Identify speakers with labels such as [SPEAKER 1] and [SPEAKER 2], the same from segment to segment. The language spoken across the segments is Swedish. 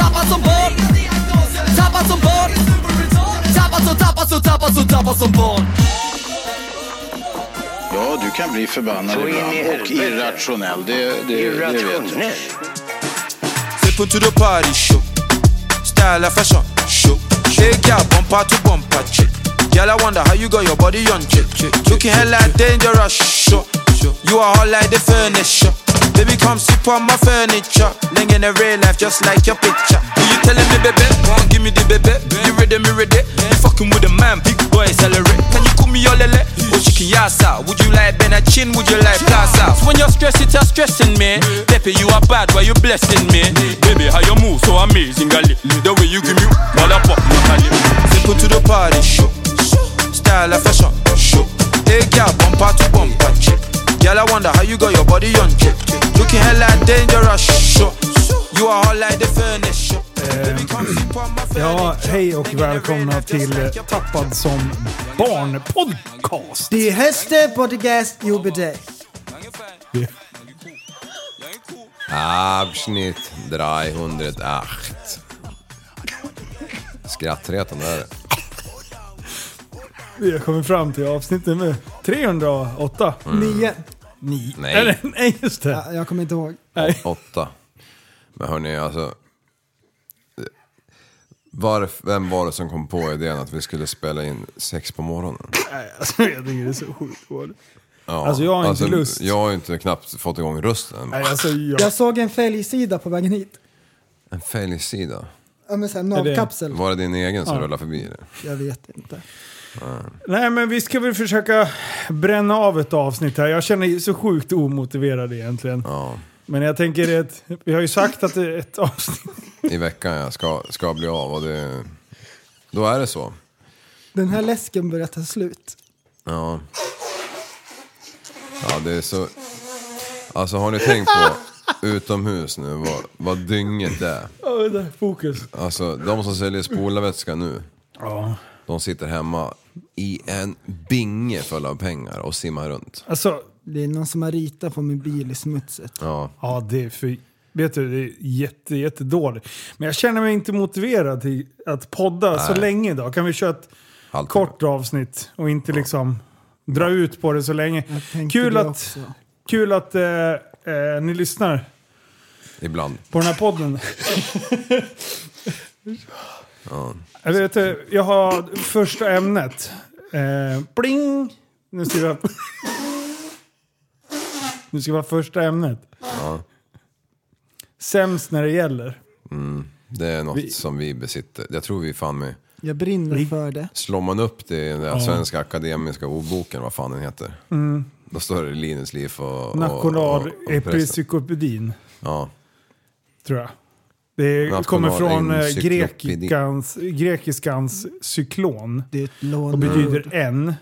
[SPEAKER 1] Tappad som barn Tappad som barn Tappad som, tappad som, tappad som, tappad som barn
[SPEAKER 2] Ja, du kan bli förbannad
[SPEAKER 3] Så in i
[SPEAKER 2] ibland och
[SPEAKER 3] helvete.
[SPEAKER 2] irrationell. Det, det, det vet du.
[SPEAKER 3] Irrationell.
[SPEAKER 4] Step into the party show. Style and fashion show. Shake ya bumper to bumper chick. Girl, I wonder how you got your body on chick. Looking hell like dangerous show. You are all like the furniture. Baby, come sip on my furniture. Ling in the real life, just like your picture. Who you telling me, baby? Won't give me the baby. You ready, me ready. You fucking with a man, big boy, accelerate. Can you call me your lele? Or chicken yasa? Would you like Benachin? Would you like Plaza? When you're stressed, it's a stressing me. Deppy, you are bad, why you blessing me? Baby, how you move so amazingly. The way you give me, mother pop, Simple to the party show. Style and fashion show. Hey, girl, bumper to bumper chick. Girl, I wonder how you got your body on chick. Looking hella dangerous show. You are all like the furniture. Baby, come sip on my
[SPEAKER 5] Ja,
[SPEAKER 4] furniture.
[SPEAKER 5] hej och välkomna till eh, Tappad som barn-podcast.
[SPEAKER 6] Die höchste Podcast über dig.
[SPEAKER 7] Abschnitt 308. Skrattretande är det.
[SPEAKER 5] Vi har kommit fram till avsnitt nummer 308.
[SPEAKER 6] Nio.
[SPEAKER 5] Mm. Ni.
[SPEAKER 7] Nej.
[SPEAKER 5] Eller, nej, just det.
[SPEAKER 6] Ja, Jag kommer inte ihåg.
[SPEAKER 5] Nej.
[SPEAKER 7] Åtta. Men hörni, alltså. Varf, vem var det som kom på idén att vi skulle spela in sex på morgonen?
[SPEAKER 5] Nej, alltså, jag tycker det är så sjukt dåligt.
[SPEAKER 7] Ja,
[SPEAKER 5] Alltså, jag har inte lust.
[SPEAKER 7] Jag har ju inte knappt fått igång rösten.
[SPEAKER 5] Nej, alltså jag...
[SPEAKER 6] Jag såg en fälgsida på vägen hit.
[SPEAKER 7] En fälgsida.
[SPEAKER 6] Ja, men såhär
[SPEAKER 5] det-
[SPEAKER 6] navkapsel.
[SPEAKER 7] Var det din egen som rullade förbi? Det?
[SPEAKER 6] Jag vet inte.
[SPEAKER 5] Mm. Nej, men vi ska väl försöka bränna av ett avsnitt här. Jag känner ju så sjukt omotiverad egentligen.
[SPEAKER 7] Ja.
[SPEAKER 5] Men jag tänker att vi har ju sagt att det är ett avsnitt.
[SPEAKER 7] I veckan jag ska, ska bli av och det... Då är det så.
[SPEAKER 6] Den här läsken börjar ta slut.
[SPEAKER 7] Ja. Ja, det är så... Alltså har ni tänkt på utomhus nu vad, vad dynget är?
[SPEAKER 5] Ja, vänta, Fokus.
[SPEAKER 7] Alltså de som säljer spolarvätska nu,
[SPEAKER 5] Ja.
[SPEAKER 7] de sitter hemma i en binge full av pengar och simmar runt.
[SPEAKER 5] Alltså,
[SPEAKER 6] Det är någon som har ritat på min bil i smutset.
[SPEAKER 7] Ja,
[SPEAKER 5] ja det är för... Vet du, det är jätte, jättedåligt. Men jag känner mig inte motiverad till att podda så länge idag. Kan vi köra ett
[SPEAKER 7] halvtimme.
[SPEAKER 5] kort avsnitt och inte liksom dra ut på det så länge.
[SPEAKER 6] Jag tänkte
[SPEAKER 5] Kul
[SPEAKER 6] det
[SPEAKER 5] att,
[SPEAKER 6] också.
[SPEAKER 5] kul att eh, eh, ni lyssnar
[SPEAKER 7] Ibland.
[SPEAKER 5] på den här podden. jag, vet, eh, jag har första ämnet. Eh, bling! Nu ska vi ha... nu ska vi ha första ämnet. Sämst när det gäller.
[SPEAKER 7] Det är något som vi besitter. Jag tror vi fan med...
[SPEAKER 6] Jag brinner för det.
[SPEAKER 7] Slår man upp det i den där Svenska Akademiska Ordboken, vad fan den heter. Då står det Linus Liv och... Nationalepicyklopedi.
[SPEAKER 5] Nationalepicyklopedin,
[SPEAKER 7] Ja.
[SPEAKER 5] tror jag. Det kommer från eh,
[SPEAKER 7] Nationalencyklopedi.
[SPEAKER 5] grekikans, grekiskans cyklon.
[SPEAKER 6] Det är ett
[SPEAKER 5] Och
[SPEAKER 6] lån.
[SPEAKER 5] betyder en.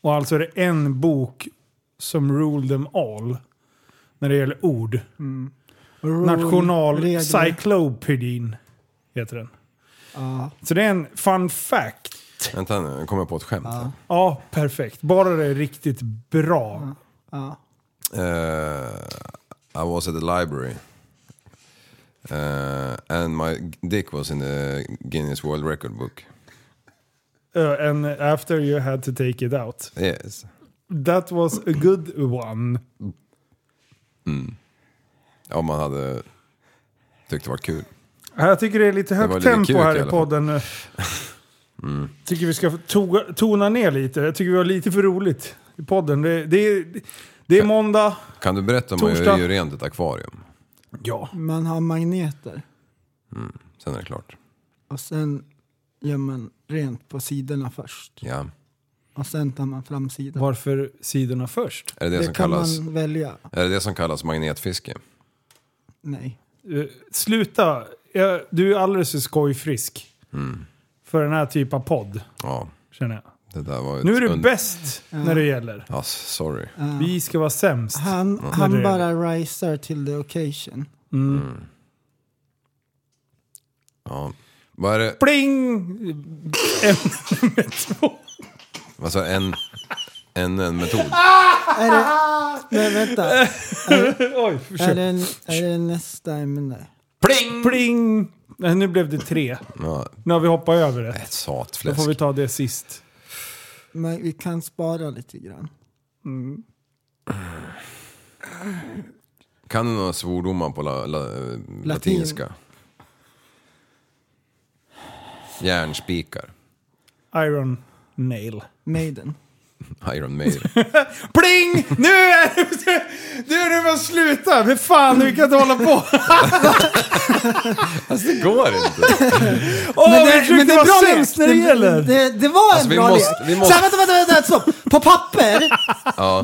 [SPEAKER 5] Och alltså är det en bok som rule them all. När det gäller ord.
[SPEAKER 6] Roll- Mm. regler.
[SPEAKER 5] Nationalcyklopedin heter den. Så det är en fun fact.
[SPEAKER 7] Vänta nu, jag kommer på ett skämt här.
[SPEAKER 5] Ja, perfekt. Bara det är riktigt bra.
[SPEAKER 7] Eh, I was at the library. Eh, and my dick was in the Guinness World Record book.
[SPEAKER 5] Uh, and after you had to take it out.
[SPEAKER 7] Yes.
[SPEAKER 5] That was a good one.
[SPEAKER 7] Om man hade tyckt det var kul.
[SPEAKER 5] Jag tycker det är lite högt
[SPEAKER 7] var lite
[SPEAKER 5] tempo
[SPEAKER 7] kul i
[SPEAKER 5] här i
[SPEAKER 7] alla fall. Mm.
[SPEAKER 5] podden. nu. tycker vi ska to- tona ner lite. Jag tycker vi har lite för roligt i podden. Det, det, är, det är måndag.
[SPEAKER 7] Kan du berätta om hur
[SPEAKER 5] Torsdag.
[SPEAKER 7] jag gör rent ett akvarium?
[SPEAKER 5] Ja.
[SPEAKER 6] Man har magneter.
[SPEAKER 7] Sen är det klart.
[SPEAKER 6] Och sen gör man rent på sidorna först.
[SPEAKER 7] Ja.
[SPEAKER 6] Och sen tar man fram sidan.
[SPEAKER 5] Varför sidorna först?
[SPEAKER 7] Är det det,
[SPEAKER 6] det
[SPEAKER 7] som
[SPEAKER 6] kan
[SPEAKER 7] kallas,
[SPEAKER 6] man välja.
[SPEAKER 7] är det det som kallas magnetfiske?
[SPEAKER 6] Nej.
[SPEAKER 5] Eh, sluta jag, du är alldeles för skojfrisk
[SPEAKER 7] Mm.
[SPEAKER 5] för den här typen av podd,
[SPEAKER 7] Ja,
[SPEAKER 5] känner jag.
[SPEAKER 7] det där var ett
[SPEAKER 5] Nu är du
[SPEAKER 7] und-
[SPEAKER 5] bäst när det gäller.
[SPEAKER 7] Ja, sorry.
[SPEAKER 6] Ja.
[SPEAKER 5] Vi ska vara sämst.
[SPEAKER 6] Han,
[SPEAKER 5] Det är
[SPEAKER 6] han
[SPEAKER 5] det.
[SPEAKER 6] bara riser till the occasion.
[SPEAKER 7] Ja. Vad är det?
[SPEAKER 5] Pling! En,
[SPEAKER 7] Alltså en... En, en metod.
[SPEAKER 6] Men vänta,
[SPEAKER 5] oj,
[SPEAKER 6] är
[SPEAKER 5] försök.
[SPEAKER 6] det, en, är det nästa ämne?
[SPEAKER 5] Pling! Nej, nu blev det tre.
[SPEAKER 7] Ja,
[SPEAKER 5] Nu har vi hoppat över det.
[SPEAKER 7] ett
[SPEAKER 5] Då
[SPEAKER 7] satfläsk.
[SPEAKER 5] får vi ta det sist.
[SPEAKER 6] Men vi kan spara lite grann.
[SPEAKER 7] Kan du några svordomar på la, la, eh, latinska? Järnspikar.
[SPEAKER 5] Iron nail.
[SPEAKER 6] Maiden.
[SPEAKER 7] Iron Maiden.
[SPEAKER 5] Pling! Nu är det... Nu är det bara att sluta! Men fan, vi kan inte hålla på!
[SPEAKER 7] alltså det går inte.
[SPEAKER 5] Åh,
[SPEAKER 6] Men
[SPEAKER 5] vi försökte vara
[SPEAKER 6] lek.
[SPEAKER 5] sämst när det gäller!
[SPEAKER 6] Det, det var en
[SPEAKER 7] Alltså, vi
[SPEAKER 6] bra
[SPEAKER 7] måste-
[SPEAKER 6] lek.
[SPEAKER 7] vi måste-
[SPEAKER 6] Så, vänta, vänta, vänta, stopp. På papper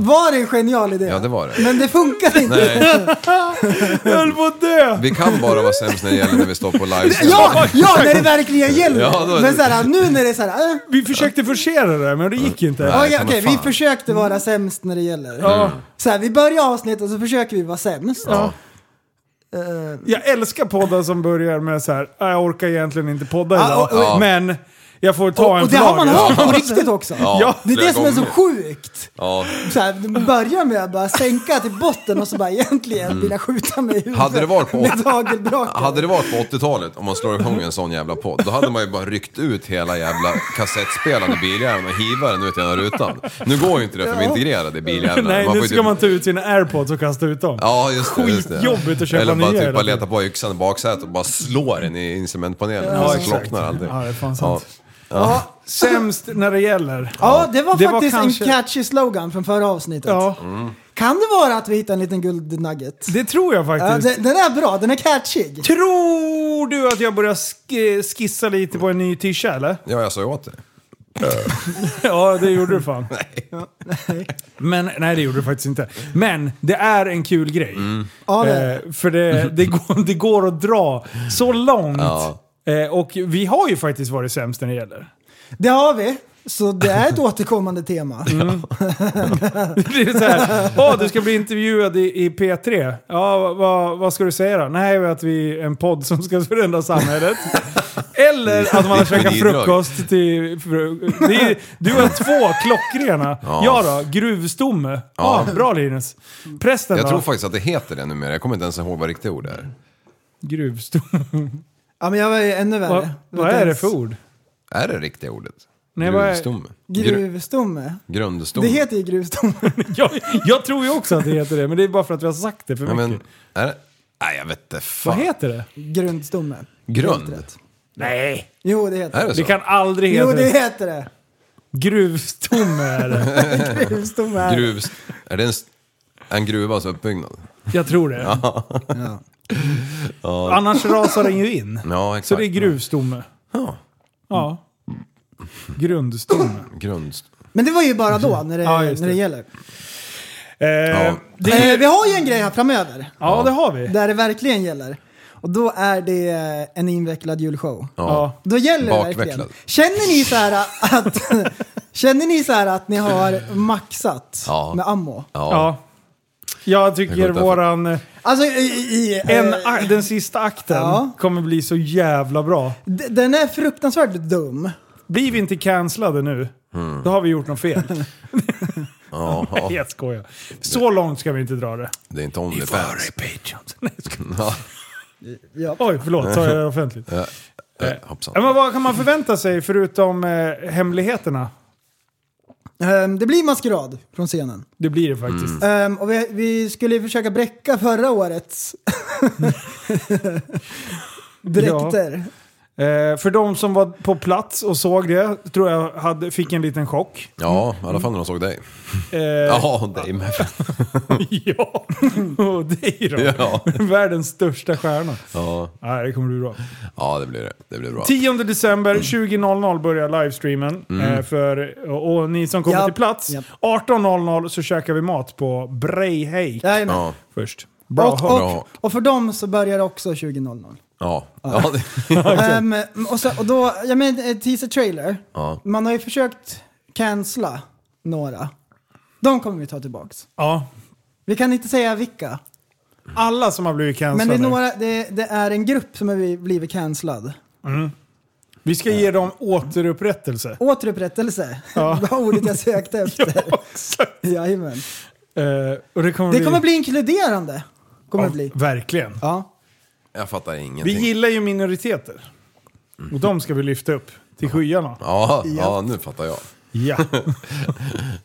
[SPEAKER 6] var det en genial idé.
[SPEAKER 7] Ja det var det.
[SPEAKER 6] Men det funkar inte.
[SPEAKER 7] Nej,
[SPEAKER 5] Jag höll på att dö!
[SPEAKER 7] vi kan bara vara sämst när det gäller när vi står på livesändning.
[SPEAKER 6] Ja, ja, när det verkligen gäller.
[SPEAKER 7] Ja, då-
[SPEAKER 6] Men så här, nu när det är så här... Äh,
[SPEAKER 5] Vi försökte forcera det, men det gick inte.
[SPEAKER 7] Nej,
[SPEAKER 6] Okej,
[SPEAKER 7] fan,
[SPEAKER 6] okej,
[SPEAKER 7] vad
[SPEAKER 6] vi
[SPEAKER 7] fan.
[SPEAKER 6] försökte vara sämst när det gäller. Så här, vi börjar avsnittet och så försöker vi vara sämst.
[SPEAKER 7] Ja.
[SPEAKER 6] Eh,
[SPEAKER 5] Jag älskar poddar som börjar med så här. "Ah, jag orkar egentligen inte podda
[SPEAKER 6] Ja,
[SPEAKER 5] idag,
[SPEAKER 6] och- Ah, och-
[SPEAKER 5] men jag får ta
[SPEAKER 6] och,
[SPEAKER 5] en
[SPEAKER 6] och det
[SPEAKER 5] för
[SPEAKER 6] har man
[SPEAKER 5] laget."
[SPEAKER 6] hört på riktigt också.
[SPEAKER 7] Ja,
[SPEAKER 6] det är
[SPEAKER 7] flera
[SPEAKER 6] det som är så
[SPEAKER 7] gånger.
[SPEAKER 6] sjukt.
[SPEAKER 7] Ja.
[SPEAKER 6] Så här, du börjar med att bara sänka till botten och så bara egentligen vill jag skjuta mig i huvudet
[SPEAKER 7] Mm. Hade det varit på-
[SPEAKER 6] med hagelbraken.
[SPEAKER 7] Hade det varit på 80-talet, om man slår igång en sån jävla podd, då hade man ju bara ryckt ut hela jävla kassettspelaren i biljäveln och hivat den ut genom rutan. Nu går ju inte det, för vi är integrerade i biljäveln.
[SPEAKER 5] Nej,
[SPEAKER 7] får
[SPEAKER 5] nu
[SPEAKER 7] ju
[SPEAKER 5] ska
[SPEAKER 7] typ-
[SPEAKER 5] man ta ut sina airpods och kasta ut dem.
[SPEAKER 7] Ja, just det. Just det.
[SPEAKER 5] Skitjobbigt att köpa
[SPEAKER 7] Eller bara
[SPEAKER 5] nya hela
[SPEAKER 7] typ bara
[SPEAKER 5] tiden.
[SPEAKER 7] leta på yxan i baksätet och bara slå den i instrumentpanelen. Alltså,
[SPEAKER 5] Ja,
[SPEAKER 7] Ja, så
[SPEAKER 5] exakt.
[SPEAKER 7] slocknar allting.
[SPEAKER 5] Ja, det är fan
[SPEAKER 7] Ja.
[SPEAKER 5] sant. Ja, sämst när det gäller.
[SPEAKER 6] Ja, det var
[SPEAKER 5] Det var
[SPEAKER 6] faktiskt
[SPEAKER 5] kanske-
[SPEAKER 6] en catchy slogan från förra avsnittet.
[SPEAKER 5] Ja,
[SPEAKER 6] Kan det vara att vi hittar en liten guldnugget?
[SPEAKER 5] det tror jag
[SPEAKER 6] Ja,
[SPEAKER 5] faktiskt.
[SPEAKER 6] den, den är bra, den är catchig.
[SPEAKER 5] Tror du att jag börjar sk- skissa lite på en ny tisha eller?
[SPEAKER 7] ja, jag sa ju åt det.
[SPEAKER 5] Ja, det gjorde du fan. Men, nej, det gjorde du faktiskt inte. Men det är en kul grej.
[SPEAKER 6] Ja, det,
[SPEAKER 5] Eh, för det, det, går, det går att dra så långt.
[SPEAKER 7] Ja.
[SPEAKER 5] Eh, och vi har ju faktiskt varit sämst när det gäller.
[SPEAKER 6] det har vi. Så det är ett återkommande tema.
[SPEAKER 5] Det är så här, "Åh, du ska bli intervjuad i, i P3. Ja, vad, vad, vad ska du säga då? Nej, att vi är en podd som ska förändra samhället. Eller att man har
[SPEAKER 7] Det är
[SPEAKER 5] käkat
[SPEAKER 7] bidrag.
[SPEAKER 5] frukost till... Fru, det är, du har två klockrena. Ja,
[SPEAKER 7] Ja.
[SPEAKER 5] då, gruvstomme. Ja.
[SPEAKER 7] Ja.
[SPEAKER 5] bra Linus. Prästen
[SPEAKER 7] Jag
[SPEAKER 5] då?
[SPEAKER 7] tror faktiskt att det heter det numera. Jag kommer inte ens ihåg vad riktigt ord är.
[SPEAKER 5] gruvstomme.
[SPEAKER 6] Ja, men jag var ju ännu värre.
[SPEAKER 5] Vad, vad är det för ord?
[SPEAKER 7] Är det riktiga ordet?
[SPEAKER 5] Nej, vad är-
[SPEAKER 7] Grundstomme. Gru-
[SPEAKER 6] Gruvstomme.
[SPEAKER 7] Grundstomme.
[SPEAKER 6] Det heter ju gruvstomme.
[SPEAKER 5] Jag, jag tror ju också att det heter det, men det är bara för att vi har sagt det för
[SPEAKER 7] ja,
[SPEAKER 5] mycket.
[SPEAKER 7] men, är det? Nej, jag vet inte. Fan.
[SPEAKER 5] vad heter det?
[SPEAKER 6] Grundstomme. Helt
[SPEAKER 7] Grund?
[SPEAKER 6] rätt.
[SPEAKER 5] Nej!
[SPEAKER 6] Jo, det heter
[SPEAKER 7] Är
[SPEAKER 6] det.
[SPEAKER 7] det så?
[SPEAKER 5] Det kan aldrig heta
[SPEAKER 6] Jo, det
[SPEAKER 5] det.
[SPEAKER 6] heter det.
[SPEAKER 5] Gruvstomme är det.
[SPEAKER 6] Gruvstomme. är det.
[SPEAKER 7] Gruvs... Är det en, st- en gruvas uppbyggnad?
[SPEAKER 5] Jag tror det.
[SPEAKER 6] Ja.
[SPEAKER 5] Annars rasar den ju in.
[SPEAKER 7] Ja, exakt.
[SPEAKER 5] Så det är gruvstomme.
[SPEAKER 7] Ja,
[SPEAKER 5] Ja. Grundstomme.
[SPEAKER 7] grund...
[SPEAKER 6] Men det var ju bara då, när det,
[SPEAKER 5] Ja, just
[SPEAKER 6] när det
[SPEAKER 5] det.
[SPEAKER 6] gäller.
[SPEAKER 5] Eh, ja.
[SPEAKER 7] Ja.
[SPEAKER 5] Det,
[SPEAKER 6] Eh, vi har ju en grej här framöver,
[SPEAKER 5] ja, det har vi.
[SPEAKER 6] där det verkligen gäller. Och då är det eh, en invecklad julshow.
[SPEAKER 7] Ja.
[SPEAKER 5] Ja.
[SPEAKER 6] Då gäller det verkligen.
[SPEAKER 7] Bakwecklad.
[SPEAKER 6] Känner ni så här att, känner ni så här att ni har maxat
[SPEAKER 7] Ja.
[SPEAKER 6] med ammo?
[SPEAKER 7] Ja.
[SPEAKER 5] ja. Jag
[SPEAKER 7] Det
[SPEAKER 5] tycker
[SPEAKER 7] går inte
[SPEAKER 5] våran... eh,
[SPEAKER 6] Alltså, i, i, i-
[SPEAKER 5] En,
[SPEAKER 6] eh,
[SPEAKER 5] ak- den sista akten
[SPEAKER 6] Ja.
[SPEAKER 5] kommer bli så jävla bra.
[SPEAKER 6] d- den är fruktansvärt dum.
[SPEAKER 5] Blir vi inte cancellade nu, då har vi gjort något fel.
[SPEAKER 7] Ja. Mm. ja.
[SPEAKER 5] Jag skojar. Så långt ska vi inte dra det.
[SPEAKER 7] Det är inte Onlyfans.
[SPEAKER 5] Patreons. Nej, jag skojar.
[SPEAKER 7] Ja.
[SPEAKER 5] Oj, förlåt. Sa jag det offentligt?
[SPEAKER 7] Eh, Hoppsan.
[SPEAKER 5] Ja, men vad kan man förvänta sig förutom eh, hemligheterna?
[SPEAKER 6] Ehm, det blir maskerad från scenen.
[SPEAKER 5] Det blir det faktiskt.
[SPEAKER 6] Ehm, och vi, vi skulle ju försöka bräcka förra årets dräkter.
[SPEAKER 7] Mm.
[SPEAKER 5] Eh, för de som var på plats och såg det, tror jag hade, fick en liten chock.
[SPEAKER 7] Ja, i alla fall när de såg dig.
[SPEAKER 5] Eh,
[SPEAKER 7] Ja, dig med.
[SPEAKER 5] ja. och dig då.
[SPEAKER 7] Ja.
[SPEAKER 5] Världens största stjärna.
[SPEAKER 7] Ja.
[SPEAKER 5] Nej, det kommer bli bra.
[SPEAKER 7] ja, det blir det. Det blir bra.
[SPEAKER 5] 10 december
[SPEAKER 7] Mm.
[SPEAKER 5] 20.00 börjar livestreamen. Eh, för, och, och ni som kommer
[SPEAKER 6] Japp,
[SPEAKER 5] till plats,
[SPEAKER 6] japp.
[SPEAKER 5] 18.00 så käkar vi mat på Breihej
[SPEAKER 6] Jajamän.
[SPEAKER 7] Ja.
[SPEAKER 5] först. Bra
[SPEAKER 6] Och,
[SPEAKER 5] hopp.
[SPEAKER 7] Bra.
[SPEAKER 6] och, och för dem så börjar det också 20.00.
[SPEAKER 7] Ja. Ja.
[SPEAKER 6] Ehm, och, så, och då, ja men eh, teaser trailer.
[SPEAKER 7] Ja.
[SPEAKER 6] Man har ju försökt cancella några. De kommer vi ta tillbaks.
[SPEAKER 5] Ja.
[SPEAKER 6] Vi kan inte säga vilka.
[SPEAKER 5] Alla som har blivit
[SPEAKER 6] Men det
[SPEAKER 5] cancellade.
[SPEAKER 6] är, några, det, det är en grupp som har bli- blivit cancellad.
[SPEAKER 5] Vi ska ge dem återupprättelse.
[SPEAKER 6] Återupprättelse.
[SPEAKER 5] Ja.
[SPEAKER 6] det var ordet jag sökte efter.
[SPEAKER 5] Ja, exakt.
[SPEAKER 6] Jajamän.
[SPEAKER 5] Eh, och det kommer
[SPEAKER 6] Det kommer bli inkluderande. Kommer det bli.
[SPEAKER 5] Ja, verkligen.
[SPEAKER 6] Ja.
[SPEAKER 7] Jag fattar
[SPEAKER 5] Vi
[SPEAKER 7] ingenting.
[SPEAKER 5] gillar ju minoriteter. Och de ska vi lyfta upp till skyarna.
[SPEAKER 7] Ja, ja, nu fattar jag.
[SPEAKER 5] Ja.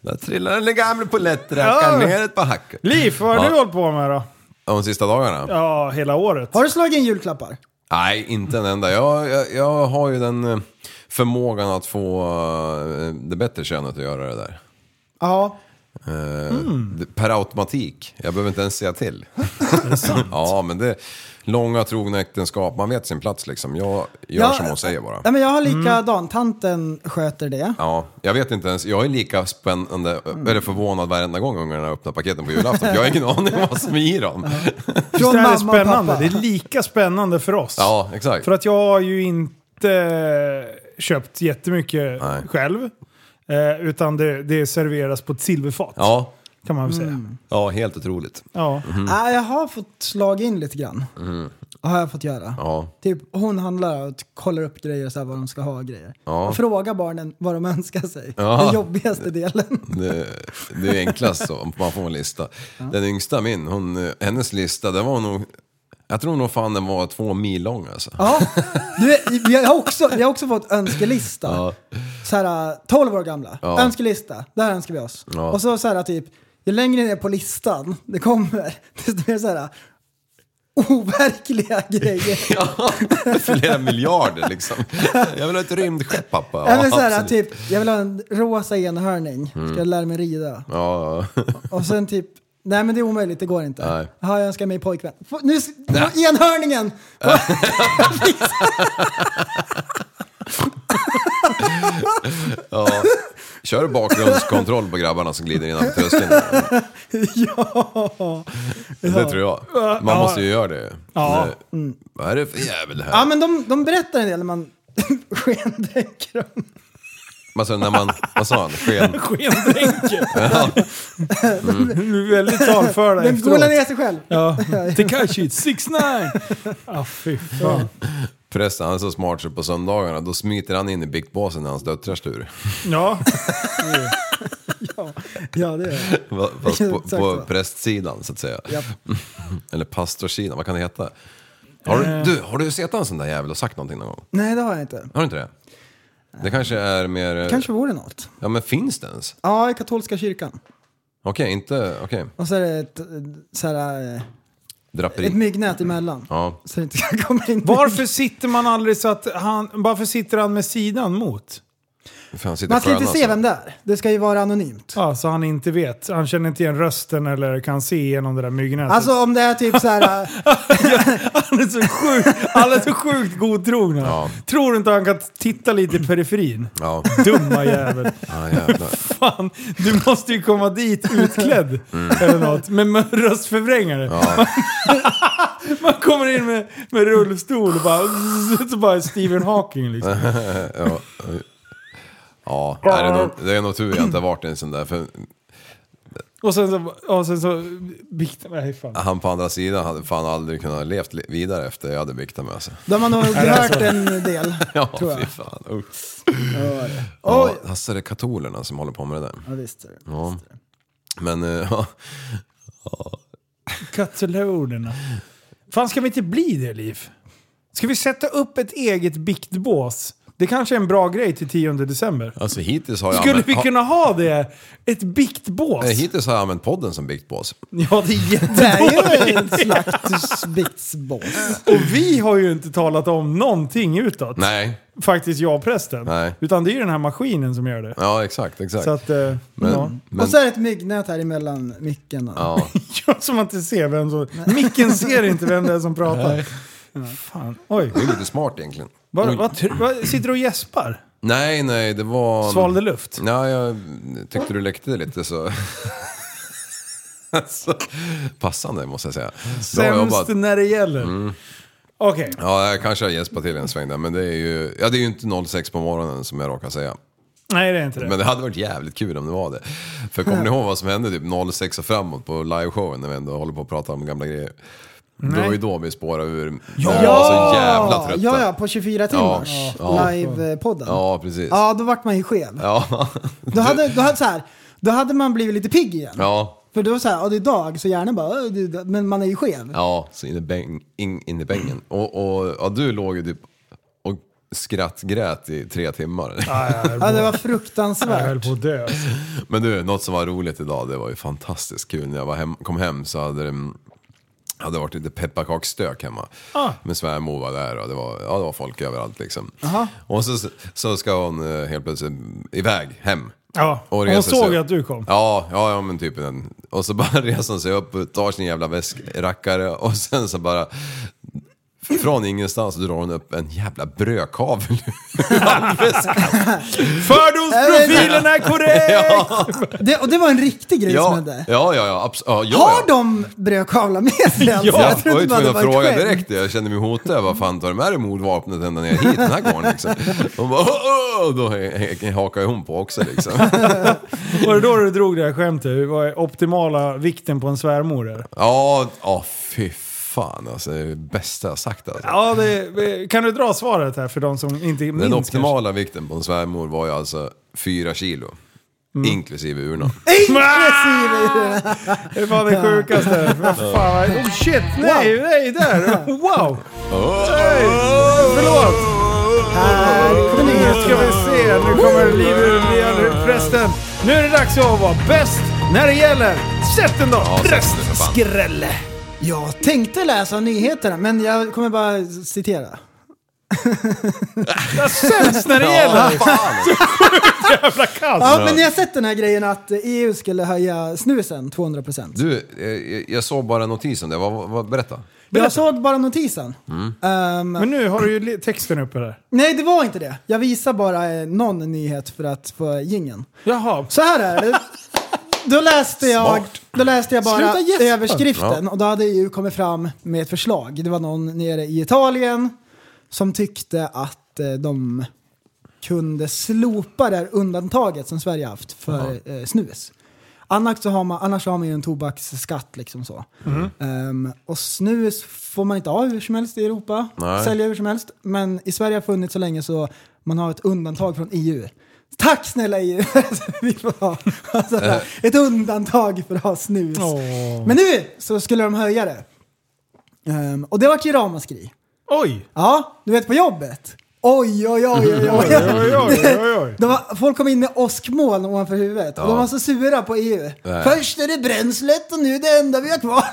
[SPEAKER 7] Där trillade den gamle pollettrackaren
[SPEAKER 5] Ja.
[SPEAKER 7] ner ett par hackor.
[SPEAKER 5] Liv, vad har
[SPEAKER 7] Ja.
[SPEAKER 5] du hållit på med då?
[SPEAKER 7] De sista dagarna?
[SPEAKER 5] Ja, hela året.
[SPEAKER 6] Har du slagit in julklappar?
[SPEAKER 7] Nej, inte en enda. Jag, jag, jag har ju den eh, förmågan att få eh, det bättre könet att göra det där.
[SPEAKER 6] Ja.
[SPEAKER 7] Eh,
[SPEAKER 5] Mm.
[SPEAKER 7] det- Per automatik. Jag behöver inte ens säga till. ja, men det är långa trogna äktenskap. Man vet sin plats liksom. Jag gör
[SPEAKER 6] Ja,
[SPEAKER 7] som hon säger bara.
[SPEAKER 6] Ja, men jag har likadan. Tanten sköter det.
[SPEAKER 7] Ja, jag vet inte ens. Jag är lika spännande,
[SPEAKER 6] Mm.
[SPEAKER 7] eller förvånad varenda gång ungarna öppnar paketen på julafton. för Jag har ingen aning om vad som är i dem.
[SPEAKER 5] Visst
[SPEAKER 6] Från
[SPEAKER 5] är
[SPEAKER 6] mamma
[SPEAKER 5] det
[SPEAKER 6] och
[SPEAKER 5] spännande?
[SPEAKER 6] pappa.
[SPEAKER 5] Det är lika spännande för oss.
[SPEAKER 7] Ja, exakt.
[SPEAKER 5] För att jag har ju inte köpt jättemycket
[SPEAKER 7] Nej.
[SPEAKER 5] själv. Eh, utan det, det serveras på ett silverfat.
[SPEAKER 7] Ja,
[SPEAKER 5] Kan man väl säga.
[SPEAKER 6] Mm.
[SPEAKER 7] ja helt otroligt.
[SPEAKER 5] Ja.
[SPEAKER 7] Mm.
[SPEAKER 6] Ja, Äh, jag har fått slaga in lite grann. Har jag fått göra.
[SPEAKER 7] Ja.
[SPEAKER 6] Typ hon handlar och kollar upp grejer och så här vad de ska ha och grejer.
[SPEAKER 7] Ja.
[SPEAKER 6] Och frågar barnen vad de önskar sig.
[SPEAKER 7] Ja.
[SPEAKER 6] Den jobbigaste delen.
[SPEAKER 7] Det, det är enklast så, om man får en lista. Den yngsta min, hon, eh, hennes lista, den var nog... Jag tror nog fan den var två mil lång alltså.
[SPEAKER 6] Ja, du, jag, har också, jag har också fått önskelista. Så här, äh, 12 år gamla.
[SPEAKER 7] Ja.
[SPEAKER 6] Önskelista, där önskar vi oss.
[SPEAKER 7] Ja.
[SPEAKER 6] Och så så här typ, ju längre ner på listan det kommer, desto mer så här overkliga grejer.
[SPEAKER 7] Flera miljarder liksom. Jag vill ha ett rymdskepp pappa.
[SPEAKER 6] Ja, men så här,
[SPEAKER 7] absolut. Mm.
[SPEAKER 6] typ, jag vill ha en rosa enhörning, ska jag lära mig rida.
[SPEAKER 7] Ja, ja.
[SPEAKER 6] Och sen typ, nej men det är omöjligt, det går inte.
[SPEAKER 7] Nej.
[SPEAKER 6] Jaha, jag önskar mig pojkvän. Få- Nu, s- enhörningen!
[SPEAKER 7] Kör bakgrundskontroll på grabbarna som glider innanför tröskeln.
[SPEAKER 6] ja!
[SPEAKER 7] Det tror jag. Man måste ju göra det.
[SPEAKER 5] Ja.
[SPEAKER 7] Det-
[SPEAKER 6] Mm.
[SPEAKER 7] Vad är det för jävel här?
[SPEAKER 6] Ja men de, de berättar en del när man skendränker dem.
[SPEAKER 7] Alltså när man, vad sa han? Sken?
[SPEAKER 5] Skendränken.
[SPEAKER 7] Mm.
[SPEAKER 5] Du är väldigt talför där
[SPEAKER 6] Den golar
[SPEAKER 5] efteråt.
[SPEAKER 6] ner sig själv.
[SPEAKER 5] Ja. Tekashi 69! Ja, fy fan.
[SPEAKER 7] Förresten, han är så smart så på söndagarna då smiter han in i biktbåsen när hans döttrars tur.
[SPEAKER 5] Ja.
[SPEAKER 6] Ja, det är det.
[SPEAKER 7] Va- Fast på,
[SPEAKER 6] Exakt
[SPEAKER 7] på
[SPEAKER 6] så.
[SPEAKER 7] prästsidan så att säga.
[SPEAKER 6] Japp.
[SPEAKER 7] Eller pastorssidan, vad kan det heta? Har du,
[SPEAKER 6] Eh.
[SPEAKER 7] du, har du sett en sån där jävel och sagt någonting någon gång?
[SPEAKER 6] Nej, det har jag inte.
[SPEAKER 7] Har du inte det? Det kanske är mer... eh,
[SPEAKER 6] Kanske vore något.
[SPEAKER 7] Ja men finns det ens?
[SPEAKER 6] Ja, i katolska kyrkan.
[SPEAKER 7] Okej, inte... Okej.
[SPEAKER 6] Och så är det ett, eh, så här, eh,
[SPEAKER 7] Draperi.
[SPEAKER 6] ett myggnät emellan.
[SPEAKER 7] Ja.
[SPEAKER 6] Så det inte kan komma in.
[SPEAKER 5] Varför sitter man aldrig så att han... Varför sitter han med sidan mot?
[SPEAKER 7] Fan, sitter
[SPEAKER 6] Man ska
[SPEAKER 7] skön,
[SPEAKER 6] inte se
[SPEAKER 7] alltså.
[SPEAKER 6] vem det är. Det ska ju vara anonymt.
[SPEAKER 5] Ja, så han inte vet. Han känner inte igen rösten eller kan se igenom det där myggnätet.
[SPEAKER 6] Alltså om det är typ så här... eh,
[SPEAKER 5] Han är så sjukt, alla är så sjukt godtrogna.
[SPEAKER 7] Ja.
[SPEAKER 5] Tror du inte han kan titta lite i periferin?
[SPEAKER 7] Ja,
[SPEAKER 5] Dumma jävel.
[SPEAKER 7] ja jävlar.
[SPEAKER 5] Fan, du måste ju komma dit utklädd eller något. Med mö- röstförvrängare. Man kommer in med, med rullstol och bara, så bara Stephen Hawking liksom.
[SPEAKER 7] Ja, är det, nog, det är nog tur jag inte har varit en sån där. För
[SPEAKER 5] Och sen så... Och sen så bikten, nej, fan.
[SPEAKER 7] han på andra sidan hade fan aldrig kunnat levt li- vidare efter jag hade biktat mig alltså.
[SPEAKER 6] Då har man nog hört en del.
[SPEAKER 7] Ja,
[SPEAKER 6] Tror jag.
[SPEAKER 7] fy fan. Usch.
[SPEAKER 6] Ja,
[SPEAKER 7] Ja, alltså det är katolerna som håller på med det där.
[SPEAKER 6] ja, visst är det.
[SPEAKER 7] Ja. Men eh, ja,
[SPEAKER 5] Katalonerna. Fan, ska vi inte bli det, Liv? Ska vi sätta upp ett eget biktbås? Det kanske är en bra grej till 10 december.
[SPEAKER 7] alltså hittills har jag
[SPEAKER 5] Skulle
[SPEAKER 7] använt,
[SPEAKER 5] vi kunna ha det? Ett biktbås?
[SPEAKER 7] ha, eh, hittills har jag använt podden som biktbås.
[SPEAKER 5] Ja, det är jätte...
[SPEAKER 6] Det är ju en slaktbitsbås.
[SPEAKER 5] Och vi har ju inte talat om någonting utåt.
[SPEAKER 7] Nej,
[SPEAKER 5] Faktiskt jag och prästen.
[SPEAKER 7] Nej.
[SPEAKER 5] Utan det är ju den här maskinen som gör det.
[SPEAKER 7] ja exakt, exakt.
[SPEAKER 5] Så att... Eh, ja.
[SPEAKER 7] men,
[SPEAKER 6] Och så är det ett myggnät här emellan micken. och-
[SPEAKER 7] ja,
[SPEAKER 5] Ja, så man inte ser vem som... Micken ser inte vem det är som pratar. Fan. Oj.
[SPEAKER 7] det är lite smart egentligen.
[SPEAKER 5] Vad, vad, tr- vad, sitter du och gäspar?
[SPEAKER 7] Nej, nej, det var...
[SPEAKER 5] Svalde luft?
[SPEAKER 7] Ja, jag tyckte du läckte lite så... alltså, passande måste jag säga. Bra
[SPEAKER 5] Sämst
[SPEAKER 7] jobbat. Mm.
[SPEAKER 5] när det gäller. Okej.
[SPEAKER 7] Ja, jag kanske har gäspat till en sväng där, men det är ju... Ja, det är ju inte 06 på morgonen som jag råkar säga.
[SPEAKER 5] Nej, det är inte det.
[SPEAKER 7] Men det hade varit jävligt kul om det var det. För kommer ni ihåg vad som hände typ 06 och framåt på liveshowen när vi ändå håller på att prata om gamla grejer? Det var ju då vi spårade ur. Ja! Vi var så jävla trötta.
[SPEAKER 6] Ja, ja, på 24 timmar.
[SPEAKER 7] Ja, ja.
[SPEAKER 6] Live-podden.
[SPEAKER 7] Ja, precis.
[SPEAKER 6] Ja, då vart man ju skev.
[SPEAKER 7] Ja.
[SPEAKER 6] Då hade, då, hade så här, då hade man blivit lite pigg igen.
[SPEAKER 7] Ja.
[SPEAKER 6] För då så här, ja, det är dag, så hjärnan bara, "Åh, det- men man är ju skev.
[SPEAKER 7] Ja, så in i, bäng, in, in i bängen. Och, och ja, du låg ju typ och skrattgrät i tre timmar.
[SPEAKER 6] Ja, det var
[SPEAKER 5] Jag höll
[SPEAKER 6] fruktansvärt.
[SPEAKER 5] på att dö.
[SPEAKER 7] Men du, något som var roligt idag, det var ju fantastiskt kul. När jag var hem, kom hem så hade det mm, hade varit lite pepparkaksstök hemma.
[SPEAKER 5] Ah.
[SPEAKER 7] Men svärmor var där och det var, ja, det var folk överallt liksom. Och så, så ska hon eh, helt plötsligt iväg hem.
[SPEAKER 5] Ja,
[SPEAKER 7] Och
[SPEAKER 5] hon
[SPEAKER 7] reser
[SPEAKER 5] såg
[SPEAKER 7] sig-
[SPEAKER 5] att du kom.
[SPEAKER 7] Ja, ja, ja men typ den. Och så bara reser hon sig upp och tar sin jävla väskrackare och sen så bara... Från ingenstans drar hon upp en jävla brödkavel ur handväskan.
[SPEAKER 5] Fördomsprofilen är korrekt!
[SPEAKER 7] Ja,
[SPEAKER 6] Det, och det var en riktig grej som
[SPEAKER 7] ja,
[SPEAKER 6] hände.
[SPEAKER 7] ja, ja, ja, abs- ja, ja,
[SPEAKER 6] Har
[SPEAKER 7] ja.
[SPEAKER 6] de brödkavlar med sig? alltså?
[SPEAKER 7] Ja,
[SPEAKER 6] Jag
[SPEAKER 7] jag
[SPEAKER 6] trodde
[SPEAKER 7] var ju
[SPEAKER 6] bara det
[SPEAKER 7] tvungen
[SPEAKER 6] var
[SPEAKER 7] att
[SPEAKER 6] ett
[SPEAKER 7] fråga
[SPEAKER 6] skämt.
[SPEAKER 7] direkt. Jag kände mig hotad. Vad fan tar du med dig mordvapnet ända ner hit den här gången liksom? Hon bara, "Åh, åh", och då hakar ju hon på också liksom.
[SPEAKER 5] Var det då du drog det här skämtet? Vad är optimala vikten på en svärmor? Eller?
[SPEAKER 7] Ja, ja fy fan alltså. Det är det bästa jag sagt alltså.
[SPEAKER 5] Ja, det, kan du dra svaret här för de som inte minns?
[SPEAKER 7] Den
[SPEAKER 5] kanske?
[SPEAKER 7] optimala vikten på en svärmor var ju alltså fyra kilo.
[SPEAKER 5] Mm.
[SPEAKER 7] Inklusive urnan.
[SPEAKER 5] Det är fan det sjukaste. Vad fan, oh shit, nej, nej, där. Wow! Hej! Förlåt! Nu ska vi se, nu kommer livet igen prästen. Nu är det dags att vara bäst när det gäller. Sätt den då!
[SPEAKER 7] Ja, sätt den för fan.
[SPEAKER 5] Skrälle!
[SPEAKER 6] Jag tänkte läsa nyheterna, men jag kommer bara citera.
[SPEAKER 5] Sämst när det gäller!
[SPEAKER 6] Ja,
[SPEAKER 7] Alltså.
[SPEAKER 6] men ni har sett den här grejen att EU skulle höja snusen 200 procent.
[SPEAKER 7] Du, eh, jag såg bara en notis om det. Vad, vad, vad, berätta.
[SPEAKER 6] Jag såg bara notisen.
[SPEAKER 7] Mm.
[SPEAKER 6] Ehm,
[SPEAKER 5] Men nu har du ju li- texten uppe där.
[SPEAKER 6] nej, det var inte det. Jag visar bara eh, någon nyhet för att få gingen.
[SPEAKER 5] Jaha.
[SPEAKER 6] Så här är det. Då läste jag,
[SPEAKER 7] Smart.
[SPEAKER 6] då läste jag bara
[SPEAKER 5] Sluta gäspa.
[SPEAKER 6] överskriften och då hade EU kommit fram med ett förslag. Det var någon nere i Italien som tyckte att eh, de kunde slopa det här undantaget som Sverige haft för eh, snus. Annars så, har man, annars så har man ju en tobaksskatt liksom så. Ehm, och snus får man inte ha hur som helst i Europa,
[SPEAKER 7] Nej.
[SPEAKER 6] sälja hur som helst. Men i Sverige har funnits så länge så man har ett undantag från EU. Tack snälla EU! Vi får ha alltså, ett undantag för att ha snus.
[SPEAKER 5] Åh.
[SPEAKER 6] Men nu så skulle de höja det. Ehm, och det vart ju ramaskri.
[SPEAKER 5] Oj!
[SPEAKER 6] Ja, du vet på jobbet. Oj, oj, oj, oj, oj.
[SPEAKER 5] Oj, oj, oj, oj, oj.
[SPEAKER 6] De var, folk kom in med åskmoln ovanför huvudet och de var så sura på EU. Först är det bränslet och nu är det enda vi har kvar.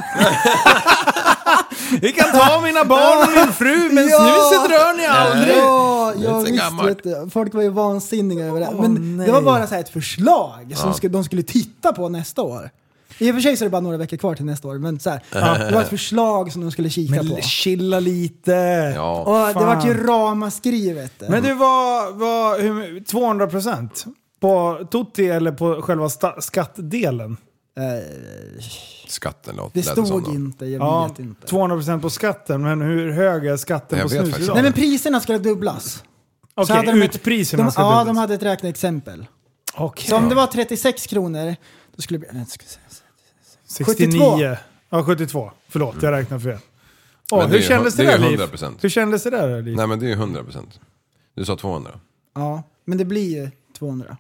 [SPEAKER 5] Vi kan ta mina barn och min fru, men
[SPEAKER 6] Ja.
[SPEAKER 5] snuset rör ni aldrig!
[SPEAKER 6] Ja, ja
[SPEAKER 7] så
[SPEAKER 6] visst.
[SPEAKER 7] gammalt.
[SPEAKER 6] Vet du, folk var ju vansinniga över det. Men det var bara så här ett förslag som skulle, de skulle titta på nästa år. I och för sig så är det bara några veckor kvar till nästa år, men så här, det var ett förslag som de skulle kika på.
[SPEAKER 5] chilla lite.
[SPEAKER 7] Ja.
[SPEAKER 6] Och det
[SPEAKER 5] fan.
[SPEAKER 6] vart ju ramaskri vet du.
[SPEAKER 5] Men du, var, var hur, 200 procent? På Totti eller på själva sta- skattdelen?
[SPEAKER 6] Eh,
[SPEAKER 7] Skatten låt,
[SPEAKER 6] det
[SPEAKER 7] lät som
[SPEAKER 6] stod
[SPEAKER 7] då.
[SPEAKER 6] inte, jag
[SPEAKER 5] Ja,
[SPEAKER 6] vet inte.
[SPEAKER 5] 200 procent på skatten, men hur hög är skatten på
[SPEAKER 7] Jag vet
[SPEAKER 5] snus
[SPEAKER 7] faktiskt
[SPEAKER 5] idag?
[SPEAKER 6] Nej men priserna skulle dubblas. Så
[SPEAKER 5] Okej,
[SPEAKER 6] hade de ett-
[SPEAKER 5] utpriserna
[SPEAKER 6] de,
[SPEAKER 5] ska
[SPEAKER 6] Ja,
[SPEAKER 5] dubblas.
[SPEAKER 6] de hade ett räkneexempel.
[SPEAKER 5] Okej.
[SPEAKER 6] Så om det var 36 kronor, då skulle det bli... Nej, ska vi se.
[SPEAKER 5] 69.
[SPEAKER 6] 72.
[SPEAKER 5] Ja, 72. Förlåt, jag räknar fel. Åh,
[SPEAKER 7] Men det
[SPEAKER 5] hur
[SPEAKER 7] är ju-
[SPEAKER 5] kändes det,
[SPEAKER 7] det är ju
[SPEAKER 5] där,
[SPEAKER 7] 100%.
[SPEAKER 5] Liv? Hur kändes det där, Liv?
[SPEAKER 7] Nej men det är ju 100 procent. Du sa 200.
[SPEAKER 6] Ja, men det blir ju 200.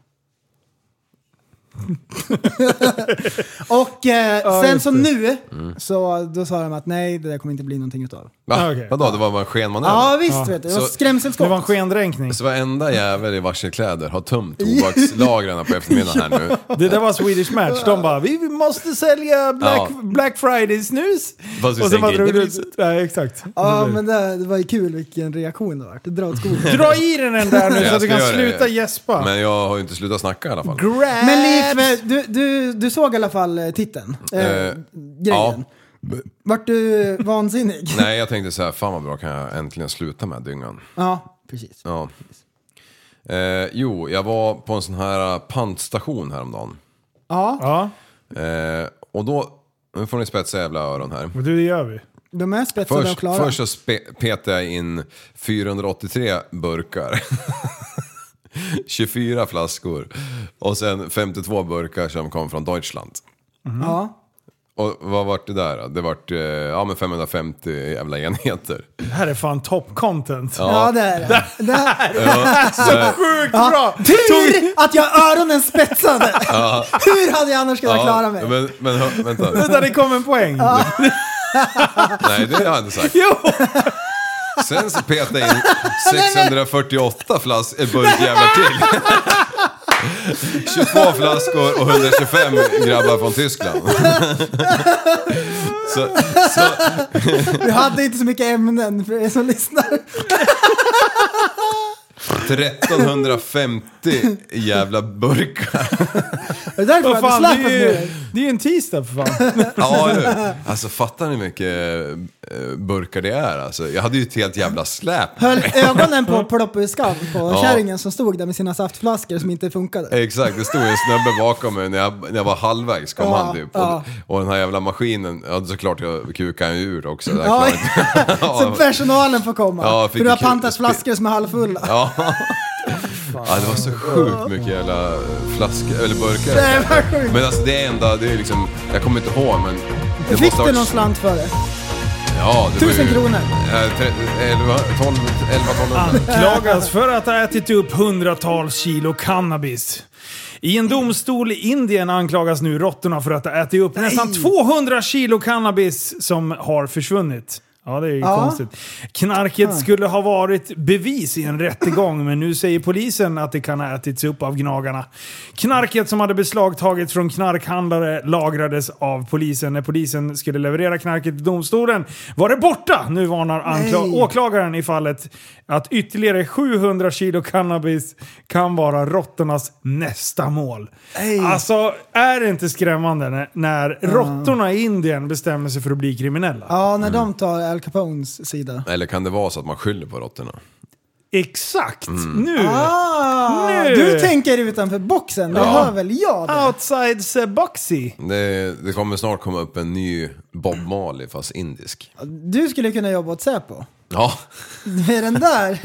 [SPEAKER 6] och eh,
[SPEAKER 5] Ja,
[SPEAKER 6] sen
[SPEAKER 5] just Mm.
[SPEAKER 6] som nu, så då sa de att nej, det där kommer inte bli någonting utav.
[SPEAKER 7] Va?
[SPEAKER 5] Ah, okej.
[SPEAKER 7] Vadå, det var bara en skenmanöver?
[SPEAKER 6] Ja, visst vet du. Det
[SPEAKER 5] Det
[SPEAKER 7] Så-
[SPEAKER 6] var
[SPEAKER 5] var en
[SPEAKER 6] skrämselskott.
[SPEAKER 5] skendränkning.
[SPEAKER 7] Så varenda jävel i varselkläder har tömt tobakslagren på eftermiddagen här nu.
[SPEAKER 5] Det där var Swedish Match. De bara “Vi måste sälja Black,
[SPEAKER 7] Ja.
[SPEAKER 5] Black Friday-snus”.
[SPEAKER 7] Fast vi
[SPEAKER 5] Och sen bara
[SPEAKER 7] sänker
[SPEAKER 5] drog
[SPEAKER 7] inte
[SPEAKER 5] du...
[SPEAKER 7] priset.
[SPEAKER 5] Nej, exakt.
[SPEAKER 6] Ja, men det, det var ju kul vilken reaktion det var. Det drar åt skogen.
[SPEAKER 5] Dra i den den där nu
[SPEAKER 7] Jag
[SPEAKER 5] så att du
[SPEAKER 7] ska
[SPEAKER 5] kan
[SPEAKER 7] göra det.
[SPEAKER 5] sluta gäspa.
[SPEAKER 7] Men jag har ju inte slutat snacka i alla fall.
[SPEAKER 5] Grabs!
[SPEAKER 6] Men Liv, eh, du, du, du såg i alla fall eh, titeln? Eh,
[SPEAKER 7] Eh,
[SPEAKER 6] grejen. Vart du vansinnig?
[SPEAKER 7] Nej, jag tänkte så här, fan vad bra kan jag äntligen sluta med dyngan.
[SPEAKER 6] Ja, precis.
[SPEAKER 7] Ja. Eh, jo, jag var på en sån här eh, pantstation häromdagen.
[SPEAKER 5] Ja,
[SPEAKER 7] Eh, och då, nu får ni spetsa jävla öron här.
[SPEAKER 5] men du det gör vi.
[SPEAKER 6] Mm. De är spetsade och
[SPEAKER 7] Först,
[SPEAKER 6] klara.
[SPEAKER 7] först så spe- petade jag in 483 burkar. 24 flaskor och sen 52 burkar som kom från Deutschland.
[SPEAKER 6] Ja.
[SPEAKER 7] Och vad vart det där då? Det vart eh, ja, men 550 jävla enheter.
[SPEAKER 5] Det här är fan top content.
[SPEAKER 6] Ja. det är det. det här.
[SPEAKER 5] Sjukt
[SPEAKER 6] Ja.
[SPEAKER 5] bra!
[SPEAKER 6] Tur att jag har öronen spetsade! Hur hade jag annars kunnat klara mig?
[SPEAKER 7] Men, men hör- vänta.
[SPEAKER 5] Vänta, det kom en poäng.
[SPEAKER 7] Nej, det har jag inte sagt.
[SPEAKER 5] Jo!
[SPEAKER 7] Sen så petade jag in 648 flas- eh, burkjävlar till. 22 flaskor och 125 grabbar från Tyskland. Så, så,
[SPEAKER 6] Du hade inte så mycket ämnen för er som lyssnar.
[SPEAKER 7] 1350 jävla burkar.
[SPEAKER 6] Det är därför
[SPEAKER 5] Vad
[SPEAKER 6] jag
[SPEAKER 5] fan,
[SPEAKER 6] hade
[SPEAKER 5] det
[SPEAKER 6] slarvat med
[SPEAKER 5] är ju
[SPEAKER 6] dig.
[SPEAKER 5] det är ju en tisdag för fan.
[SPEAKER 7] Ja, du. Alltså fattar ni hur mycket eh, burkar det är? Alltså, jag hade ju ett helt jävla släp.
[SPEAKER 6] Höll ögonen på ploppiskan på kärringen som stod där med sina saftflaskor som inte funkade.
[SPEAKER 7] Exakt, det stod en snubbe bakom mig när jag, när jag var halvvägs kom
[SPEAKER 6] Ja,
[SPEAKER 7] han typ.
[SPEAKER 6] ja.
[SPEAKER 7] Och, och den här jävla maskinen, ja, såklart jag kukade han ur också. Det här
[SPEAKER 6] Ja.
[SPEAKER 7] klarar inte.
[SPEAKER 6] Så personalen får komma.
[SPEAKER 7] Ja, fick
[SPEAKER 6] för du har
[SPEAKER 7] en kul-
[SPEAKER 6] pantat flaskor som är halvfulla.
[SPEAKER 7] Ja. ja, det var så sjukt mycket jävla eh, flaskor, eller burkar.
[SPEAKER 6] Nej, vad sjukt.
[SPEAKER 7] Men alltså det enda, det är liksom, jag kommer inte ihåg men... Det
[SPEAKER 6] Fick
[SPEAKER 7] ha
[SPEAKER 6] du
[SPEAKER 7] varit-
[SPEAKER 6] någon slant för det?
[SPEAKER 7] Ja, det var ju-
[SPEAKER 6] Tusen kronor.
[SPEAKER 7] Eh, tre- elva, tolv, elva, tolv hundra.
[SPEAKER 5] Klagas för att ha ätit upp hundratals kilo cannabis. I en domstol i Indien anklagas nu råttorna för att ha ätit upp nästan 200 kilo cannabis som har försvunnit. Ja, det är ju
[SPEAKER 6] Ja.
[SPEAKER 5] konstigt. Knarket skulle ha varit bevis i en rättegång, men nu säger polisen att det kan ha ätits upp av gnagarna. Knarket som hade beslagtagits från knarkhandlare lagrades av polisen. När polisen skulle leverera knarket till domstolen var det borta! Nu varnar ankla-
[SPEAKER 6] Nej.
[SPEAKER 5] åklagaren i fallet att ytterligare 700 kilo cannabis kan vara råttornas nästa mål.
[SPEAKER 6] Nej.
[SPEAKER 5] Alltså, är det inte skrämmande när, när råttorna i Indien bestämmer sig för att bli kriminella?
[SPEAKER 6] Ja, när de tar Al Capones sida.
[SPEAKER 7] Eller kan det vara så att man skyller på råttorna?
[SPEAKER 5] Exakt! Nu!
[SPEAKER 6] Mm. Ah,
[SPEAKER 5] Nu.
[SPEAKER 6] du tänker utanför boxen, det hör väl jag det.
[SPEAKER 5] Outside the boxy.
[SPEAKER 7] Det, det kommer snart komma upp en ny Bob Marley fast indisk.
[SPEAKER 6] Du skulle kunna jobba åt Säpo.
[SPEAKER 7] Ja,
[SPEAKER 6] Med den där.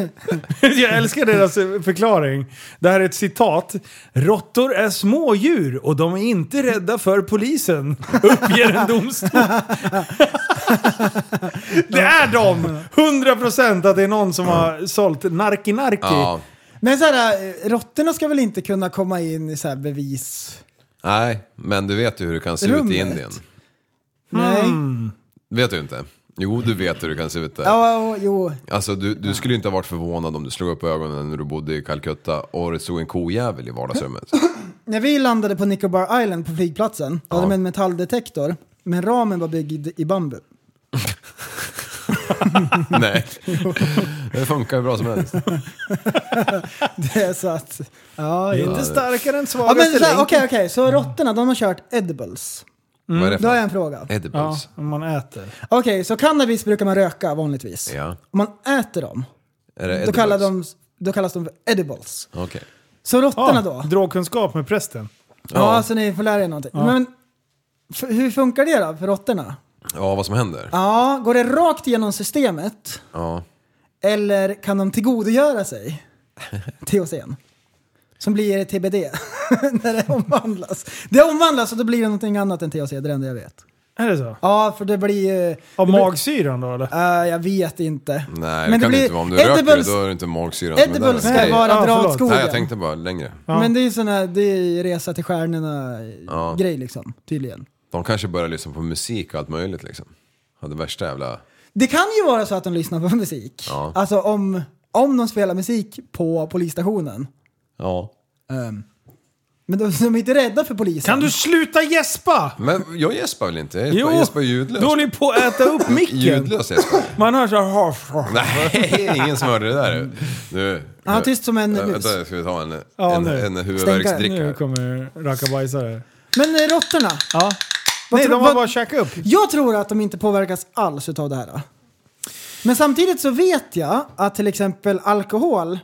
[SPEAKER 5] Jag älskar deras eh, förklaring. Det här är ett citat. Råttor är smådjur och de är inte rädda för polisen, uppger en domstol. Det är de! 100% att det är någon som har sålt narki narki.
[SPEAKER 7] ja.
[SPEAKER 6] Men så här, eh, råttorna ska väl inte kunna komma in i så här bevis...
[SPEAKER 7] Nej, men du vet ju hur det kan se ut
[SPEAKER 6] Rummet.
[SPEAKER 7] i Indien.
[SPEAKER 6] Nej.
[SPEAKER 7] Mm. Vet du inte? Jo, du vet hur det kan se ut där.
[SPEAKER 6] Ja, och- jo.
[SPEAKER 7] Alltså, du, du skulle ju inte ha varit förvånad om du slog upp ögonen när du bodde i Calcutta och det stod en kojävel i vardagsrummet.
[SPEAKER 6] När vi landade på Nicobar Island på flygplatsen, då hade
[SPEAKER 7] Ja.
[SPEAKER 6] de en metalldetektor, men ramen var byggd i bambu.
[SPEAKER 7] Nej, det funkar ju bra som helst.
[SPEAKER 6] Mm. Det är så att... Ja,
[SPEAKER 5] Det
[SPEAKER 6] ja.
[SPEAKER 5] är inte starkare än
[SPEAKER 6] ja men
[SPEAKER 5] svagaste
[SPEAKER 6] så här, okej,
[SPEAKER 5] länken.
[SPEAKER 6] okej,
[SPEAKER 7] Mm.
[SPEAKER 6] så råttorna, de har kört edibles.
[SPEAKER 7] Vad är det
[SPEAKER 6] Då har jag
[SPEAKER 7] för
[SPEAKER 6] en fråga.
[SPEAKER 5] Ja,
[SPEAKER 7] Edibles?
[SPEAKER 5] om man äter.
[SPEAKER 6] Okej, så cannabis brukar man röka vanligtvis.
[SPEAKER 7] Ja.
[SPEAKER 6] Om man äter dem,
[SPEAKER 7] Är det
[SPEAKER 6] då,
[SPEAKER 7] edibles? Ah.
[SPEAKER 6] kallar de, då kallas de för edibles.
[SPEAKER 7] Okej.
[SPEAKER 6] Så råttorna
[SPEAKER 5] Ja,
[SPEAKER 6] då?
[SPEAKER 5] Drogkunskap med prästen.
[SPEAKER 6] Ja, så ni får lära er någonting. Men f- hur funkar det då för råttorna?
[SPEAKER 7] Ja, vad som händer?
[SPEAKER 6] Ja, går det rakt genom systemet
[SPEAKER 7] Ja.
[SPEAKER 6] eller kan de tillgodogöra sig THCn? Som blir TBD när det omvandlas. Det omvandlas och då blir det någonting annat än THC, det är det enda jag vet.
[SPEAKER 5] Är det så?
[SPEAKER 6] Ja, för det blir ju...
[SPEAKER 5] Av
[SPEAKER 6] det blir-
[SPEAKER 5] magsyran då eller?
[SPEAKER 6] Eh, jag vet inte.
[SPEAKER 7] Nej, det kan det inte vara. Om du röker då är det inte magsyran som är där.
[SPEAKER 6] Edibles ska
[SPEAKER 7] Nej.
[SPEAKER 6] vara
[SPEAKER 5] Ja,
[SPEAKER 6] dra åt
[SPEAKER 5] förlåt.
[SPEAKER 6] skogen.
[SPEAKER 7] Nej, jag tänkte bara längre.
[SPEAKER 6] Men det är ju sån här, det är ju resa till stjärnorna-grej liksom, tydligen.
[SPEAKER 7] De kanske börjar lyssna på musik och allt möjligt liksom. Ja, det värsta jävla...
[SPEAKER 6] Det kan ju vara så att de lyssnar på musik.
[SPEAKER 7] Ja.
[SPEAKER 6] Alltså om, om de spelar musik på polisstationen.
[SPEAKER 7] Ja.
[SPEAKER 6] Ehm, men de, de är inte rädda för polisen.
[SPEAKER 5] Kan du sluta gäspa?
[SPEAKER 7] Men jag gäspar väl inte? Jag gäspar- jag gäspar ljudlöst.
[SPEAKER 5] du håller ju på att äta upp micken.
[SPEAKER 7] Ljudlöst gäspar jag.
[SPEAKER 5] Man hör såhär...
[SPEAKER 7] Nej, ingen som hörde det där. Nu,
[SPEAKER 6] Ja,
[SPEAKER 7] nu-
[SPEAKER 6] tyst som en
[SPEAKER 7] Äh,
[SPEAKER 6] mus.
[SPEAKER 7] Vänta, ska vi ta en,
[SPEAKER 5] Ja,
[SPEAKER 7] en,
[SPEAKER 5] nu.
[SPEAKER 7] en
[SPEAKER 5] Eh, Nu
[SPEAKER 7] huvudvärksdricka?
[SPEAKER 5] kommer rackabajsare.
[SPEAKER 6] Men eh, råttorna.
[SPEAKER 5] Ja.
[SPEAKER 6] Vad
[SPEAKER 5] Nej,
[SPEAKER 6] tror-
[SPEAKER 5] de har
[SPEAKER 6] vad-
[SPEAKER 5] bara käkat upp.
[SPEAKER 6] Jag tror att de inte påverkas alls utav det här. Men samtidigt så vet jag att till exempel
[SPEAKER 5] Eh,
[SPEAKER 6] alkohol,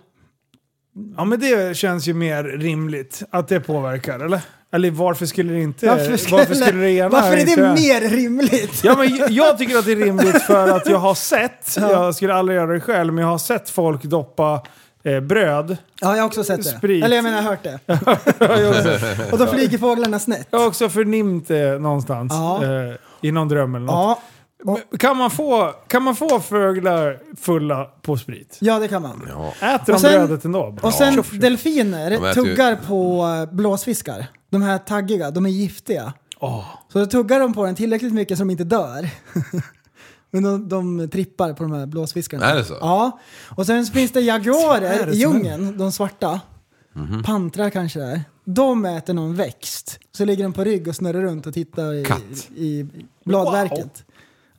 [SPEAKER 5] Ja men det känns ju mer rimligt att det påverkar, eller? Eller varför skulle det inte...
[SPEAKER 6] Varför skulle,
[SPEAKER 5] det ena
[SPEAKER 6] varför är det
[SPEAKER 5] inte-
[SPEAKER 6] mer rimligt?
[SPEAKER 5] Ja, men jag- jag tycker att det är rimligt för att jag har sett, jag skulle aldrig göra det själv, men jag har sett folk doppa eh, bröd.
[SPEAKER 6] Ja, jag har också sett det.
[SPEAKER 5] Sprit.
[SPEAKER 6] Eller jag menar, jag har hört det. Och då flyger fåglarna snett.
[SPEAKER 5] Jag har också förnimt det någonstans.
[SPEAKER 6] Ja.
[SPEAKER 5] Eh, I någon dröm eller något.
[SPEAKER 6] Ja,
[SPEAKER 5] Men Kan, man få, kan man få fåglar fulla på sprit?
[SPEAKER 6] ja det kan man.
[SPEAKER 5] Äter de
[SPEAKER 6] Och sen-
[SPEAKER 5] brödet ändå?
[SPEAKER 6] Och sen delfiner
[SPEAKER 7] De äter ju-
[SPEAKER 6] tuggar på eh, blåsfiskar. De här taggiga, de är giftiga. Så då tuggar de på den tillräckligt mycket så de inte dör. Men de, de trippar på de här blåsfiskarna.
[SPEAKER 7] Är det så?
[SPEAKER 6] Ja. Och sen finns det
[SPEAKER 5] är
[SPEAKER 6] jaguarer
[SPEAKER 5] det
[SPEAKER 6] i
[SPEAKER 5] som
[SPEAKER 6] djungeln, de svarta.
[SPEAKER 7] Mhm.
[SPEAKER 6] Pantrar kanske det är. De äter någon växt. Så ligger de på rygg och snurrar runt och tittar i,
[SPEAKER 7] Katt.
[SPEAKER 6] i bladverket.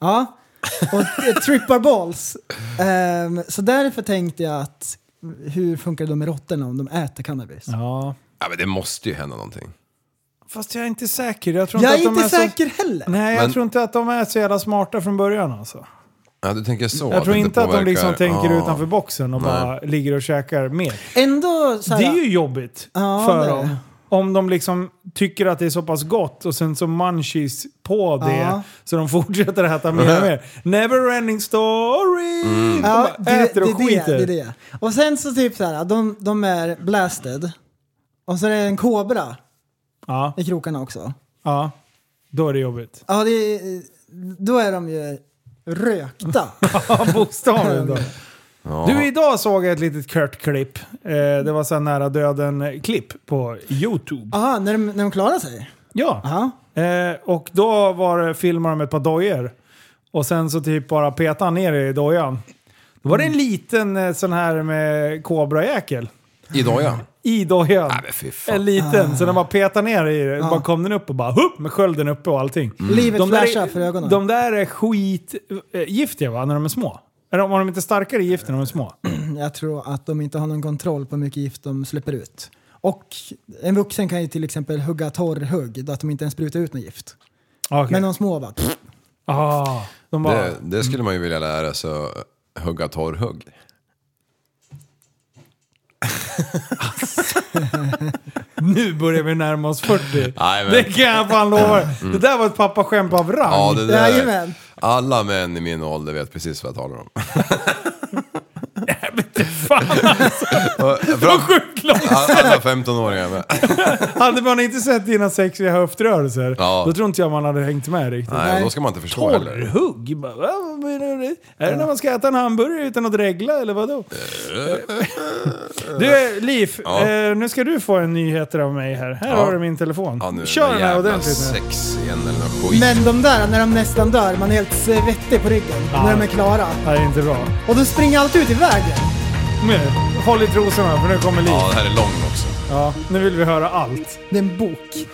[SPEAKER 6] Ja. Och eh, trippar balls. Ehm, så därför tänkte jag att hur funkar det med råttorna om de äter cannabis?
[SPEAKER 5] Ja.
[SPEAKER 7] Ja, men det måste ju hända någonting.
[SPEAKER 5] Fast jag är inte säker. Jag, tror
[SPEAKER 6] Jag
[SPEAKER 5] inte
[SPEAKER 6] är
[SPEAKER 5] att de
[SPEAKER 6] inte
[SPEAKER 5] är
[SPEAKER 6] säker
[SPEAKER 5] Så,
[SPEAKER 6] heller.
[SPEAKER 5] nej, jag
[SPEAKER 7] Men-
[SPEAKER 5] tror inte att de är så jävla smarta från början alltså.
[SPEAKER 7] Ja, du tänker så.
[SPEAKER 5] Jag tror
[SPEAKER 7] det
[SPEAKER 5] inte att de
[SPEAKER 7] påverkar-
[SPEAKER 5] liksom tänker
[SPEAKER 7] Ja.
[SPEAKER 5] utanför boxen och
[SPEAKER 7] Nej.
[SPEAKER 5] bara ligger och käkar mer.
[SPEAKER 6] Ändå så här,
[SPEAKER 5] Det är ju jobbigt
[SPEAKER 6] Ja,
[SPEAKER 5] för
[SPEAKER 6] det är
[SPEAKER 5] dem.
[SPEAKER 6] det.
[SPEAKER 5] Om de liksom tycker att det är så pass gott och sen så munchies på det
[SPEAKER 6] Ja.
[SPEAKER 5] så de fortsätter äta mer och mer. Neverending story!
[SPEAKER 7] Mm.
[SPEAKER 5] De
[SPEAKER 6] ja,
[SPEAKER 5] bara äter och
[SPEAKER 6] det,
[SPEAKER 5] skiter.
[SPEAKER 6] Det, det, är det. Och sen så typ så här, de, de är blasted. Och så är det en kobra
[SPEAKER 5] Ja,
[SPEAKER 6] i krokarna också.
[SPEAKER 5] ja, då är det jobbigt.
[SPEAKER 6] Ja, det, är- då är de ju rökta.
[SPEAKER 5] Ja, bokstavligen då. Du, idag såg jag ett litet kort klipp. Eh, det var så här nära döden-klipp på YouTube.
[SPEAKER 6] Aha, när de, när de klarar sig?
[SPEAKER 5] Ja.
[SPEAKER 6] Ja.
[SPEAKER 5] Eh, och då var det, filmade de ett par dojor. Och sen så typ bara petade han ner i dojan. Då var det en
[SPEAKER 6] Mm.
[SPEAKER 5] liten eh, sån här med kobrajäkel
[SPEAKER 7] Idag ja.
[SPEAKER 5] i dojan.
[SPEAKER 7] Nej, men fy fan.
[SPEAKER 5] en liten, så
[SPEAKER 6] Ah.
[SPEAKER 5] den bara petade ner i det. Bara kom den upp och bara hupp med skölden uppe och allting.
[SPEAKER 6] Mm. Livet flashar
[SPEAKER 5] är,
[SPEAKER 6] för ögonen.
[SPEAKER 5] De där är skitgiftiga va, när de är små? Eller om de inte är starkare i gift när de är små?
[SPEAKER 6] Jag tror att de inte har någon kontroll på hur mycket gift de släpper ut. Och en vuxen kan ju till exempel hugga torrhugg, då att de inte ens sprutar ut något gift.
[SPEAKER 5] Okej.
[SPEAKER 6] Men de små bara... Pff,
[SPEAKER 5] ah, de bara...
[SPEAKER 7] Det, det skulle man ju vilja lära sig att hugga torrhugg.
[SPEAKER 5] Nu börjar vi närma oss 40.
[SPEAKER 7] Nej, men- Mm.
[SPEAKER 5] Det kan jag fan lova dig. Det där var ett pappaskämt av rang.
[SPEAKER 7] Ja, det där.
[SPEAKER 6] Jajamän.
[SPEAKER 7] Alla män i min ålder vet precis vad jag talar om. Fram-
[SPEAKER 5] Sjukt långt.
[SPEAKER 7] Alla 15-åringar med.
[SPEAKER 5] Hade man inte sett dina sexiga höftrörelser,
[SPEAKER 7] Ja.
[SPEAKER 5] då tror inte jag man hade hängt med riktigt.
[SPEAKER 7] Nej, då ska man inte förstå heller.
[SPEAKER 5] Torrhugg? Bara, va, vad menar du? Är det när man ska äta en hamburgare utan att dregla eller vadå? du Liv,
[SPEAKER 7] Ja.
[SPEAKER 5] eh, nu ska du få en nyhet av mig här. Här
[SPEAKER 7] Ja.
[SPEAKER 5] har du min telefon.
[SPEAKER 7] Ja, nu är det
[SPEAKER 5] Kör
[SPEAKER 7] någon
[SPEAKER 5] den här
[SPEAKER 7] jävla
[SPEAKER 5] ordentligt nu.
[SPEAKER 7] sex igen eller något skit.
[SPEAKER 6] Men de där, när de nästan dör, man är helt svettig på ryggen när de är klara.
[SPEAKER 5] Det här är inte bra.
[SPEAKER 6] Och de springer allt ut i vägen.
[SPEAKER 5] Nu, håll i trosorna för nu kommer Liv.
[SPEAKER 7] Ja, det här är lång också.
[SPEAKER 5] Ja, nu vill vi höra allt.
[SPEAKER 6] Det är en bok.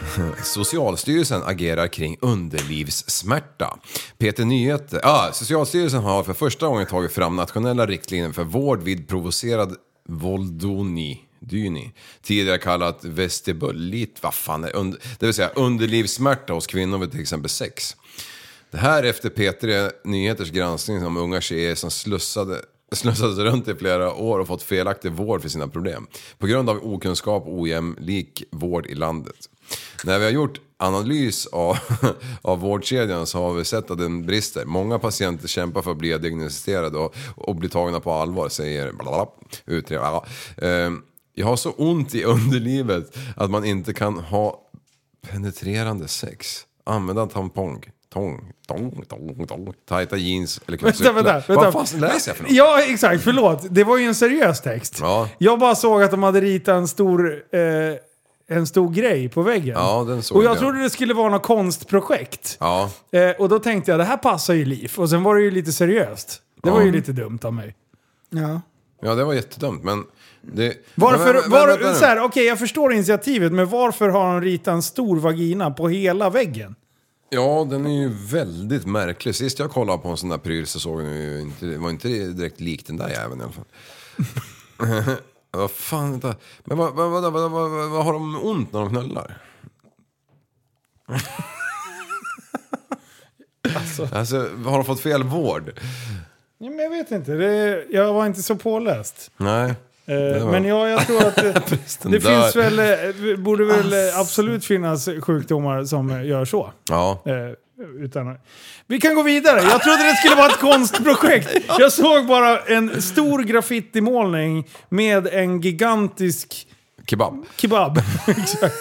[SPEAKER 7] Socialstyrelsen agerar kring underlivssmärta. Peter Nyheter, ah, Socialstyrelsen har för första gången tagit fram nationella riktlinjer för vård vid provocerad voldoni. Dyni, tidigare kallat vestibulit, vad fan är under, det vill säga underlivssmärta hos kvinnor vid till exempel sex. Det här efter P3 Nyheters granskning om unga tjejer som slussade slussats runt i flera år och fått felaktig vård för sina problem. På grund av okunskap och ojämlik vård i landet. När vi har gjort analys av, av vårdkedjan så har vi sett att den brister. Många patienter kämpar för att bli diagnostiserade och, och bli tagna på allvar, säger blablabla, utredaren. Ehm, Jag har så ont i underlivet att man inte kan ha Penetrerande sex. Använda en tampong. Tång, tång, tång, tång. Tajta jeans eller
[SPEAKER 5] Vänta,
[SPEAKER 7] knappcyklar.
[SPEAKER 5] vänta, vänta.
[SPEAKER 7] Vad fan läser jag för något?
[SPEAKER 5] Ja, exakt. Förlåt. Det var ju en seriös text.
[SPEAKER 7] Ja.
[SPEAKER 5] Jag bara såg att de hade ritat en stor, eh, en stor grej på väggen.
[SPEAKER 7] Ja, den såg
[SPEAKER 5] och jag
[SPEAKER 7] jag.
[SPEAKER 5] trodde det skulle vara något konstprojekt.
[SPEAKER 7] Ja.
[SPEAKER 5] Eh, och då tänkte jag, det här passar ju Liv. Och sen var det ju lite seriöst. Det var
[SPEAKER 7] Ja.
[SPEAKER 5] ju lite dumt av mig.
[SPEAKER 6] Ja.
[SPEAKER 7] ja, det var jättedumt men... Det...
[SPEAKER 5] Varför,
[SPEAKER 7] Men, men, men,
[SPEAKER 5] var,
[SPEAKER 7] vänta nu.
[SPEAKER 5] så här, okej jag förstår initiativet, men varför har han ritat en stor vagina på hela väggen?
[SPEAKER 7] Ja, den är ju väldigt märklig. Sist jag kollade på en sån där pryl så såg den ju inte... Det var inte direkt lik den där jäveln i alla fall. vad fan, vänta. Men vad, vad, vad, vad, vad, vad, vad har de ont när de knullar? alltså. har de fått fel vård?
[SPEAKER 5] Ja, men jag vet inte, det, jag var inte så påläst.
[SPEAKER 7] Nej.
[SPEAKER 5] Eh, Eh, Men ja, jag tror att eh,
[SPEAKER 7] Prästen
[SPEAKER 5] det
[SPEAKER 7] dör.
[SPEAKER 5] finns väl, eh, borde väl eh,
[SPEAKER 7] Alltså.
[SPEAKER 5] absolut finnas sjukdomar som eh, gör så.
[SPEAKER 7] Ja.
[SPEAKER 5] Eh, utan, vi kan gå vidare. Jag trodde det skulle vara ett konstprojekt. Jag såg bara en stor graffitimålning med en gigantisk
[SPEAKER 7] Kebab.
[SPEAKER 5] kebab. Exakt.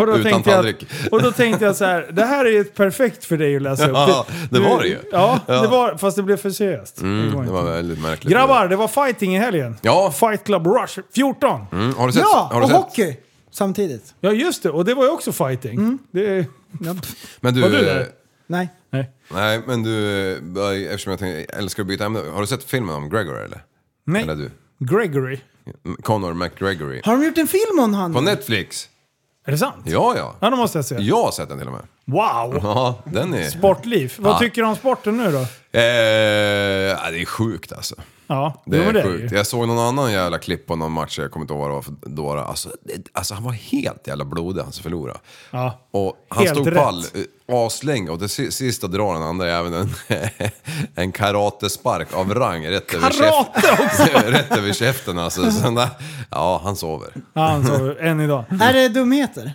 [SPEAKER 5] Och då,
[SPEAKER 7] Utan
[SPEAKER 5] tänkte jag,
[SPEAKER 7] tallrik.
[SPEAKER 5] och då tänkte jag så här, det här är ju ett perfekt för dig att läsa upp.
[SPEAKER 7] Ja, det
[SPEAKER 5] du-
[SPEAKER 7] var det ju.
[SPEAKER 5] Ja, det var, fast det blev för seriöst. Det går
[SPEAKER 7] Mm, det var
[SPEAKER 5] inte.
[SPEAKER 7] väldigt märkligt.
[SPEAKER 5] Grabbar, det var fighting i helgen.
[SPEAKER 7] Ja.
[SPEAKER 5] Fight Club Rush 14.
[SPEAKER 7] Mm, har du sett?
[SPEAKER 6] Ja,
[SPEAKER 7] har du
[SPEAKER 6] och
[SPEAKER 7] sett?
[SPEAKER 6] hockey samtidigt.
[SPEAKER 5] Ja, just det. Och det var ju också fighting.
[SPEAKER 6] Mm.
[SPEAKER 5] Det,
[SPEAKER 7] Men du,
[SPEAKER 5] Var du där?
[SPEAKER 7] eh,
[SPEAKER 6] Nej.
[SPEAKER 5] nej.
[SPEAKER 7] Nej, men du, eh, eftersom jag, tänkte, jag älskar att byta ämne. Har du sett filmen om Gregor eller?
[SPEAKER 5] nej.
[SPEAKER 7] Eller du?
[SPEAKER 5] Gregory.
[SPEAKER 7] Conor McGregory.
[SPEAKER 6] Har de gjort en film om han?
[SPEAKER 7] På Netflix?
[SPEAKER 5] Är det sant?
[SPEAKER 7] Ja, ja.
[SPEAKER 5] Ja, då måste jag se.
[SPEAKER 7] Jag har sett den till och med.
[SPEAKER 5] Wow!
[SPEAKER 7] Ja, den är...
[SPEAKER 5] Sportliv. Vad
[SPEAKER 7] Ja.
[SPEAKER 5] tycker du om sporten nu då?
[SPEAKER 7] Eh, ja, det är sjukt alltså.
[SPEAKER 5] Ja,
[SPEAKER 7] Det
[SPEAKER 5] jo,
[SPEAKER 7] är
[SPEAKER 5] men det
[SPEAKER 7] sjukt.
[SPEAKER 5] ju.
[SPEAKER 7] Jag såg någon annan jävla klipp på någon match, jag kommer inte ihåg vad det var för dåra. Alltså, det, alltså han var helt jävla blodig han som förlorade.
[SPEAKER 5] Ja.
[SPEAKER 7] Och han
[SPEAKER 5] Helt
[SPEAKER 7] stod
[SPEAKER 5] rätt.
[SPEAKER 7] pall eh, aslänge och det si- sista drar den andra även en, en karatespark av rang rätt
[SPEAKER 5] Karate
[SPEAKER 7] över käften. rätt över käften alltså. Så den där, ja, han sover.
[SPEAKER 5] Ja, han sover än idag.
[SPEAKER 6] Är det dumheter?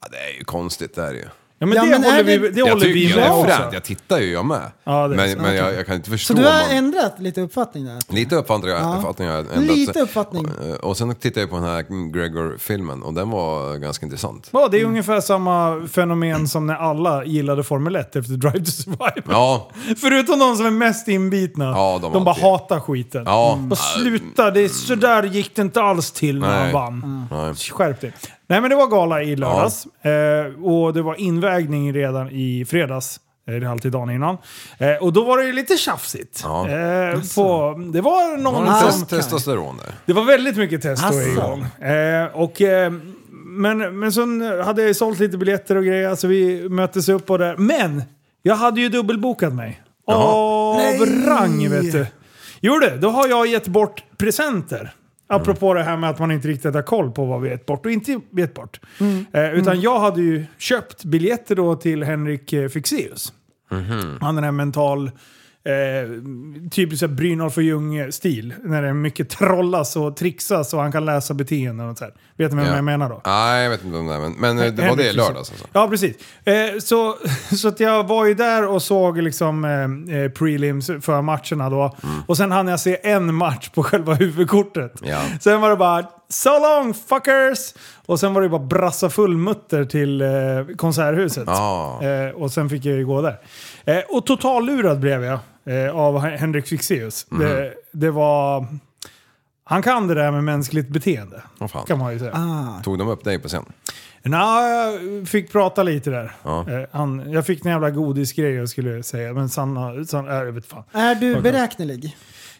[SPEAKER 7] Ja, det är ju konstigt, det är det ju.
[SPEAKER 5] Ja, men
[SPEAKER 6] Ja,
[SPEAKER 5] det
[SPEAKER 6] men är Alltså.
[SPEAKER 5] håller
[SPEAKER 6] det-
[SPEAKER 5] vi, det
[SPEAKER 6] Jag
[SPEAKER 7] Jag
[SPEAKER 5] håller
[SPEAKER 7] tycker
[SPEAKER 5] vi
[SPEAKER 7] ju det
[SPEAKER 5] med
[SPEAKER 7] är
[SPEAKER 5] också.
[SPEAKER 7] fränt, jag tittar ju jag med.
[SPEAKER 5] Ja, det är
[SPEAKER 7] men
[SPEAKER 5] sant.
[SPEAKER 7] men jag, jag kan inte förstå.
[SPEAKER 6] Så du har
[SPEAKER 7] man-
[SPEAKER 6] ändrat lite uppfattning där?
[SPEAKER 7] Lite uppfattning har jag uppfattning har jag ändrat.
[SPEAKER 6] Lite uppfattning.
[SPEAKER 7] Och, och sen tittade jag på den här Gregor-filmen och den var ganska intressant.
[SPEAKER 5] Ja, det är ungefär samma fenomen som när alla gillade Formel 1 efter Drive to Survive.
[SPEAKER 7] Ja,
[SPEAKER 5] Förutom de som är mest inbitna.
[SPEAKER 7] Ja, de
[SPEAKER 5] de bara
[SPEAKER 7] alltid.
[SPEAKER 5] hatar skiten.
[SPEAKER 7] Ja. Mm.
[SPEAKER 5] Och sluta, det är, så där gick det inte alls till när
[SPEAKER 7] Nej.
[SPEAKER 5] han vann.
[SPEAKER 7] Nej.
[SPEAKER 5] Skärp dig. Nej men det var gala i lördags. Eh, och det var invägning redan i fredags. Eh, Det är alltid dagen innan. Eh, och då var det ju lite tjafsigt.
[SPEAKER 7] Ja.
[SPEAKER 5] Eh, på, det var någon
[SPEAKER 7] har du
[SPEAKER 6] Ah,
[SPEAKER 7] test,
[SPEAKER 6] okej.
[SPEAKER 7] testosteron där?
[SPEAKER 5] det var väldigt mycket test då
[SPEAKER 6] Asså.
[SPEAKER 5] igång. Eh, och, eh, men, men sen hade jag ju sålt lite biljetter och grejer, så vi möttes upp och där. Men! Jag hade ju dubbelbokat mig. Av rang vet du. Jo du, då har jag gett bort presenter. Apropå det här med att man inte riktigt har koll på vad vi gett bort och inte gett bort. Eh, utan jag hade ju köpt biljetter då till Henrik eh, Fixeus. Han den här mental... Eh, typ så här Brynolf och Ljung-stil. När det är mycket trollas och trixas och han kan läsa beteenden och så här. Vet ni vem
[SPEAKER 7] Ja.
[SPEAKER 5] jag menar då?
[SPEAKER 7] Nej, jag vet inte om det är, men, men eh, det var det i
[SPEAKER 5] Henrik
[SPEAKER 7] lördags
[SPEAKER 5] Fexeus.
[SPEAKER 7] alltså?
[SPEAKER 5] Ja, precis. Eh, så så att jag var ju där och såg liksom, eh, eh, prelims för matcherna då.
[SPEAKER 7] Mm.
[SPEAKER 5] Och sen hann jag se en match på själva huvudkortet.
[SPEAKER 7] Ja.
[SPEAKER 5] Sen var det bara “So long fuckers!” och sen var det bara brassa fullmutter till eh, Konserthuset.
[SPEAKER 7] Ja.
[SPEAKER 5] Eh, och sen fick jag ju gå där. Eh, och totallurad blev jag eh, av Hen- Henrik Fixeus.
[SPEAKER 7] Mhm.
[SPEAKER 5] Det, det var... Han kan det där med mänskligt beteende.
[SPEAKER 7] Åh, fan.
[SPEAKER 5] Kan man ju säga.
[SPEAKER 6] Ah.
[SPEAKER 7] Tog de upp dig på scen?
[SPEAKER 5] Nej, jag fick prata lite där.
[SPEAKER 7] Ja.
[SPEAKER 5] Eh, han, jag fick en jävla godisgrej jag skulle säga, men Sanna... Sanna äh, jag vet fan.
[SPEAKER 6] Är du beräknelig?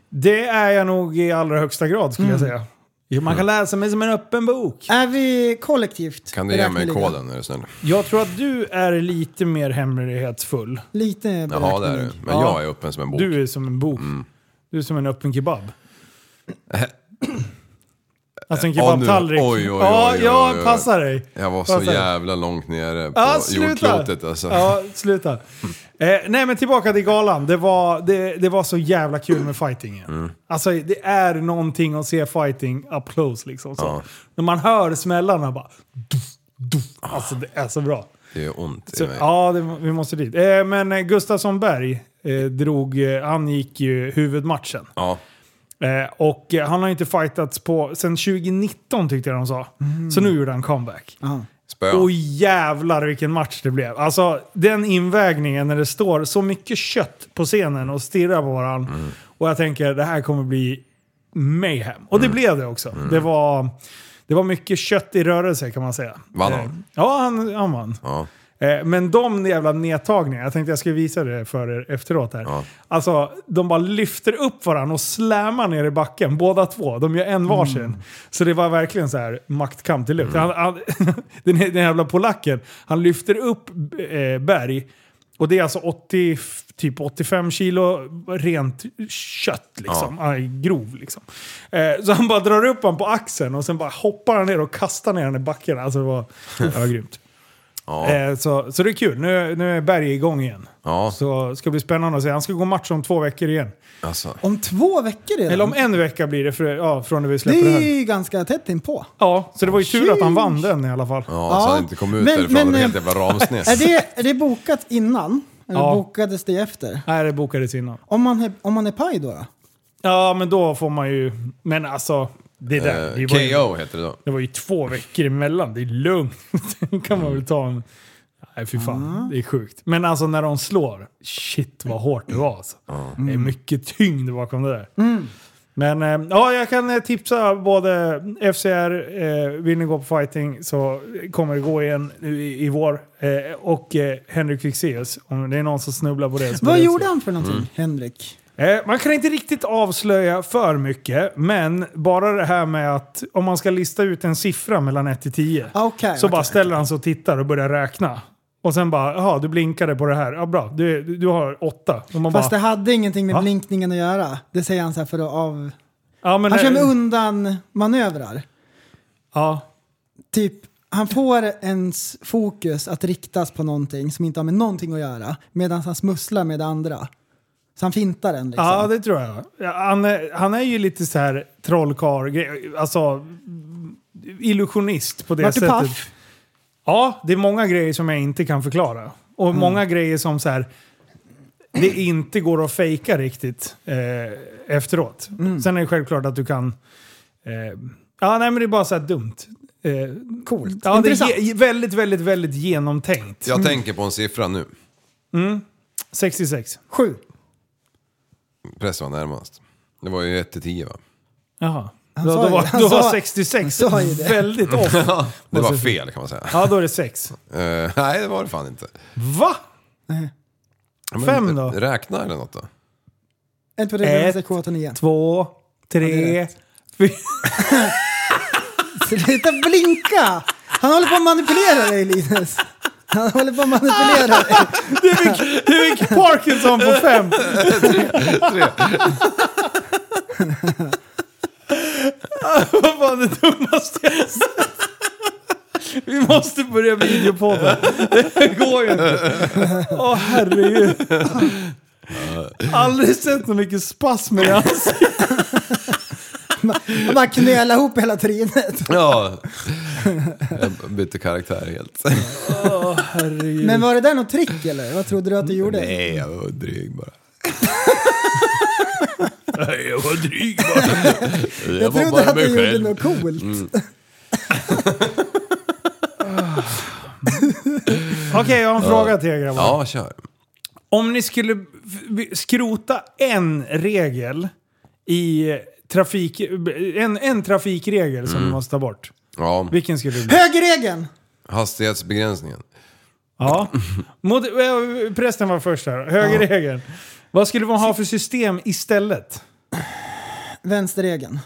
[SPEAKER 5] Det är jag nog i allra högsta grad skulle
[SPEAKER 7] Mm.
[SPEAKER 5] jag säga. Jo, Man kan läsa mig som en öppen bok.
[SPEAKER 6] Är vi kollektivt
[SPEAKER 7] Kan du ge mig
[SPEAKER 6] beräkneliga?
[SPEAKER 7] koden är du snäll?
[SPEAKER 5] Jag tror att du är lite mer hemlighetsfull.
[SPEAKER 6] Lite beräknelig.
[SPEAKER 7] Jaha, det är du. Men
[SPEAKER 5] Ja.
[SPEAKER 7] jag är öppen som en bok. Mm.
[SPEAKER 5] Du är som en bok. Du är som en öppen kebab. Alltså en
[SPEAKER 7] Ja, nu-
[SPEAKER 5] kebabtallrik.
[SPEAKER 7] oj, oj, oj,
[SPEAKER 5] ja,
[SPEAKER 7] oj,
[SPEAKER 5] ja,
[SPEAKER 7] oj.
[SPEAKER 5] passa dig.
[SPEAKER 7] Jag var så
[SPEAKER 5] Passar.
[SPEAKER 7] jävla långt nere på
[SPEAKER 5] Ja, sluta!
[SPEAKER 7] jordklotet alltså.
[SPEAKER 5] Ja, sluta. Eh, nej, men tillbaka till galan. Det var, det, det var så jävla kul med fighting.
[SPEAKER 7] Mm.
[SPEAKER 5] Alltså, det är någonting att se fighting up close liksom. Så.
[SPEAKER 7] Ja.
[SPEAKER 5] När man hör smällarna bara... Duff, duff. Alltså, det är så bra.
[SPEAKER 7] Det är ont i
[SPEAKER 5] Så,
[SPEAKER 7] mig.
[SPEAKER 5] ja, det, vi måste dit. Eh, men eh, Gustafsson Berg eh, drog... Eh, han gick ju huvudmatchen.
[SPEAKER 7] Ja.
[SPEAKER 5] Eh, och eh, han har inte fightats på... Sen 2019 tyckte jag de sa. Så nu gjorde han comeback.
[SPEAKER 7] Spö.
[SPEAKER 5] Och jävlar vilken match det blev. Alltså den invägningen när det står så mycket kött på scenen och stirrar på varandra.
[SPEAKER 7] Mm.
[SPEAKER 5] Och jag tänker det här kommer bli mayhem. Och
[SPEAKER 7] Mm.
[SPEAKER 5] det blev det också. Det, var, det var mycket kött i rörelse kan man säga.
[SPEAKER 7] Vann han?
[SPEAKER 5] Eh, Ja, han, han vann.
[SPEAKER 7] Ja.
[SPEAKER 5] Eh, Men de jävla nedtagningarna, jag tänkte jag skulle visa det för er efteråt här.
[SPEAKER 7] Ja.
[SPEAKER 5] Alltså, de bara lyfter upp varandra och slammar ner i backen, båda två. De gör en varsin. Så det var verkligen så här maktkamp till luft. Han, han, den, den jävla polacken, han lyfter upp eh, Berg. Och det är alltså 80, typ 85 kilo rent kött liksom. Han är grov liksom. Eh, så han bara drar upp han på axeln och sen bara hoppar han ner och kastar ner han i backen. Alltså det var, det var grymt. Eh, så, så det är kul. Nu, nu är Berg igång igen.
[SPEAKER 7] Ja.
[SPEAKER 5] Så ska det bli spännande att se. Han ska gå match om två veckor igen.
[SPEAKER 7] Alltså.
[SPEAKER 6] Om två veckor redan?
[SPEAKER 5] Eller om en vecka blir det för, ja, från när vi
[SPEAKER 6] det
[SPEAKER 5] släpper det, här.
[SPEAKER 6] är ju ganska tätt inpå.
[SPEAKER 5] Ja, så det var ju tur att han vann den i alla fall.
[SPEAKER 7] Ja, så han inte kom ut
[SPEAKER 6] Men-
[SPEAKER 7] därifrån.
[SPEAKER 6] men,
[SPEAKER 7] det var helt
[SPEAKER 6] eh,
[SPEAKER 7] jävla ramsnäs.
[SPEAKER 6] Är det, är det bokat innan? Eller
[SPEAKER 5] Ja.
[SPEAKER 6] bokades det efter?
[SPEAKER 5] Nej, det bokades innan.
[SPEAKER 6] Om man är, om man är paj då? då? Ja,
[SPEAKER 5] Ja, men då får man ju... Men alltså, det där.
[SPEAKER 7] Eh,
[SPEAKER 5] det, var ju,
[SPEAKER 7] KO heter det då.
[SPEAKER 5] det var ju två veckor emellan. Det är lugnt. Sen kan man väl ta en... Nej, fy fan.
[SPEAKER 6] Ah.
[SPEAKER 5] Det är sjukt. Men alltså när de slår. Shit vad hårt det var alltså. Det
[SPEAKER 6] Mm.
[SPEAKER 5] är mycket tyngd bakom det där. Men eh, ja, jag kan eh, tipsa både FCR, eh, vill ni gå på fighting så kommer det gå igen nu i, i vår. Eh, och eh, Henrik Fixeus, om det är någon som snubblar på det. så
[SPEAKER 6] Vad
[SPEAKER 5] får det
[SPEAKER 6] gjorde
[SPEAKER 5] se.
[SPEAKER 6] han för någonting,
[SPEAKER 7] Mm.
[SPEAKER 6] Henrik?
[SPEAKER 5] Eh, Man kan inte riktigt avslöja för mycket, men bara det här med att om man ska lista ut en siffra mellan 1 till 10
[SPEAKER 6] Ah, Okej.
[SPEAKER 5] så
[SPEAKER 6] okej.
[SPEAKER 5] bara ställer han sig och tittar och börjar räkna. Och sen bara, jaha, du blinkade på det här. Ja, bra. Du, du du har åtta. Och man
[SPEAKER 6] Fast det
[SPEAKER 5] bara,
[SPEAKER 6] hade ingenting med
[SPEAKER 5] Va?
[SPEAKER 6] blinkningen att göra. Det säger han så här för att av...
[SPEAKER 5] ja, men
[SPEAKER 6] Han kör med
[SPEAKER 5] eh,
[SPEAKER 6] undan manövrar.
[SPEAKER 5] ja,
[SPEAKER 6] Typ, han får ens fokus att riktas på någonting som inte har med någonting att göra medan han smusslar med det andra. Så han fintar den liksom.
[SPEAKER 5] ja, det tror jag. Ja, Han är, han är ju lite så här trollkarl, alltså mm, illusionist på det
[SPEAKER 6] Vart du
[SPEAKER 5] sättet.
[SPEAKER 6] paff?
[SPEAKER 5] Ja, det är många grejer som jag inte kan förklara. Och
[SPEAKER 6] Mm.
[SPEAKER 5] många grejer som så här, det inte går att fejka riktigt eh, efteråt.
[SPEAKER 6] Mm.
[SPEAKER 5] Sen är det självklart att du kan... Eh, ja, nej men det är bara så här dumt. Eh,
[SPEAKER 6] Coolt.
[SPEAKER 5] ja, det
[SPEAKER 6] Intressant.
[SPEAKER 5] är ge, väldigt, väldigt, väldigt genomtänkt.
[SPEAKER 7] Jag tänker på en siffra nu.
[SPEAKER 5] 66.
[SPEAKER 6] Sju.
[SPEAKER 7] Press var närmast. Det var ju 1 till 10 va?
[SPEAKER 5] Jaha.
[SPEAKER 6] Han
[SPEAKER 5] Då,
[SPEAKER 6] sa
[SPEAKER 5] då
[SPEAKER 6] ju-
[SPEAKER 5] var,
[SPEAKER 6] han
[SPEAKER 5] då var
[SPEAKER 6] sa- han
[SPEAKER 5] 66
[SPEAKER 6] sa ju det.
[SPEAKER 5] väldigt off.
[SPEAKER 7] Det var
[SPEAKER 5] så-
[SPEAKER 7] fel kan man säga.
[SPEAKER 5] Ja, då är det 6.
[SPEAKER 7] Eh, nej, det var det fan inte.
[SPEAKER 5] Va?
[SPEAKER 7] Ja, men,
[SPEAKER 5] Fem då?
[SPEAKER 7] eh, Räkna eller något då.
[SPEAKER 6] Ett på det
[SPEAKER 5] Ett.
[SPEAKER 6] Ett. kåtan igen.
[SPEAKER 5] Två,
[SPEAKER 6] det
[SPEAKER 5] tre,
[SPEAKER 6] är
[SPEAKER 5] fyra.
[SPEAKER 6] Sluta blinka! Han håller på att manipulera dig Linus. Han håller på att manipulera dig.
[SPEAKER 5] Du fick Parkinson på fem.
[SPEAKER 7] Tre.
[SPEAKER 5] Vad fan det dummaste jag har sett. Vi måste börja videopodden. Det går ju inte. Åh herregud. Aldrig sett så mycket spasmer i ansiktet.
[SPEAKER 6] Han bara knölar ihop hela trynet.
[SPEAKER 7] Ja. Jag bytte karaktär helt.
[SPEAKER 5] Herregud.
[SPEAKER 6] Men var det där något trick eller? Vad trodde du att du
[SPEAKER 5] Mm,
[SPEAKER 6] gjorde?
[SPEAKER 7] Nej, jag var dryg bara.
[SPEAKER 5] jag var dryg bara.
[SPEAKER 7] Jag,
[SPEAKER 6] jag
[SPEAKER 7] var
[SPEAKER 6] trodde
[SPEAKER 7] bara
[SPEAKER 6] att du
[SPEAKER 7] mig
[SPEAKER 6] gjorde
[SPEAKER 7] själv. Mm.
[SPEAKER 6] något coolt.
[SPEAKER 5] Okej, jag har en fråga till er grabbar.
[SPEAKER 7] Ja, kör.
[SPEAKER 5] Om ni skulle f- skrota en regel i trafik... En, en trafikregel
[SPEAKER 7] Mm.
[SPEAKER 5] som ni måste ta bort.
[SPEAKER 7] Ja,
[SPEAKER 5] Vilken skulle det bli?
[SPEAKER 6] Högerregeln!
[SPEAKER 7] hastighetsbegränsningen.
[SPEAKER 5] Ja. Mot, eh, prästen var först här. Högerregeln. Vad skulle man ha för system istället?
[SPEAKER 6] Vänsterregeln.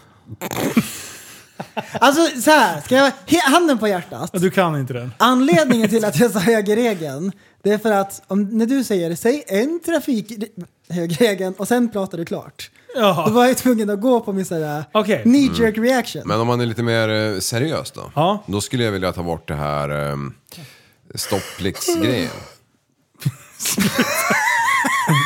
[SPEAKER 6] Alltså så här, ska jag he- handen på hjärtat.
[SPEAKER 5] Du kan inte den.
[SPEAKER 6] Anledningen till att jag sa högerregeln, det är för att om, när du säger säg en trafik högerregeln och sen pratar du klart. Då
[SPEAKER 5] Ja.
[SPEAKER 6] var jag tvungen att gå på min sådär
[SPEAKER 5] Okej.
[SPEAKER 6] knee jerk reaction.
[SPEAKER 7] Men om man är lite mer eh, seriös då?
[SPEAKER 5] Ja.
[SPEAKER 7] Då skulle jag vilja ta bort det här eh, stoppliktsgrejen.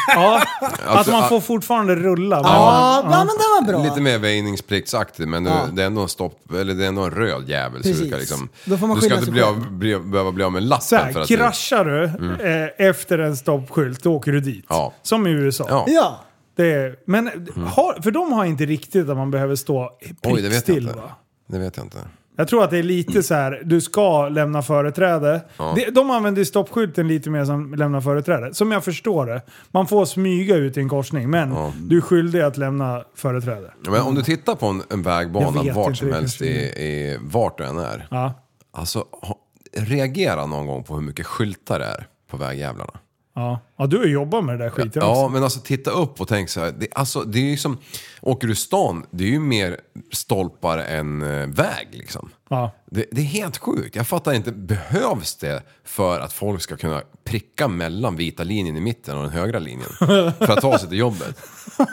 [SPEAKER 5] ja. Att
[SPEAKER 7] Alltså,
[SPEAKER 5] man
[SPEAKER 7] ah-
[SPEAKER 5] får fortfarande rulla. men-
[SPEAKER 6] ja, ja, men den var bra.
[SPEAKER 7] Lite mer väjningspliktsaktigt men nu,
[SPEAKER 6] Ja.
[SPEAKER 7] det är ändå en stopp, eller det är ändå en röd jävel. Så du,
[SPEAKER 6] Precis.
[SPEAKER 7] ska liksom,
[SPEAKER 6] Då får man
[SPEAKER 7] du ska
[SPEAKER 6] skylla
[SPEAKER 7] inte
[SPEAKER 6] sig
[SPEAKER 7] bli
[SPEAKER 6] själv.
[SPEAKER 7] av, bli, behöva bli av med lappen
[SPEAKER 5] Så här,
[SPEAKER 7] för att Mm.
[SPEAKER 5] kraschar du eh, efter en stoppskylt, då åker du dit.
[SPEAKER 7] Ja.
[SPEAKER 5] Som i USA.
[SPEAKER 7] du... Ja. Mm.
[SPEAKER 6] Ja,
[SPEAKER 5] Det är, men har, för de har inte riktigt att man behöver stå
[SPEAKER 7] Oj, det vet jag
[SPEAKER 5] prickstill
[SPEAKER 7] inte.
[SPEAKER 5] va?
[SPEAKER 7] Det vet jag inte.
[SPEAKER 5] Jag tror att det är lite så här, du ska lämna företräde. De, de använder ju stoppskylten lite mer som lämna företräde. Som jag förstår det. Man får smyga ut i en korsning, men du är skyldig att lämna företräde.
[SPEAKER 7] Men om du tittar på en, en
[SPEAKER 5] Jag
[SPEAKER 7] vägbana
[SPEAKER 5] vet
[SPEAKER 7] vart
[SPEAKER 5] inte,
[SPEAKER 7] som
[SPEAKER 5] det
[SPEAKER 7] helst, i,
[SPEAKER 5] kanske
[SPEAKER 7] i, vart du än är.
[SPEAKER 5] Ja.
[SPEAKER 7] Alltså, ha, reagera någon gång på hur mycket skyltar det är på vägjävlarna.
[SPEAKER 5] Ja. ja, du har jobbat med det där skiten
[SPEAKER 7] Ja,
[SPEAKER 5] också.
[SPEAKER 7] men alltså titta upp och tänk så här. Det, alltså, det är ju som, åker du stan, det är ju mer stolpar än eh, väg liksom.
[SPEAKER 5] Ja.
[SPEAKER 7] Det, det är helt sjukt. Jag fattar inte, behövs det för att folk ska kunna pricka mellan vita linjen i mitten och den högra linjen? För att ta sig till jobbet.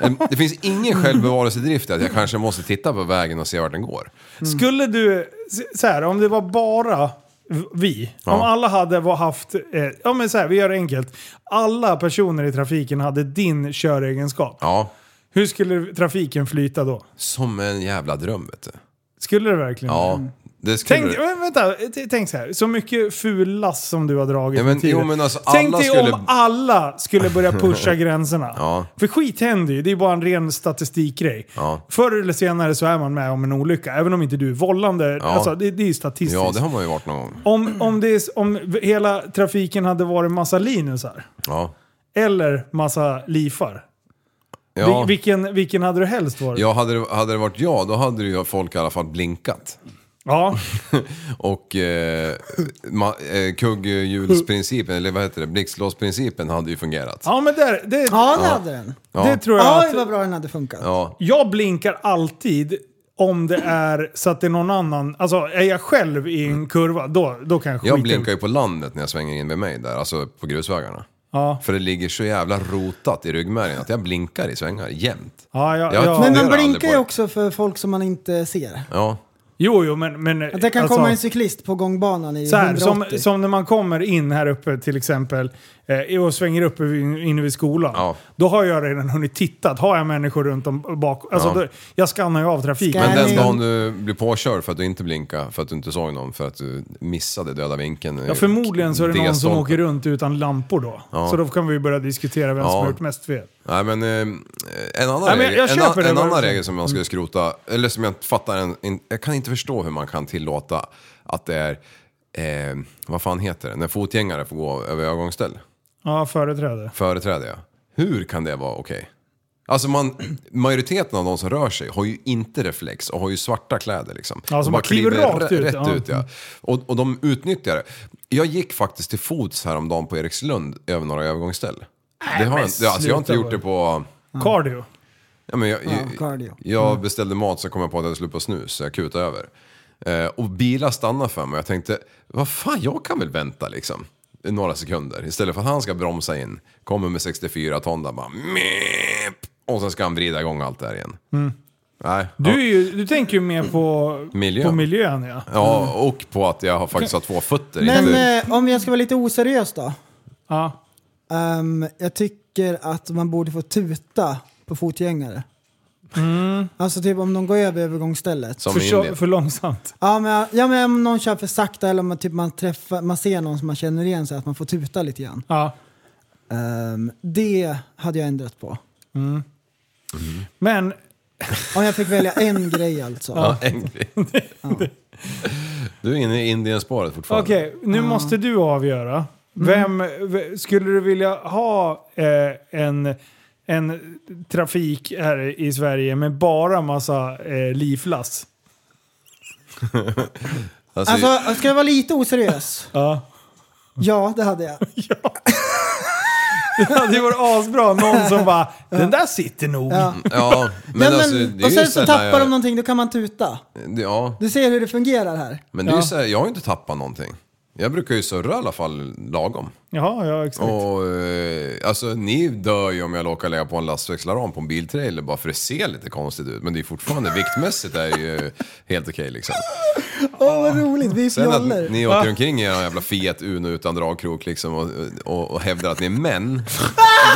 [SPEAKER 7] Em, Det finns ingen självbevarelsedrift i att jag kanske Mm. måste titta på vägen och se vart den går.
[SPEAKER 5] Skulle du, s- så här, om det var bara vi,
[SPEAKER 7] Ja.
[SPEAKER 5] om alla hade var- haft, eh, ja men så här, vi gör det enkelt. Alla personer i trafiken hade din köregenskap.
[SPEAKER 7] Ja,
[SPEAKER 5] Hur skulle trafiken flyta då?
[SPEAKER 7] som en jävla dröm vet du.
[SPEAKER 5] Skulle det verkligen?
[SPEAKER 7] Ja, det skulle
[SPEAKER 5] Mm. Tänk, men vänta, t- tänk så här. Så mycket ful last som du har dragit
[SPEAKER 7] Ja, men-
[SPEAKER 5] med tiden.
[SPEAKER 7] jo, men alltså,
[SPEAKER 5] Tänk
[SPEAKER 7] alla
[SPEAKER 5] dig
[SPEAKER 7] skulle-
[SPEAKER 5] om alla skulle börja pusha gränserna.
[SPEAKER 7] Ja.
[SPEAKER 5] För skit händer ju, det är bara en ren statistikgrej.
[SPEAKER 7] Ja.
[SPEAKER 5] Förr eller senare så är man med om en olycka, även om inte du är vållande.
[SPEAKER 7] Ja.
[SPEAKER 5] Alltså, det, det är ju statistiskt.
[SPEAKER 7] Ja, det har man ju varit någon gång.
[SPEAKER 5] om, om, det är, s- om hela trafiken hade varit massa linusar,
[SPEAKER 7] Ja.
[SPEAKER 5] eller massa lifar.
[SPEAKER 7] Ja.
[SPEAKER 5] Vil- vilken, vilken hade du helst varit?
[SPEAKER 7] Ja, hade det, hade det varit jag, då hade ju folk i alla fall blinkat.
[SPEAKER 5] Ja.
[SPEAKER 7] Och eh, ma- eh, kugghjulsprincipen, eller vad heter det, blixtlåsprincipen hade ju fungerat.
[SPEAKER 5] ja, men där, det,
[SPEAKER 6] Ja, det hade den.
[SPEAKER 5] det tror jag
[SPEAKER 6] Oj,
[SPEAKER 5] att-
[SPEAKER 6] vad bra den hade funkat.
[SPEAKER 7] Ja,
[SPEAKER 5] Jag blinkar alltid om det är så att det är någon annan. Alltså är jag själv i en kurva, då, då kan jag skita
[SPEAKER 7] jag blinkar
[SPEAKER 5] ut.
[SPEAKER 7] ju på landet när jag svänger in med mig där, alltså på grusvägarna.
[SPEAKER 5] Ja.
[SPEAKER 7] För det ligger så jävla rotat i ryggmärgen att jag blinkar i svängar jämt.
[SPEAKER 5] Ja, ja,
[SPEAKER 7] Jag-
[SPEAKER 5] ja.
[SPEAKER 7] det
[SPEAKER 6] Men man
[SPEAKER 7] gör jag
[SPEAKER 6] blinkar
[SPEAKER 7] aldrig
[SPEAKER 6] ju
[SPEAKER 7] på.
[SPEAKER 6] också för folk som man inte ser.
[SPEAKER 7] Ja,
[SPEAKER 5] Jo, jo, men... men
[SPEAKER 6] Att det kan
[SPEAKER 5] alltså,
[SPEAKER 6] komma en cyklist på gångbanan i
[SPEAKER 5] så här,
[SPEAKER 6] 180.
[SPEAKER 5] som, som när man kommer in här uppe till exempel eh, och svänger upp vid- inne vid skolan.
[SPEAKER 7] Ja.
[SPEAKER 5] Då har jag redan hunnit titta. Har jag människor runt om bak... Alltså,
[SPEAKER 7] Ja.
[SPEAKER 5] då, jag skannar ju av trafiken.
[SPEAKER 7] men den
[SPEAKER 6] Nej, men-
[SPEAKER 7] dagen du blir påkörd för att du inte blinkade, för att du inte såg någon, för att du missade döda vinkeln.
[SPEAKER 5] Ja, förmodligen så är det någon som
[SPEAKER 7] D-stolpen.
[SPEAKER 5] åker runt utan lampor då. Så då kan vi börja diskutera vem som
[SPEAKER 7] Ja.
[SPEAKER 5] har gjort mest fel.
[SPEAKER 7] Nej men eh, en annan,
[SPEAKER 5] Nej, men
[SPEAKER 7] regel,
[SPEAKER 5] jag
[SPEAKER 7] en,
[SPEAKER 5] köper Mm.
[SPEAKER 7] an-
[SPEAKER 5] det,
[SPEAKER 7] en
[SPEAKER 5] vad
[SPEAKER 7] annan
[SPEAKER 5] du säger.
[SPEAKER 7] regel som man skulle skrota, eller som jag inte fattar, en, en, jag kan inte förstå hur man kan tillåta att det är, eh, vad fan heter det, när fotgängare får gå över övergångsställ,
[SPEAKER 5] Ja, företräde.
[SPEAKER 7] företräde ja. Hur kan det vara okej? Alltså man, majoriteten av de som rör sig har ju inte reflex och har ju svarta kläder liksom.
[SPEAKER 5] Ja, så
[SPEAKER 7] De
[SPEAKER 5] man kliver rakt
[SPEAKER 7] rä-
[SPEAKER 5] ut,
[SPEAKER 7] rätt
[SPEAKER 5] ja.
[SPEAKER 7] ut ja. Och, och de utnyttjar det. Jag gick faktiskt till fots häromdagen på Erikslund över några övergångsställ. det har jag, inte- alltså jag har inte
[SPEAKER 5] sluta
[SPEAKER 7] gjort det på...
[SPEAKER 5] Cardio.
[SPEAKER 7] Ja, men jag,
[SPEAKER 6] cardio. Mm.
[SPEAKER 7] jag, jag beställde mat, sen kom jag på att jag skulle på snus, så jag kutade över. Eh, och bilar stannade för mig och jag tänkte, vad fan, jag kan väl vänta liksom. i Några sekunder. Istället för att han ska bromsa in, kommer med 64 ton där bara meep, Och sen ska han vrida igång allt där igen.
[SPEAKER 6] Mm.
[SPEAKER 7] Nej.
[SPEAKER 5] Du,
[SPEAKER 7] ja.
[SPEAKER 5] är ju, du tänker ju mer på
[SPEAKER 7] Miljön.
[SPEAKER 5] på miljön ja.
[SPEAKER 7] Ja, och på att jag har faktiskt har två fötter.
[SPEAKER 6] Men
[SPEAKER 7] inte-
[SPEAKER 6] eh, om jag ska vara lite oseriös då.
[SPEAKER 5] ja.
[SPEAKER 6] Ehm, jag tycker att man borde få tuta på fotgängare.
[SPEAKER 7] Mm.
[SPEAKER 6] Alltså typ om de går över övergångsstället.
[SPEAKER 7] som
[SPEAKER 5] För,
[SPEAKER 7] i
[SPEAKER 5] kö-
[SPEAKER 7] Indien.
[SPEAKER 5] för långsamt.
[SPEAKER 6] Ja men, ja men om någon kör för sakta eller om man, typ, man, träffar, man ser någon som man känner igen så att man får tuta lite grann.
[SPEAKER 5] Ja.
[SPEAKER 6] Ehm, det hade jag ändrat på.
[SPEAKER 5] Men
[SPEAKER 6] Om jag fick välja en grej alltså.
[SPEAKER 7] Ja, en grej. Du är inne i Indienspåret fortfarande.
[SPEAKER 5] okej, nu måste du avgöra. Vem, v- skulle du vilja ha eh, en, en trafik här i Sverige med bara massa eh, livlass?
[SPEAKER 7] Alltså,
[SPEAKER 6] Alltså ska jag vara lite oseriös?
[SPEAKER 5] Ja.
[SPEAKER 6] Ja det hade jag.
[SPEAKER 5] Ja, det vore asbra. Någon som bara “den där sitter nog”.
[SPEAKER 6] Ja.
[SPEAKER 7] ja, men,
[SPEAKER 6] Men,
[SPEAKER 7] alltså,
[SPEAKER 6] men,
[SPEAKER 7] det är
[SPEAKER 6] och
[SPEAKER 7] ju
[SPEAKER 6] sen så
[SPEAKER 7] sällan
[SPEAKER 6] tappar
[SPEAKER 7] jag,
[SPEAKER 6] de någonting då kan man tuta.
[SPEAKER 7] Ja,
[SPEAKER 6] Du ser hur det fungerar här.
[SPEAKER 7] Men det är
[SPEAKER 5] Ja.
[SPEAKER 7] ju så här, jag har ju inte tappat någonting. Jag brukar ju surra i alla fall lagom.
[SPEAKER 5] Jaha, ja exakt.
[SPEAKER 7] Och, eh, alltså ni dör ju om jag råkar lägga på en lastväxlaram på en biltrailer bara för det ser lite konstigt ut. Men det är fortfarande viktmässigt är ju eh, helt okej liksom.
[SPEAKER 6] Åh vad roligt, vi är
[SPEAKER 7] Sen
[SPEAKER 6] fjollor.
[SPEAKER 7] att ni åker omkring i er jävla Fiat Uno utan dragkrok liksom och, och, och hävdar att ni är män.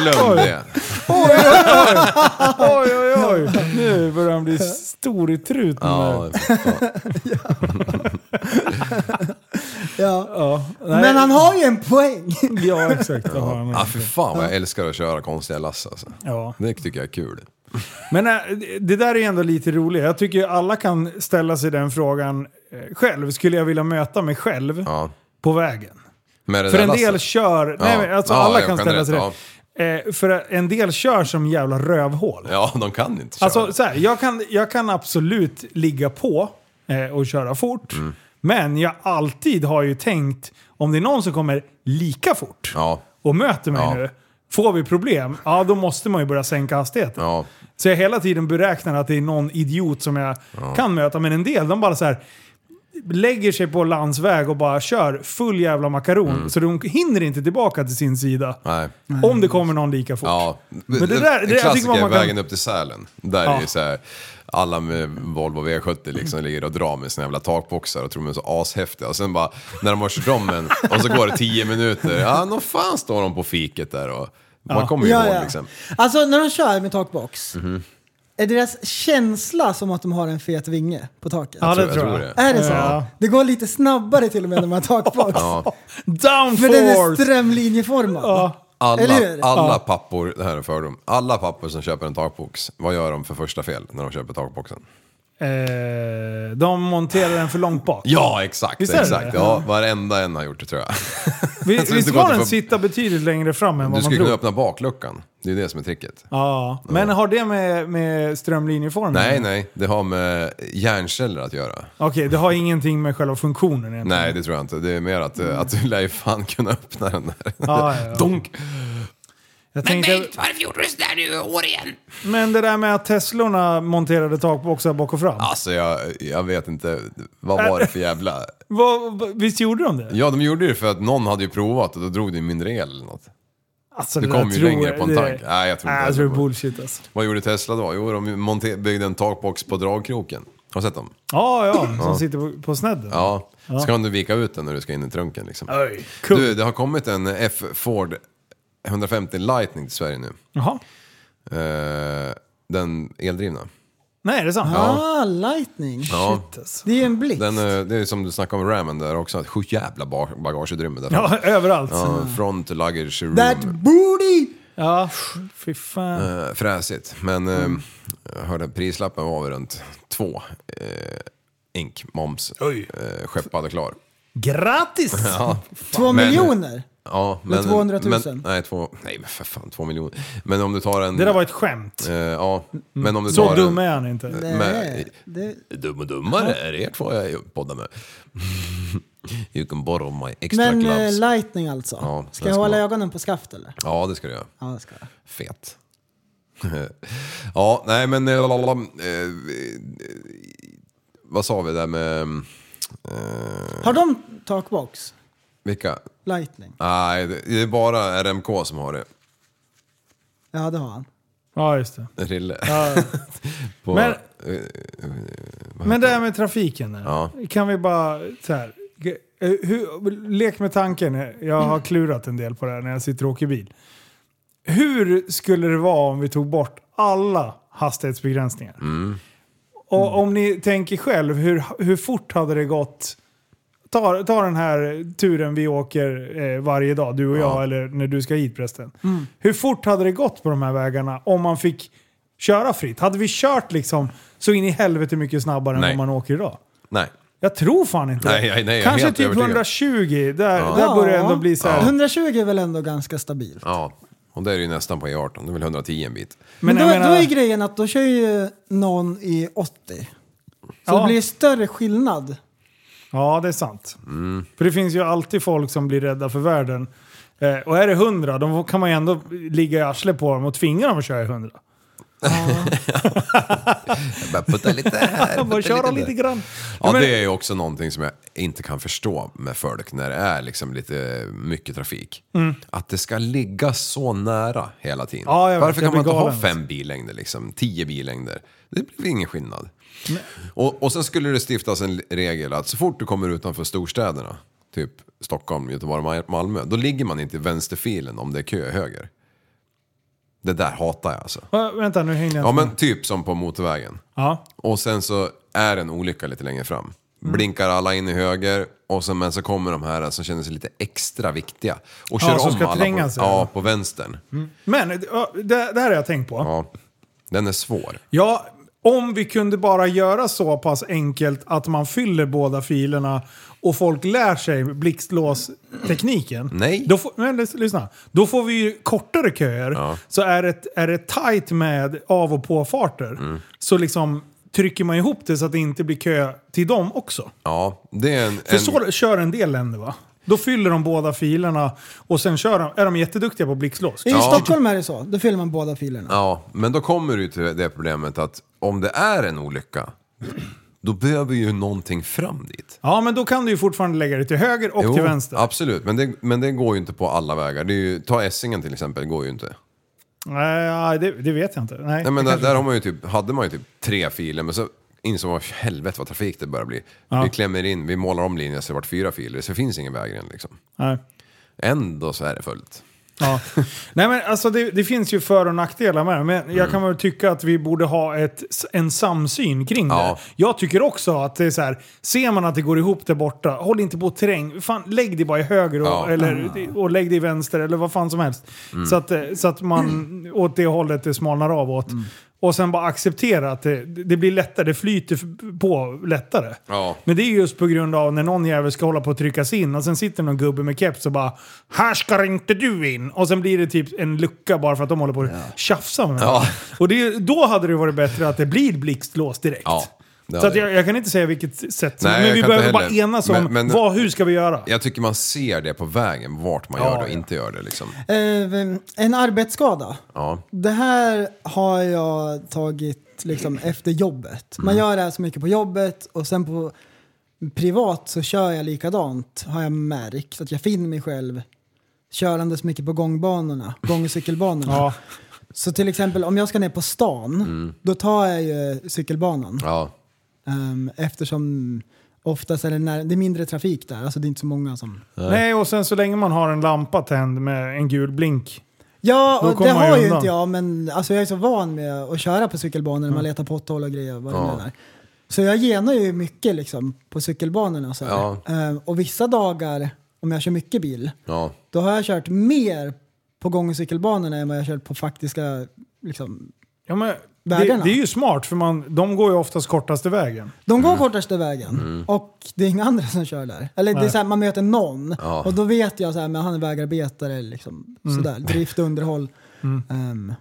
[SPEAKER 7] Glöm det.
[SPEAKER 5] Oj, oj, oj. Nu börjar han bli stor i truten.
[SPEAKER 7] Ja,
[SPEAKER 5] Ja.
[SPEAKER 6] Ja.
[SPEAKER 5] Ja, nej.
[SPEAKER 6] Men han har ju en poäng.
[SPEAKER 5] Ja, exakt. Det har
[SPEAKER 7] ah,
[SPEAKER 5] han.
[SPEAKER 7] för fan vad jag älskar att köra konstiga lass alltså.
[SPEAKER 5] Ja.
[SPEAKER 7] Det tycker jag är kul.
[SPEAKER 5] Men äh, det där är ändå lite roligt. Jag tycker ju alla kan ställa sig den frågan eh, själv. Skulle jag vilja möta mig själv
[SPEAKER 7] Ja.
[SPEAKER 5] på vägen?
[SPEAKER 7] Med det
[SPEAKER 5] För
[SPEAKER 7] där
[SPEAKER 5] en del
[SPEAKER 7] lasset.
[SPEAKER 5] kör... Nej,
[SPEAKER 7] Ja.
[SPEAKER 5] men alltså
[SPEAKER 7] Ja,
[SPEAKER 5] alla
[SPEAKER 7] ja,
[SPEAKER 5] kan ställa sig
[SPEAKER 7] generellt,
[SPEAKER 5] det. Eh, för en del kör som jävla rövhål.
[SPEAKER 7] Ja, de kan inte köra.
[SPEAKER 5] Alltså så här, jag kan, jag kan absolut ligga på eh, och köra fort.
[SPEAKER 7] Mm.
[SPEAKER 5] Men jag alltid har ju tänkt, om det är någon som kommer lika fort
[SPEAKER 7] Ja,
[SPEAKER 5] och möter mig
[SPEAKER 7] Ja.
[SPEAKER 5] nu. Får vi problem, ja då måste man ju börja sänka hastigheten.
[SPEAKER 7] ja.
[SPEAKER 5] Så jag hela tiden beräknar att det är någon idiot som jag kan möta. Men en del, de bara så här lägger sig på landsväg och bara kör full jävla makaron. Så de hinner inte tillbaka till sin sida.
[SPEAKER 7] Mm. Nej.
[SPEAKER 5] Om det kommer någon lika fort.
[SPEAKER 7] Ja, men
[SPEAKER 5] det
[SPEAKER 7] det
[SPEAKER 5] där- det- jag tycker
[SPEAKER 7] klassiker
[SPEAKER 5] man
[SPEAKER 7] är
[SPEAKER 5] kan-
[SPEAKER 7] vägen upp till Sälen. Där
[SPEAKER 5] Ja.
[SPEAKER 7] är det så här, alla med Volvo V70 liksom ligger och drar med sina jävla takboxar och tror de är så ashäftiga. Och sen bara, när de har kört om en och så går det tio minuter, ja nå fan står de på fiket där och man kommer ju
[SPEAKER 6] Ja,
[SPEAKER 7] ihåg
[SPEAKER 6] ja.
[SPEAKER 7] liksom. Mhm.
[SPEAKER 6] Alltså när de kör med takbox, är deras känsla som att de har en fet vinge på taket?
[SPEAKER 5] Ja, det
[SPEAKER 7] jag
[SPEAKER 5] tror
[SPEAKER 7] tror
[SPEAKER 5] jag.
[SPEAKER 7] det.
[SPEAKER 6] Är det så?
[SPEAKER 5] Ja.
[SPEAKER 6] Det går lite snabbare till och med när man har takbox.
[SPEAKER 7] Ja.
[SPEAKER 6] För den är
[SPEAKER 5] Downforce!
[SPEAKER 6] strömlinjeformad.
[SPEAKER 7] Alla,
[SPEAKER 6] Eller hur?
[SPEAKER 7] alla pappor, det här är en fördom, alla pappor som köper en takbox, vad gör de för första fel när de köper takboxen?
[SPEAKER 5] Eh, de monterar den för långt bak.
[SPEAKER 7] Ja, exakt,
[SPEAKER 5] Visst är det
[SPEAKER 7] exakt.
[SPEAKER 5] det?
[SPEAKER 7] Ja, varenda en har gjort det tror jag.
[SPEAKER 5] Vi,
[SPEAKER 7] Alltså,
[SPEAKER 5] visst
[SPEAKER 7] det
[SPEAKER 5] ska
[SPEAKER 7] går inte
[SPEAKER 5] den
[SPEAKER 7] för-
[SPEAKER 5] sitta betydligt längre fram än
[SPEAKER 7] Du
[SPEAKER 5] vad man
[SPEAKER 7] skulle kunna
[SPEAKER 5] tror?
[SPEAKER 7] öppna bakluckan, det är det som är tricket.
[SPEAKER 5] Ja. Men har det med, med strömlinjeformen?
[SPEAKER 7] Nej, nej, det har med hjärnceller att göra.
[SPEAKER 5] Okej, det har ingenting med själva funktionen egentligen.
[SPEAKER 7] Nej, det tror jag inte. Det är mer att, eh, att du lär ju fan kunna öppna den där.
[SPEAKER 5] Ja, ja, ja.
[SPEAKER 7] Donk!
[SPEAKER 5] Jag tänkte, men Bengt, varför gjorde du sådär nu år igen? Men det där med att Teslorna monterade takboxar bak och fram.
[SPEAKER 7] Alltså jag, jag vet inte, vad var det för jävla...
[SPEAKER 5] Vad, visst gjorde de det?
[SPEAKER 7] Ja, de gjorde det för att någon hade ju provat och då drog det ju mindre el eller något.
[SPEAKER 5] Alltså,
[SPEAKER 7] Du
[SPEAKER 5] det där
[SPEAKER 7] kom ju
[SPEAKER 5] tror
[SPEAKER 7] längre
[SPEAKER 5] jag-
[SPEAKER 7] på en
[SPEAKER 5] det-
[SPEAKER 7] tank. Nej, jag tror
[SPEAKER 5] Nej,
[SPEAKER 7] inte heller
[SPEAKER 5] jag tror det är
[SPEAKER 7] på det.
[SPEAKER 5] bullshit alltså.
[SPEAKER 7] Vad gjorde Tesla då? Jo, de monte- byggde en takbox på dragkroken. Har du sett dem?
[SPEAKER 5] Ja, ja, som sitter på, på snedden.
[SPEAKER 7] Ja. Ska du vika ut den när du ska in i trunken liksom?
[SPEAKER 5] Oj, cool.
[SPEAKER 7] Du, det har kommit en F Ford 150 Lightning till Sverige nu.
[SPEAKER 5] Jaha.
[SPEAKER 7] Eh, den eldrivna.
[SPEAKER 5] Nej, är det sant?
[SPEAKER 6] Ah, lightning.
[SPEAKER 7] Ja.
[SPEAKER 5] Shit, alltså.
[SPEAKER 6] Det är en blixt.
[SPEAKER 7] Den, eh, det är som du snackade om ramen där också, att sju jävla ba- bagageutrymme där
[SPEAKER 5] Ja,
[SPEAKER 7] framme.
[SPEAKER 5] överallt. Ja.
[SPEAKER 7] Ja, front luggage room.
[SPEAKER 6] That booty!
[SPEAKER 5] Fy fan.
[SPEAKER 7] Eh, Fräsigt, men eh,
[SPEAKER 5] Mm.
[SPEAKER 7] jag hörde att prislappen var väl runt två eh, ink, moms, eh, skeppad och klar.
[SPEAKER 5] Grattis!
[SPEAKER 7] Ja,
[SPEAKER 6] Två
[SPEAKER 7] Men-
[SPEAKER 6] miljoner.
[SPEAKER 7] ja,
[SPEAKER 6] Med 200 000.
[SPEAKER 7] Men, nej, två, nej, men för fan, två miljoner. Men om du tar en...
[SPEAKER 5] Det där var ett skämt.
[SPEAKER 7] eh, ja, men om du
[SPEAKER 5] Så
[SPEAKER 7] tar
[SPEAKER 5] dum
[SPEAKER 7] en,
[SPEAKER 5] är han inte.
[SPEAKER 7] men- eh,
[SPEAKER 6] Nej, Eh, det,
[SPEAKER 7] Dum och dummare är er två jag poddar med. you can borrow my extra
[SPEAKER 6] men eh,
[SPEAKER 7] gloves.
[SPEAKER 6] lightning alltså.
[SPEAKER 7] Ja,
[SPEAKER 6] ska
[SPEAKER 7] den
[SPEAKER 6] jag
[SPEAKER 7] ska
[SPEAKER 6] hålla
[SPEAKER 7] man-
[SPEAKER 6] ögonen på skaft eller?
[SPEAKER 7] ja, det ska du göra.
[SPEAKER 6] Ja, det ska jag.
[SPEAKER 7] Fet. ja, nej men... eh, lalalala, eh, eh, vad sa vi där med... Eh,
[SPEAKER 6] Har de takbox?
[SPEAKER 7] vilka?
[SPEAKER 6] Lightning?
[SPEAKER 7] Nej, det det är bara RMK som har det.
[SPEAKER 6] Ja, det har han.
[SPEAKER 5] Ja, just det.
[SPEAKER 7] Rille. På,
[SPEAKER 5] Men-
[SPEAKER 7] eh,
[SPEAKER 5] Men det här med trafiken. där.
[SPEAKER 7] Ja.
[SPEAKER 5] Kan vi bara så här. g- eh, Hur, lek med tanken. Jag har klurat en del på det här när jag sitter och åker bil. Hur skulle det vara om vi tog bort alla hastighetsbegränsningar?
[SPEAKER 7] Mm.
[SPEAKER 5] Och om ni tänker själv, hur, hur fort hade det gått? Ta, ta den här turen vi åker eh, varje dag, du och jag, eller när du ska hit förresten.
[SPEAKER 6] Mm.
[SPEAKER 5] Hur fort hade det gått på de här vägarna om man fick köra fritt? Hade vi kört liksom så in i helvete mycket snabbare
[SPEAKER 7] Nej.
[SPEAKER 5] än vad man åker idag?
[SPEAKER 7] nej.
[SPEAKER 5] Jag tror fan inte
[SPEAKER 7] Nej,
[SPEAKER 5] det.
[SPEAKER 7] nej, nej, jag är
[SPEAKER 5] Kanske
[SPEAKER 7] helt
[SPEAKER 5] typ
[SPEAKER 7] övertygad.
[SPEAKER 5] 120, där, där börjar det ändå bli så här.
[SPEAKER 6] 120 är väl ändå ganska stabilt.
[SPEAKER 7] Ja, och det är det ju nästan på E18. Det är väl 110 en bit.
[SPEAKER 6] Men,
[SPEAKER 5] jag
[SPEAKER 6] då,
[SPEAKER 5] menar-
[SPEAKER 6] då är grejen att då kör ju någon i 80. Så
[SPEAKER 5] Ja.
[SPEAKER 6] det blir större skillnad.
[SPEAKER 5] Ja, det är sant. För det finns ju alltid folk som blir rädda för världen. Eh, och är det 100, då kan man ju ändå ligga i arslet på dem och tvinga dem att köra i 100.
[SPEAKER 7] Jag bara putta lite här.
[SPEAKER 5] Bara
[SPEAKER 7] putta
[SPEAKER 5] köra
[SPEAKER 7] där.
[SPEAKER 5] lite grann.
[SPEAKER 7] Ja,
[SPEAKER 5] men-
[SPEAKER 7] det är ju också någonting som jag inte kan förstå med folk när det är liksom lite mycket trafik. Att det ska ligga så nära hela tiden.
[SPEAKER 5] Mm. Ja, jag vet,
[SPEAKER 7] Varför
[SPEAKER 5] jag
[SPEAKER 7] kan man
[SPEAKER 5] blir
[SPEAKER 7] inte ha
[SPEAKER 5] galen.
[SPEAKER 7] fem bilängder, liksom, tio bilängder? Det blir ingen skillnad. Och, och sen skulle det stiftas en regel att så fort du kommer utanför storstäderna, typ Stockholm, Göteborg, Malmö, då ligger man inte i vänsterfilen om det är kö höger. Det där hatar jag alltså.
[SPEAKER 5] Va, vänta, nu hänger jag
[SPEAKER 7] Ja
[SPEAKER 5] inte med.
[SPEAKER 7] men typ som på motorvägen.
[SPEAKER 5] ja.
[SPEAKER 7] Och sen så är en olycka lite längre fram.
[SPEAKER 5] Mm.
[SPEAKER 7] Blinkar alla in i höger, och sen, men så kommer de här som känner sig lite extra viktiga. Och
[SPEAKER 5] Ja,
[SPEAKER 7] kör
[SPEAKER 5] som
[SPEAKER 7] om
[SPEAKER 5] ska
[SPEAKER 7] alla
[SPEAKER 5] tränga
[SPEAKER 7] på,
[SPEAKER 5] sig.
[SPEAKER 7] ja, på vänstern.
[SPEAKER 5] Men eh, det, det här har jag tänkt på.
[SPEAKER 7] Ja. Den är svår.
[SPEAKER 5] Ja, om vi kunde bara göra så pass enkelt att man fyller båda filerna och folk lär sig blixtlåstekniken.
[SPEAKER 7] Nej.
[SPEAKER 5] Då får, men lys- lyssna. Då får vi ju kortare köer. Så är det, är det tight med av och påfarter
[SPEAKER 7] Mm.
[SPEAKER 5] så liksom trycker man ihop det så att det inte blir kö till dem också.
[SPEAKER 7] Ja, det är en...
[SPEAKER 5] För
[SPEAKER 7] en
[SPEAKER 5] så kör en del länder va? Då fyller de båda filerna och sen kör de, är de jätteduktiga på blixtlås.
[SPEAKER 6] I Stockholm är det så. Då fyller man båda filerna.
[SPEAKER 7] ja, men då kommer du till det problemet att om det är en olycka, då behöver ju någonting fram dit.
[SPEAKER 5] Ja, men då kan du ju fortfarande lägga det till höger och
[SPEAKER 7] Jo,
[SPEAKER 5] till vänster.
[SPEAKER 7] Absolut, men det, men det går ju inte på alla vägar. Det är ju, ta Essingen till exempel, det går ju inte.
[SPEAKER 5] Nej, det, det vet jag inte. Nej,
[SPEAKER 7] Nej, men
[SPEAKER 5] det
[SPEAKER 7] där,
[SPEAKER 5] kanske-
[SPEAKER 7] där har man ju typ, hade man ju typ tre filer, men så insåg man helvete vad trafik det börjar bli. Vi klämmer in, vi målar om linjen så det vart fyra filer, så det finns ingen vägren liksom.
[SPEAKER 5] Nej.
[SPEAKER 7] Ändå så är det fullt.
[SPEAKER 5] Ja. Nej men alltså det, det finns ju för och nackdelar med det, men
[SPEAKER 7] Mm.
[SPEAKER 5] jag kan väl tycka att vi borde ha ett, en samsyn kring
[SPEAKER 7] Ja.
[SPEAKER 5] det. Jag tycker också att det är så här, ser man att det går ihop där borta, håll inte på terräng. Fan, lägg dig bara i höger och,
[SPEAKER 7] Ja. Mm.
[SPEAKER 5] eller, och lägg dig i vänster eller vad fan som helst. Så, att, eh, så att man åt det hållet det smalnar av åt.
[SPEAKER 7] Mm.
[SPEAKER 5] Och sen bara acceptera att det, det blir lättare, det flyter f- på lättare.
[SPEAKER 7] Ja.
[SPEAKER 5] Men det är just på grund av när någon jävel ska hålla på att tryckas in och sen sitter någon gubbe med keps och bara “Här ska inte du in!” och sen blir det typ en lucka bara för att de håller på att tjafsa med varandra. Och det, är- då hade det varit bättre att det blir blixtlås direkt.
[SPEAKER 7] Ja, det
[SPEAKER 5] Så
[SPEAKER 7] hade
[SPEAKER 5] att jag, jag kan inte säga vilket sätt, som-
[SPEAKER 7] Nej,
[SPEAKER 5] men
[SPEAKER 7] jag
[SPEAKER 5] vi
[SPEAKER 7] kan
[SPEAKER 5] behöver
[SPEAKER 7] inte
[SPEAKER 5] bara
[SPEAKER 7] heller.
[SPEAKER 5] enas om
[SPEAKER 7] Men- men-
[SPEAKER 5] vad, hur ska vi göra?
[SPEAKER 7] Jag tycker man ser det på vägen, vart man gör det och inte gör det liksom.
[SPEAKER 6] Eh, en arbetsskada.
[SPEAKER 7] Ja.
[SPEAKER 6] Det här har jag tagit liksom efter jobbet.
[SPEAKER 5] Mm.
[SPEAKER 6] Man gör det här så mycket på jobbet och sen på privat så kör jag likadant har jag märkt. Att jag finner mig själv körandes mycket på gångbanorna, gång och cykelbanorna.
[SPEAKER 5] Ja.
[SPEAKER 6] Så till exempel om jag ska ner på stan, då tar jag ju cykelbanan.
[SPEAKER 7] Mm. Ja.
[SPEAKER 6] Ehm, eftersom oftast är det, när, det är mindre trafik där, alltså det är inte så många som...
[SPEAKER 5] Nej, och sen så länge man har en lampa tänd med en gul blink.
[SPEAKER 6] Ja,
[SPEAKER 5] Då
[SPEAKER 6] och det
[SPEAKER 5] kommer man ju
[SPEAKER 6] har ju
[SPEAKER 5] undan.
[SPEAKER 6] inte jag, men alltså, jag är så van med att köra på cykelbanor, man letar potthål och grejer. Vad det
[SPEAKER 7] Mm. Ja.
[SPEAKER 6] nu är. Så jag genar ju mycket liksom, på cykelbanorna. Så här.
[SPEAKER 7] Ja.
[SPEAKER 6] Ehm, och vissa dagar, om jag kör mycket bil,
[SPEAKER 7] Ja.
[SPEAKER 6] då har jag kört mer på gång och cykelbanorna än vad jag har kört på faktiska... Liksom.
[SPEAKER 5] Ja, men det, det
[SPEAKER 6] Vägarna.
[SPEAKER 5] är ju smart för man, de går ju oftast kortaste vägen.
[SPEAKER 6] De går kortaste vägen och det är inga andra som kör där. Eller det är
[SPEAKER 5] Nej.
[SPEAKER 6] så här, man möter någon
[SPEAKER 7] Ja.
[SPEAKER 6] och då vet jag så här, men han är vägarbetare, liksom,
[SPEAKER 5] Mm.
[SPEAKER 6] sådär, drift och underhåll. Ehm,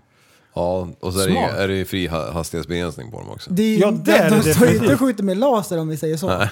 [SPEAKER 7] ja, och så är det, ju-
[SPEAKER 5] Smart.
[SPEAKER 7] är det ju fri ha- hastighetsbegränsning på dem också.
[SPEAKER 6] Det är,
[SPEAKER 5] Ja,
[SPEAKER 6] ja,
[SPEAKER 5] det
[SPEAKER 6] det
[SPEAKER 5] är det
[SPEAKER 6] de står ju inte
[SPEAKER 5] definitivt.
[SPEAKER 6] och skjuter med laser om vi säger så.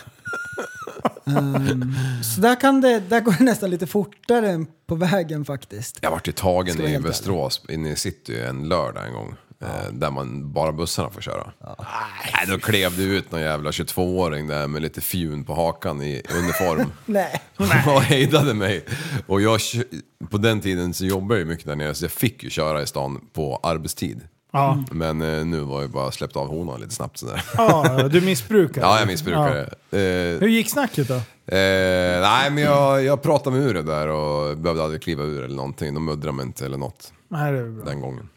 [SPEAKER 6] Ehm, så där, kan det, där går det nästan lite fortare än på vägen faktiskt.
[SPEAKER 7] Jag vart ju tagen
[SPEAKER 6] Ska vara
[SPEAKER 7] i
[SPEAKER 6] helt
[SPEAKER 7] Västerås, inne i city, en lördag en gång. eh, Där man bara bussarna får köra. Nej, då klev det ut någon jävla 22-åring där med lite fjun på hakan i uniform.
[SPEAKER 6] Nej.
[SPEAKER 7] och hejdade mig. Och jag, kö- på den tiden så jobbade jag ju mycket där nere så jag fick ju köra i stan på arbetstid.
[SPEAKER 5] Ja.
[SPEAKER 7] Men eh, nu var jag bara släppt av honan lite snabbt sådär.
[SPEAKER 5] Ja, du missbrukar.
[SPEAKER 7] Ja, jag missbrukade det. Eh,
[SPEAKER 5] Hur gick snacket då?
[SPEAKER 7] Eh, nej, men jag, jag pratade med ur det där och behövde aldrig kliva ur eller någonting. De muddrade mig inte eller något
[SPEAKER 5] Nej, det är bra.
[SPEAKER 7] den gången.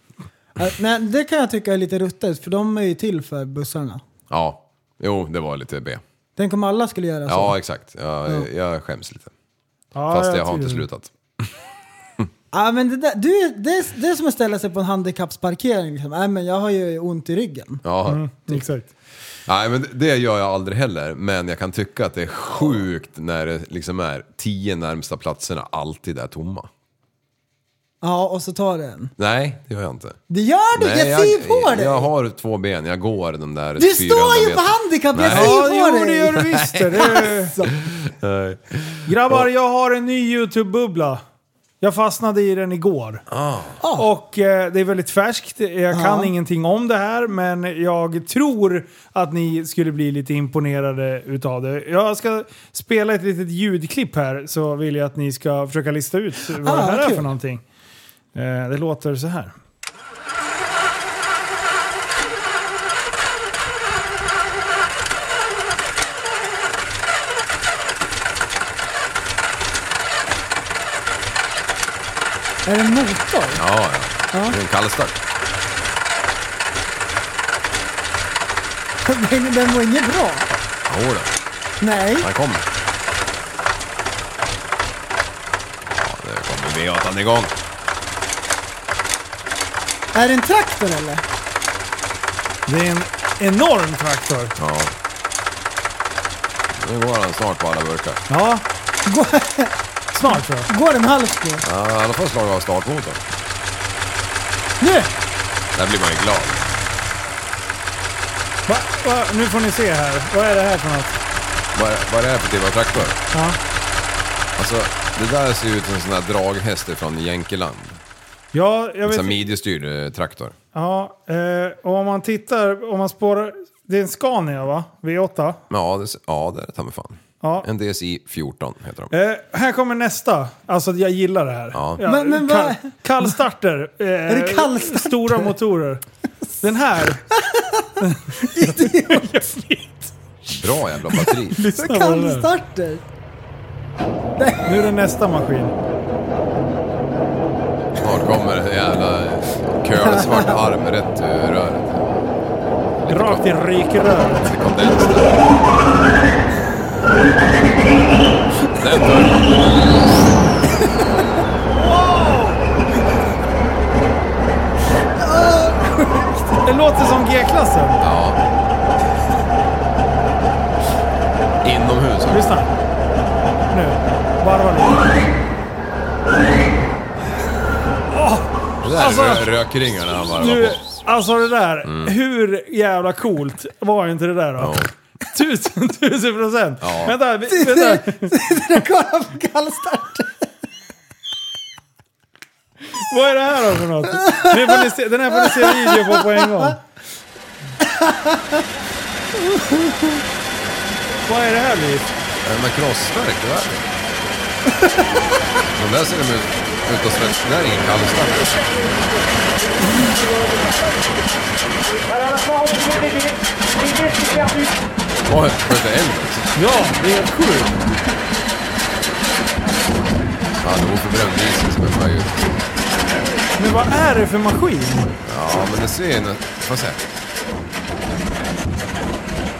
[SPEAKER 6] Eh, nej, det kan jag tycka är lite ruttet för de är ju till för bussarna.
[SPEAKER 7] Ja, jo, det var lite B.
[SPEAKER 6] Tänk om alla skulle göra så.
[SPEAKER 7] Ja, exakt. Jag, jag skäms lite.
[SPEAKER 5] Ja,
[SPEAKER 7] Fast jag, har inte
[SPEAKER 5] tycker-
[SPEAKER 7] slutat.
[SPEAKER 6] Ja, men det, där, du, det, det är som att ställa sig på en handikappsparkering. Liksom. Nej, men jag har ju ont i ryggen.
[SPEAKER 7] Ja.
[SPEAKER 5] Exakt.
[SPEAKER 7] Nej, men det gör jag aldrig heller. Men jag kan tycka att det är sjukt när det liksom är tio närmsta platserna alltid är tomma.
[SPEAKER 6] Ja, och så tar du en.
[SPEAKER 7] Nej, det gör jag inte.
[SPEAKER 6] Det gör du!
[SPEAKER 7] Nej,
[SPEAKER 6] jag ser ju på dig!
[SPEAKER 7] Jag har två ben, jag går de där
[SPEAKER 6] du
[SPEAKER 7] 400
[SPEAKER 6] står ju på
[SPEAKER 7] meterna.
[SPEAKER 6] handikapp!
[SPEAKER 7] Nej.
[SPEAKER 6] Jag ser
[SPEAKER 5] Ja,
[SPEAKER 6] ju på
[SPEAKER 5] jo,
[SPEAKER 6] dig!
[SPEAKER 5] det gör du visst. Det är...
[SPEAKER 7] Nej.
[SPEAKER 5] Grabbar, jag har en ny YouTube-bubbla. Jag fastnade i den igår.
[SPEAKER 7] Ah.
[SPEAKER 6] Ah.
[SPEAKER 5] Och eh, det är väldigt färskt. Jag kan ingenting om det här, men jag tror att ni skulle bli lite imponerade utav det. Jag ska spela ett litet ljudklipp här, så vill jag att ni ska försöka lista ut vad
[SPEAKER 6] Ah,
[SPEAKER 5] det här
[SPEAKER 6] vad
[SPEAKER 5] är
[SPEAKER 6] kul.
[SPEAKER 5] för någonting. Eh, det låter så här.
[SPEAKER 6] Är det en motor?
[SPEAKER 7] Ja, ja. Det är en kallstart.
[SPEAKER 6] Den, den var inget bra.
[SPEAKER 7] Jodå,
[SPEAKER 6] Nej.
[SPEAKER 7] han kommer. Ja, nu kommer V8 igång.
[SPEAKER 6] Är det en traktor eller?
[SPEAKER 5] Det är en enorm traktor.
[SPEAKER 7] Ja. Nu går han snart på alla burkar.
[SPEAKER 5] Ja,
[SPEAKER 6] Går,
[SPEAKER 5] snart tror jag.
[SPEAKER 6] går den halvt nu?
[SPEAKER 7] Ja, I alla fall slagit av startmotorn.
[SPEAKER 6] Nu!
[SPEAKER 7] Där blir man ju glad.
[SPEAKER 5] Va? Va? Nu får ni se här. Vad är det här för något?
[SPEAKER 7] Vad, vad är det här för typ av traktor?
[SPEAKER 5] Ja.
[SPEAKER 7] Alltså, det där ser ju ut som en sån där draghäst från Jänkeland.
[SPEAKER 5] Ja, jag
[SPEAKER 7] En
[SPEAKER 5] vet
[SPEAKER 7] sån här midjestyrd eh, traktor.
[SPEAKER 5] Ja, eh, och om man tittar, om man spårar, Det är en Scania va? V8?
[SPEAKER 7] Ja, det, ja, det är det ta mig fan.
[SPEAKER 5] Ja.
[SPEAKER 7] En DSI 14 heter de.
[SPEAKER 5] Eh, här kommer nästa. Alltså jag gillar det här.
[SPEAKER 7] Ja.
[SPEAKER 6] Men- men vad-
[SPEAKER 5] kall, kallstarter. Eh, är
[SPEAKER 6] det kallstarter?
[SPEAKER 5] Stora motorer. Den här.
[SPEAKER 7] Bra jävla batteri.
[SPEAKER 5] Lyssna på den här.
[SPEAKER 6] Kallstarter!
[SPEAKER 5] Nu är det nästa maskin.
[SPEAKER 7] Snart kommer en jävla kölsvart arm rätt ur röret.
[SPEAKER 5] Rakt i rykröret.
[SPEAKER 7] Det kom den där. Den dörren.
[SPEAKER 5] Det låter som G-klassen.
[SPEAKER 7] Ja. Inomhus.
[SPEAKER 5] Lyssna. Nu. Varva lite.
[SPEAKER 7] Det där
[SPEAKER 5] Alltså,
[SPEAKER 7] rö- rökringarna han bara var
[SPEAKER 5] Nu,
[SPEAKER 7] på.
[SPEAKER 5] alltså det där. Hur jävla coolt var inte det där då?
[SPEAKER 7] Mm. Ja.
[SPEAKER 5] Tusen, tusen procent.
[SPEAKER 7] Ja.
[SPEAKER 5] Vänta, vi- vänta.
[SPEAKER 6] Kolla på kallstarter!
[SPEAKER 5] Vad är det här då för något? Den här får ni se, den här får ni se video på på en gång. Vad är det här Liv?
[SPEAKER 7] Den där crossverk, det där. De där ser de ut, ut att svetsa. Det där är ingen kallstart. Oj, sköt det eld också?
[SPEAKER 5] Ja, det är sjukt.
[SPEAKER 7] Ja, det var oförbränd diesel som är på väg ut.
[SPEAKER 5] Men vad är det för maskin?
[SPEAKER 7] Ja, men det ser ju... nä- Får jag se?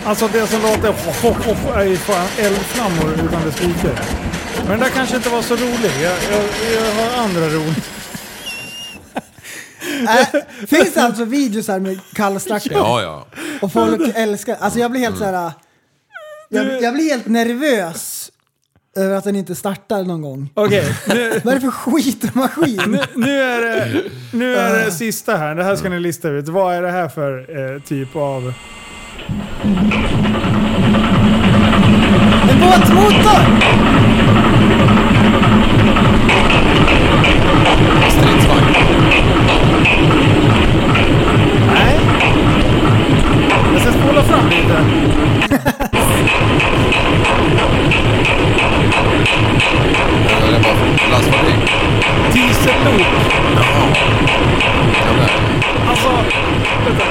[SPEAKER 5] Alltså det som låter hopp, hopp, hopp, är ju fan eldflammor utan det skriker. Men den där kanske inte var så rolig. Jag, jag, jag har andra roliga.
[SPEAKER 6] Äh, finns det alltså videos här med kallstarter?
[SPEAKER 7] Ja, ja.
[SPEAKER 6] Och folk älskar Alltså jag blir helt så
[SPEAKER 5] Mm.
[SPEAKER 6] här. Jag, jag blir helt nervös över att den inte startar någon gång.
[SPEAKER 5] Okej, nu,
[SPEAKER 6] Vad är det för skitmaskin?
[SPEAKER 5] nu, är det, nu är det sista här. Det här ska ni lista ut. Vad är det här för eh, typ av...
[SPEAKER 6] En båtmotor!
[SPEAKER 7] Stridsvagn.
[SPEAKER 5] Nej. Jag ska spola fram lite.
[SPEAKER 7] Ja, Det är bara lastfabrik.
[SPEAKER 5] Dieselloop.
[SPEAKER 7] Ja, men-
[SPEAKER 5] Alltså, vänta.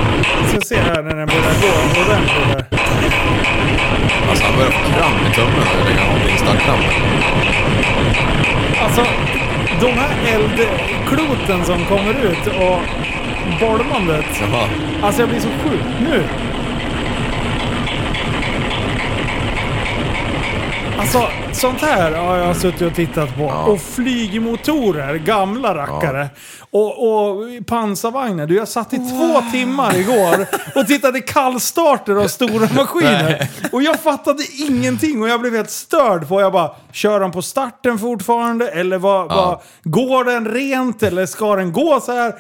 [SPEAKER 5] Vi ska se här när den börjar gå ordentligt här.
[SPEAKER 7] Alltså, han börjar få kramp i tummen när jag lägger av min startknapp.
[SPEAKER 5] Alltså, de här eldkloten som kommer ut och bolmandet.
[SPEAKER 7] Jaha.
[SPEAKER 5] Alltså jag blir så sjuk. Nu! Alltså, sånt här har jag suttit och tittat på. Och flygmotorer, gamla rackare. Och, och pansarvagnar. Du, jag satt i två timmar igår och tittade kallstarter av stora maskiner. Och jag fattade ingenting och jag blev helt störd på. Jag bara, kör de på starten fortfarande? Eller vad, vad, går den rent? Eller ska den gå så här?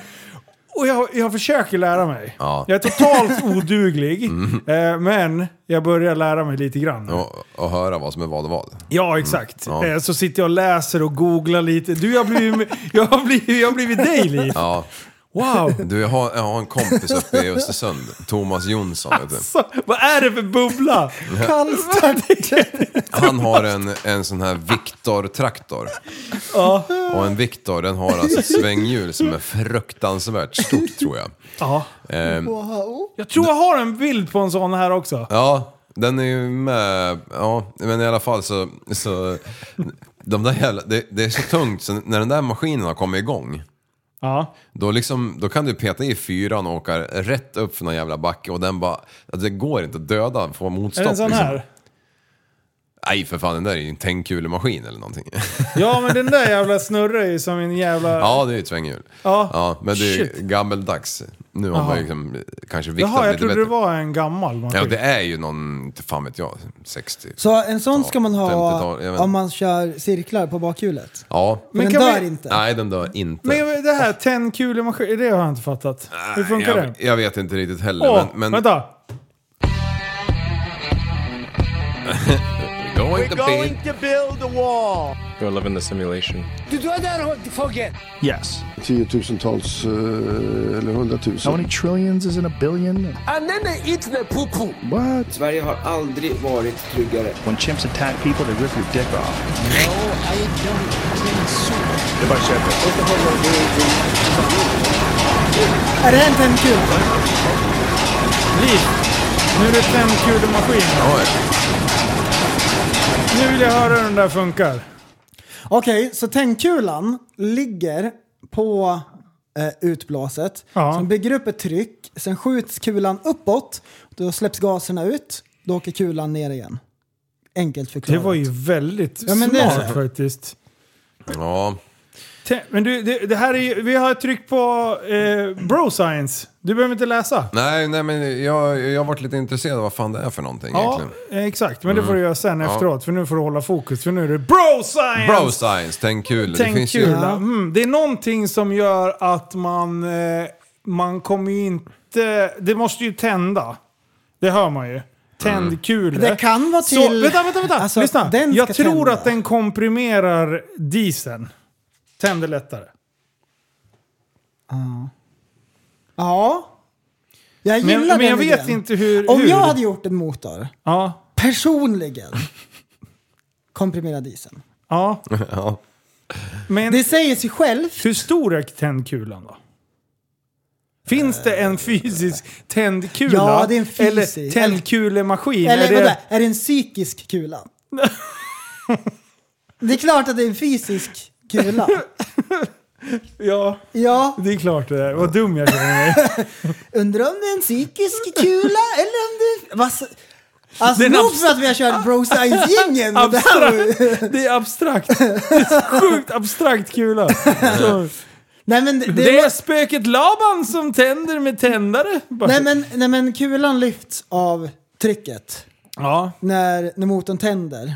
[SPEAKER 5] Och jag, jag försöker lära mig.
[SPEAKER 7] Ja.
[SPEAKER 5] Jag är totalt oduglig, eh, men jag börjar lära mig lite grann. Ja,
[SPEAKER 7] Och, och höra vad som är vad och vad.
[SPEAKER 5] exakt.
[SPEAKER 7] Mm. Ja.
[SPEAKER 5] Eh, så sitter jag och läser och googlar lite. Du, jag har blivit, jag har blivit, jag har blivit dig, Liv.
[SPEAKER 7] Ja.
[SPEAKER 5] Wow!
[SPEAKER 7] Du, jag har, jag har en kompis uppe i Östersund, Thomas Jonsson. Vet du.
[SPEAKER 5] Så, vad är det för bubbla?
[SPEAKER 6] Kallstarter!
[SPEAKER 7] Han har en, en sån här Victor-traktor. Och en Victor, den har alltså ett svänghjul som är fruktansvärt stort tror jag.
[SPEAKER 5] Ja.
[SPEAKER 7] Ehm,
[SPEAKER 6] Wow.
[SPEAKER 5] Jag tror jag har en bild på en sån här också.
[SPEAKER 7] Ja, den är ju med. Ja, men i alla fall så... så de där jävla, det, det är så tungt, så när den där maskinen har kommit igång,
[SPEAKER 5] Ja.
[SPEAKER 7] då, liksom, då kan du peta i fyran och åka rätt upp för någon jävla backe och den bara... Alltså, det går inte att döda, få
[SPEAKER 5] Är
[SPEAKER 7] motstånd.
[SPEAKER 5] det en sån
[SPEAKER 7] Liksom.
[SPEAKER 5] här?
[SPEAKER 7] Nej, för fan, den där är ju en tändkulemaskin eller någonting.
[SPEAKER 5] Ja, men den där jävla snurrar ju som en jävla...
[SPEAKER 7] ja, det är ju ett svänghjul.
[SPEAKER 5] Ja.
[SPEAKER 7] men det är ju
[SPEAKER 5] Shit.
[SPEAKER 7] gammeldags. Nu har man ju liksom kanske viktat
[SPEAKER 5] Jaha, jag
[SPEAKER 7] lite
[SPEAKER 5] trodde
[SPEAKER 7] bättre.
[SPEAKER 5] det var en gammal maskin.
[SPEAKER 7] Ja, det är ju någon, inte fan vet jag, 60.
[SPEAKER 6] Så en sån ska man ha
[SPEAKER 7] 50-tal, jag vet
[SPEAKER 6] om man kör cirklar på bakhjulet.
[SPEAKER 7] Ja.
[SPEAKER 6] Men den
[SPEAKER 5] kan
[SPEAKER 6] dör
[SPEAKER 5] vi-
[SPEAKER 6] inte.
[SPEAKER 7] Nej, den dör inte.
[SPEAKER 5] Men det här tändkulemaskin, det har jag inte fattat. Hur funkar
[SPEAKER 7] jag,
[SPEAKER 5] den?
[SPEAKER 7] Jag vet inte riktigt heller.
[SPEAKER 5] Åh,
[SPEAKER 7] men, men,
[SPEAKER 5] vänta!
[SPEAKER 7] We're going to build a wall.
[SPEAKER 8] or live in the simulation.
[SPEAKER 9] Yes.
[SPEAKER 10] Tiotusentals eh, eller hundratusen.
[SPEAKER 9] How many trillions is in a billion? What?
[SPEAKER 11] Sverige har aldrig varit tryggare.
[SPEAKER 9] When chimps attack people, they rip your dick off. No, I don't think so. If I said that.
[SPEAKER 6] Är det en femkul?
[SPEAKER 5] Liv! Nu är det femkulemaskin.
[SPEAKER 7] Oj.
[SPEAKER 5] Nu vill jag höra hur den där funkar.
[SPEAKER 6] Okej, så tändkulan ligger på eh, utblåset.
[SPEAKER 5] Ja.
[SPEAKER 6] Som bygger upp ett tryck. Sen skjuts kulan uppåt. Då släpps gaserna ut. Då åker kulan ner igen. Enkelt
[SPEAKER 5] Det
[SPEAKER 6] förklarat.
[SPEAKER 5] var ju väldigt
[SPEAKER 6] Ja, men det är
[SPEAKER 5] smart
[SPEAKER 6] så.
[SPEAKER 5] faktiskt.
[SPEAKER 7] Ja.
[SPEAKER 5] Tä- Men du, det, det här är ju, vi har tryckt på eh, bro science. Du behöver inte läsa.
[SPEAKER 7] Nej, nej, men jag, jag har varit lite intresserad av vad fan det är för någonting
[SPEAKER 5] Ja,
[SPEAKER 7] egentligen. Mm.
[SPEAKER 5] eh, exakt. Men det får du göra sen
[SPEAKER 7] Ja.
[SPEAKER 5] efteråt. För nu får du hålla fokus. För nu är det bro science!
[SPEAKER 7] Bro science, tänk kul.
[SPEAKER 5] Tänk
[SPEAKER 7] det finns
[SPEAKER 5] kul.
[SPEAKER 7] ju...
[SPEAKER 5] Ja. Mm, det är någonting som gör att man, eh, man kommer ju inte... Det måste ju tända. Det hör man ju.
[SPEAKER 7] Mm.
[SPEAKER 5] Tändkulor.
[SPEAKER 6] Det kan vara
[SPEAKER 5] Så,
[SPEAKER 6] till...
[SPEAKER 5] vänta, vänta, vänta!
[SPEAKER 6] Alltså,
[SPEAKER 5] Lyssna.
[SPEAKER 6] den
[SPEAKER 5] Jag
[SPEAKER 6] ska
[SPEAKER 5] tror
[SPEAKER 6] tända.
[SPEAKER 5] att den komprimerar dieseln. Tänder lättare.
[SPEAKER 6] Ja. Jag gillar
[SPEAKER 5] Men, men
[SPEAKER 6] den
[SPEAKER 5] jag vet
[SPEAKER 6] idén.
[SPEAKER 5] inte hur...
[SPEAKER 6] Om
[SPEAKER 5] hur.
[SPEAKER 6] jag hade gjort en motor,
[SPEAKER 5] Ja.
[SPEAKER 6] personligen, komprimerad dieseln.
[SPEAKER 5] ja.
[SPEAKER 7] Ja.
[SPEAKER 5] Men
[SPEAKER 6] Det säger sig själv.
[SPEAKER 5] hur stor är tändkulan då? Finns det en fysisk tändkula?
[SPEAKER 6] Ja, det är en fysisk.
[SPEAKER 5] Eller tändkulemaskin?
[SPEAKER 6] Eller
[SPEAKER 5] är det...
[SPEAKER 6] vänta, är det en psykisk kula? det är klart att det är en fysisk kula.
[SPEAKER 5] Ja,
[SPEAKER 6] Ja,
[SPEAKER 5] det är klart det är. Vad dum jag känner mig.
[SPEAKER 6] undrar om det är en psykisk kula eller om det... Vad s- Alltså
[SPEAKER 5] Det är en
[SPEAKER 6] nog
[SPEAKER 5] abs-
[SPEAKER 6] för att vi har kört Bro Science-gängen. men det här var
[SPEAKER 5] Abstrakt. Det
[SPEAKER 6] ju-
[SPEAKER 5] är abstrakt. Det är så sjukt abstrakt kula. Så.
[SPEAKER 6] Nej men, det,
[SPEAKER 5] Det är spöket Laban som tänder med tändare. Bara-
[SPEAKER 6] nej, men, nej men kulan lyfts av trycket.
[SPEAKER 5] Ja.
[SPEAKER 6] När, när motorn tänder.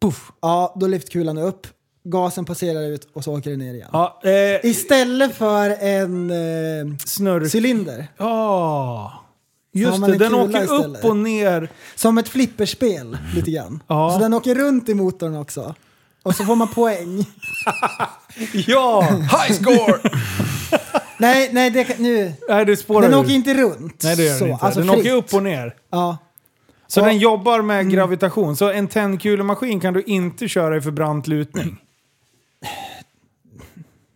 [SPEAKER 5] Puff.
[SPEAKER 6] Ja, då lyfts kulan upp. Gasen passerar ut och så åker den ner igen.
[SPEAKER 5] Ja, eh,
[SPEAKER 6] Istället för en eh,
[SPEAKER 5] snurr.
[SPEAKER 6] cylinder.
[SPEAKER 5] Ja.
[SPEAKER 6] har
[SPEAKER 5] Just
[SPEAKER 6] man
[SPEAKER 5] det,
[SPEAKER 6] en
[SPEAKER 5] den
[SPEAKER 6] kula
[SPEAKER 5] åker
[SPEAKER 6] istället.
[SPEAKER 5] upp och ner.
[SPEAKER 6] Som ett flipperspel lite grann.
[SPEAKER 5] Ja.
[SPEAKER 6] Så den åker runt i motorn också. Och så får man poäng.
[SPEAKER 5] Ja!
[SPEAKER 7] High score!
[SPEAKER 6] nej, nej, det kan, nu.
[SPEAKER 5] Nej, det spårar
[SPEAKER 6] Den
[SPEAKER 5] ur.
[SPEAKER 6] åker inte runt.
[SPEAKER 5] Nej, det gör
[SPEAKER 6] så,
[SPEAKER 5] den inte.
[SPEAKER 6] Alltså
[SPEAKER 5] den
[SPEAKER 6] fritt.
[SPEAKER 5] åker upp och ner.
[SPEAKER 6] Ja.
[SPEAKER 5] Så
[SPEAKER 6] Ja. Mm.
[SPEAKER 5] den jobbar med gravitation. Så en tändkulemaskin kan du inte köra i för brant lutning.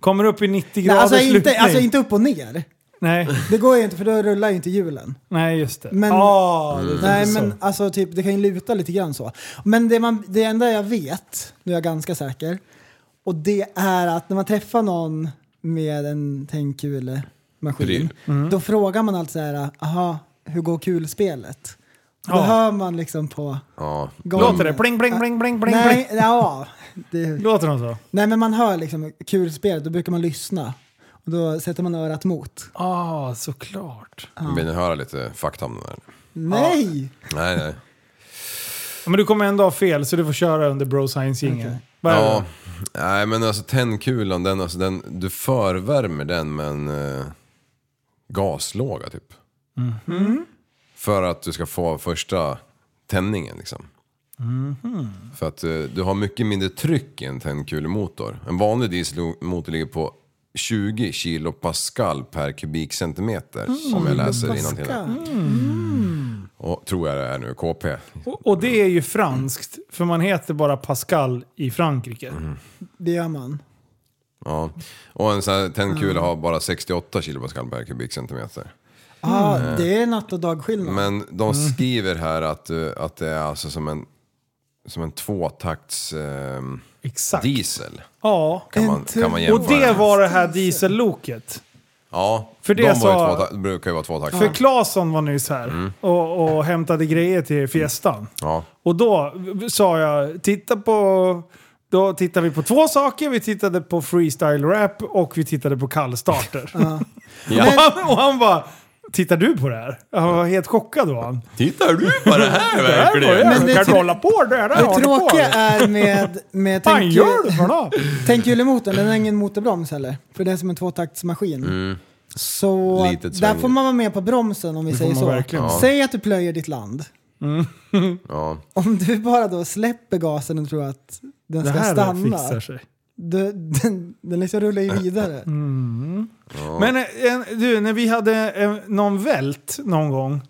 [SPEAKER 5] Kommer upp i 90
[SPEAKER 6] Nej,
[SPEAKER 5] grader
[SPEAKER 6] alltså, inte,
[SPEAKER 5] lutning.
[SPEAKER 6] alltså inte upp och ner.
[SPEAKER 5] Nej,
[SPEAKER 6] Det går ju inte för då rullar ju inte hjulen.
[SPEAKER 5] nej just det.
[SPEAKER 6] Men-
[SPEAKER 5] Ah, det är
[SPEAKER 6] Nej
[SPEAKER 5] så.
[SPEAKER 6] men alltså typ, det kan ju luta lite grann så. Men det, man, det enda jag vet, nu är jag ganska säker, och det är att när man träffar någon med en tändkulemaskin,
[SPEAKER 7] Pryl.
[SPEAKER 6] då frågar man alltid så här, aha, hur går kulspelet? Då
[SPEAKER 5] Ja.
[SPEAKER 6] hör man liksom på
[SPEAKER 7] Ja.
[SPEAKER 6] gången.
[SPEAKER 5] Låter det pling, pling, pling, pling, pling,
[SPEAKER 6] Nej,
[SPEAKER 5] pling?
[SPEAKER 6] ja, det,
[SPEAKER 5] Låter de så?
[SPEAKER 6] nej, men man hör liksom kulspelet, då brukar man lyssna. Och då sätter man örat mot.
[SPEAKER 5] Ah, såklart.
[SPEAKER 7] Vill ni höra lite fakta om den här?
[SPEAKER 6] Nej!
[SPEAKER 7] Nej, nej.
[SPEAKER 5] Ja, Men du kommer ändå ha fel, så du får köra under Bro Science-gingen. Vad är
[SPEAKER 7] Ja,
[SPEAKER 5] det?
[SPEAKER 7] nej men alltså tändkulan, den, alltså, den, du förvärmer den med en eh, gaslåga typ. För att du ska få första tändningen liksom. För att eh, du har mycket mindre tryck i en tändkulemotor. En vanlig dieselmotor ligger på 20 kilopascal per kubikcentimeter. Om jag läser innantill. här. Och tror jag det är nu, KP.
[SPEAKER 5] Och, och det är ju franskt, för man heter bara Pascal i Frankrike.
[SPEAKER 7] Mm.
[SPEAKER 6] Det gör
[SPEAKER 5] Mm.
[SPEAKER 6] man.
[SPEAKER 7] Ja. Och en sån här tändkula har bara 68 kilopascal per kubikcentimeter.
[SPEAKER 6] Ah, det är natt och dagskillnad.
[SPEAKER 7] Men de
[SPEAKER 5] Mm.
[SPEAKER 7] skriver här att, eh, att det är alltså som en, som en tvåtakts ehm,
[SPEAKER 5] Exakt.
[SPEAKER 7] diesel.
[SPEAKER 5] Ja.
[SPEAKER 7] Kan man, kan man
[SPEAKER 5] Och
[SPEAKER 7] jämföra
[SPEAKER 5] det var det här dieselloket.
[SPEAKER 7] Ja,
[SPEAKER 5] för det
[SPEAKER 7] de var
[SPEAKER 5] sa-
[SPEAKER 7] ju tvåta- brukar ju vara tvåtaktare.
[SPEAKER 5] För Claesson var nyss här
[SPEAKER 7] Mm.
[SPEAKER 5] och, och hämtade grejer till fiestan.
[SPEAKER 7] Ja.
[SPEAKER 5] Och då sa jag, titta på... Då tittade vi på två saker. Vi tittade på freestyle-rap och vi tittade på kallstarter. och, han, och han bara, tittar du på det här? Han var helt chockad var han.
[SPEAKER 7] Tittar du på det här
[SPEAKER 5] Det här var jag.
[SPEAKER 6] Men det
[SPEAKER 5] kan du
[SPEAKER 6] tro-
[SPEAKER 5] hålla på det där?
[SPEAKER 6] Det tråkiga är med, med
[SPEAKER 5] Fan gör du
[SPEAKER 6] tänk-
[SPEAKER 5] för då?
[SPEAKER 6] tändkulemotorn, den har ingen motorbroms heller. För det är som en tvåtaktsmaskin. Så
[SPEAKER 7] Litet
[SPEAKER 6] där
[SPEAKER 7] sväng.
[SPEAKER 6] får man vara med på bromsen om vi säger
[SPEAKER 5] man
[SPEAKER 6] så.
[SPEAKER 5] verkligen. Ja.
[SPEAKER 6] Säg att du plöjer ditt land.
[SPEAKER 7] Ja.
[SPEAKER 6] Om du bara då släpper gasen och tror att den
[SPEAKER 5] Det
[SPEAKER 6] ska
[SPEAKER 5] här
[SPEAKER 6] stanna.
[SPEAKER 5] fixar Mm. sig.
[SPEAKER 6] Du, den, den liksom rullar ju vidare.
[SPEAKER 5] Men eh, en, du, när vi hade eh, någon vält någon gång,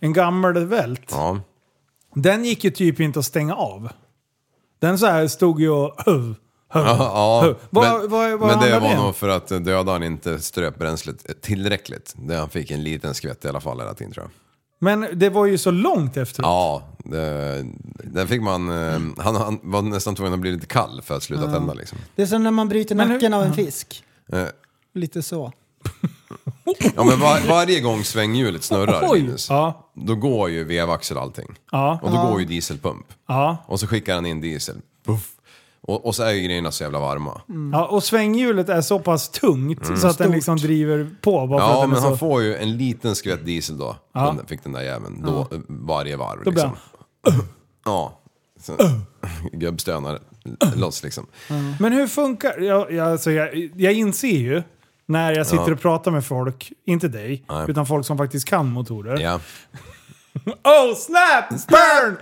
[SPEAKER 5] en gammal vält,
[SPEAKER 7] Mm. Ja.
[SPEAKER 5] den gick ju typ inte att stänga av. Den så här stod ju och... Höv, höv,
[SPEAKER 7] Ja,
[SPEAKER 5] höv. Vad- vad- vad
[SPEAKER 7] men det
[SPEAKER 5] handlar
[SPEAKER 7] var
[SPEAKER 5] om?
[SPEAKER 7] nog för att dödaren inte ströp bränslet eh, tillräckligt. Där han fick en liten skvätt i alla fall hela tiden tror jag.
[SPEAKER 5] Men det var ju så långt efter.
[SPEAKER 7] Ja, det, den fick man... eh, Han, han var nästan tvungen att bli lite kall för att sluta tända liksom.
[SPEAKER 6] Det är som när man bryter
[SPEAKER 5] Men hur- Mm.
[SPEAKER 6] nacken av en fisk.
[SPEAKER 7] Eh,
[SPEAKER 6] Lite så.
[SPEAKER 7] Ja men var, varje gång svänghjulet snurrar
[SPEAKER 5] Oj.
[SPEAKER 7] Linus,
[SPEAKER 5] Ja,
[SPEAKER 7] då går ju vevaxel och allting.
[SPEAKER 5] ja,
[SPEAKER 7] Och då går ju dieselpump.
[SPEAKER 5] ja.
[SPEAKER 7] Och så skickar han in diesel. Puff. Och, och så är ju grejerna så jävla varma.
[SPEAKER 5] ja. Och svänghjulet är så pass tungt så att den liksom driver på. Bara för att
[SPEAKER 7] Mm. Ja
[SPEAKER 5] den
[SPEAKER 7] men
[SPEAKER 5] är så...
[SPEAKER 7] han får ju en liten skvätt diesel då.
[SPEAKER 5] Ja.
[SPEAKER 7] Den, fick den där jäveln. Då, eh, Varje varv
[SPEAKER 5] Då blir
[SPEAKER 7] liksom. Ja. Så- Gubbstönar loss liksom.
[SPEAKER 5] Men hur funkar... Jag, jag, alltså jag, jag inser ju när jag sitter och pratar med folk, inte dig,
[SPEAKER 7] Nej.
[SPEAKER 5] utan folk som faktiskt kan motorer.
[SPEAKER 7] Ja.
[SPEAKER 5] Oh snap! Burn!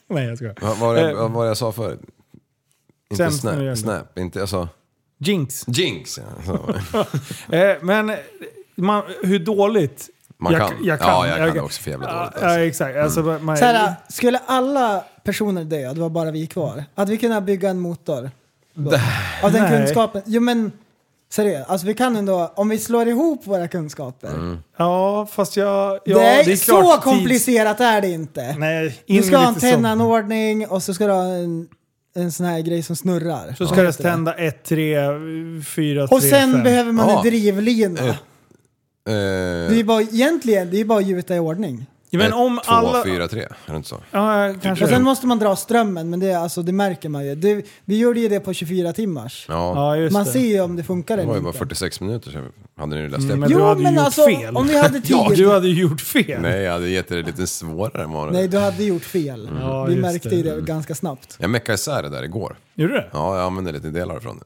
[SPEAKER 5] Nej jag skojar.
[SPEAKER 7] Vad var det
[SPEAKER 5] Eh,
[SPEAKER 7] vad var det jag sa förut? Inte
[SPEAKER 5] sämst när det gäller.
[SPEAKER 7] snap, snap, inte jag sa
[SPEAKER 5] Jinx.
[SPEAKER 7] jinx. Ja, så.
[SPEAKER 5] Eh, men eh, man, hur dåligt?
[SPEAKER 7] Man
[SPEAKER 5] Jag-
[SPEAKER 7] kan.
[SPEAKER 5] jag kan.
[SPEAKER 7] Ja, jag kan
[SPEAKER 5] Jag-
[SPEAKER 7] det också för jävla dåligt.
[SPEAKER 5] Ja,
[SPEAKER 7] Alltså.
[SPEAKER 5] exakt. Alltså, man,
[SPEAKER 6] Så här, skulle alla personer dö, det var bara vi kvar, hade vi kunnat bygga en motor? Då? Av den
[SPEAKER 5] Nej.
[SPEAKER 6] kunskapen? Jo men seriöst, alltså vi kan ändå, om vi slår ihop våra kunskaper.
[SPEAKER 5] ja, fast jag... Mm. Ja,
[SPEAKER 6] det, är så
[SPEAKER 5] klart, tids-
[SPEAKER 6] komplicerat är det inte.
[SPEAKER 5] Nej,
[SPEAKER 6] du
[SPEAKER 5] in
[SPEAKER 6] ska ha en
[SPEAKER 5] lite sånt.
[SPEAKER 6] tennanordning och så ska du ha en, en sån här grej som snurrar.
[SPEAKER 5] Så ska
[SPEAKER 6] Ja.
[SPEAKER 5] det tända 1, 3, 4, 3,
[SPEAKER 6] Och sen
[SPEAKER 5] 5.
[SPEAKER 6] behöver man
[SPEAKER 7] Ja.
[SPEAKER 6] en drivlina.
[SPEAKER 7] Eh,
[SPEAKER 6] Det är ju
[SPEAKER 7] Eh,
[SPEAKER 6] bara, egentligen, det är ju bara att gjuta i ordning.
[SPEAKER 5] men om
[SPEAKER 7] ett, två,
[SPEAKER 5] alla...
[SPEAKER 7] fyra, tre. Är det inte så?
[SPEAKER 5] Ja, kanske.
[SPEAKER 6] Och sen måste man dra strömmen, men det, är- alltså, det märker man ju. Det, vi gjorde ju det på 24 timmars.
[SPEAKER 7] Ja.
[SPEAKER 5] ja, just
[SPEAKER 6] Man
[SPEAKER 5] det. Mm,
[SPEAKER 6] ser ju om det funkar
[SPEAKER 7] Det
[SPEAKER 6] eller
[SPEAKER 7] var ju bara
[SPEAKER 6] inte.
[SPEAKER 7] 46 minuter sedan hade ni läst det.
[SPEAKER 5] Men du
[SPEAKER 6] Jo,
[SPEAKER 5] hade ju
[SPEAKER 6] men
[SPEAKER 5] gjort
[SPEAKER 6] alltså,
[SPEAKER 5] fel.
[SPEAKER 6] om vi hade tid.
[SPEAKER 5] ja, du hade ju gjort fel.
[SPEAKER 7] Nej, jag hade gett det lite svårare än vad det
[SPEAKER 6] Nej, du hade gjort fel.
[SPEAKER 5] Ja,
[SPEAKER 6] vi
[SPEAKER 5] just
[SPEAKER 6] märkte
[SPEAKER 5] det.
[SPEAKER 6] ju det ganska snabbt.
[SPEAKER 7] Jag meckade isär det där igår.
[SPEAKER 5] Gjorde du det?
[SPEAKER 7] Ja, jag använde lite delar från det.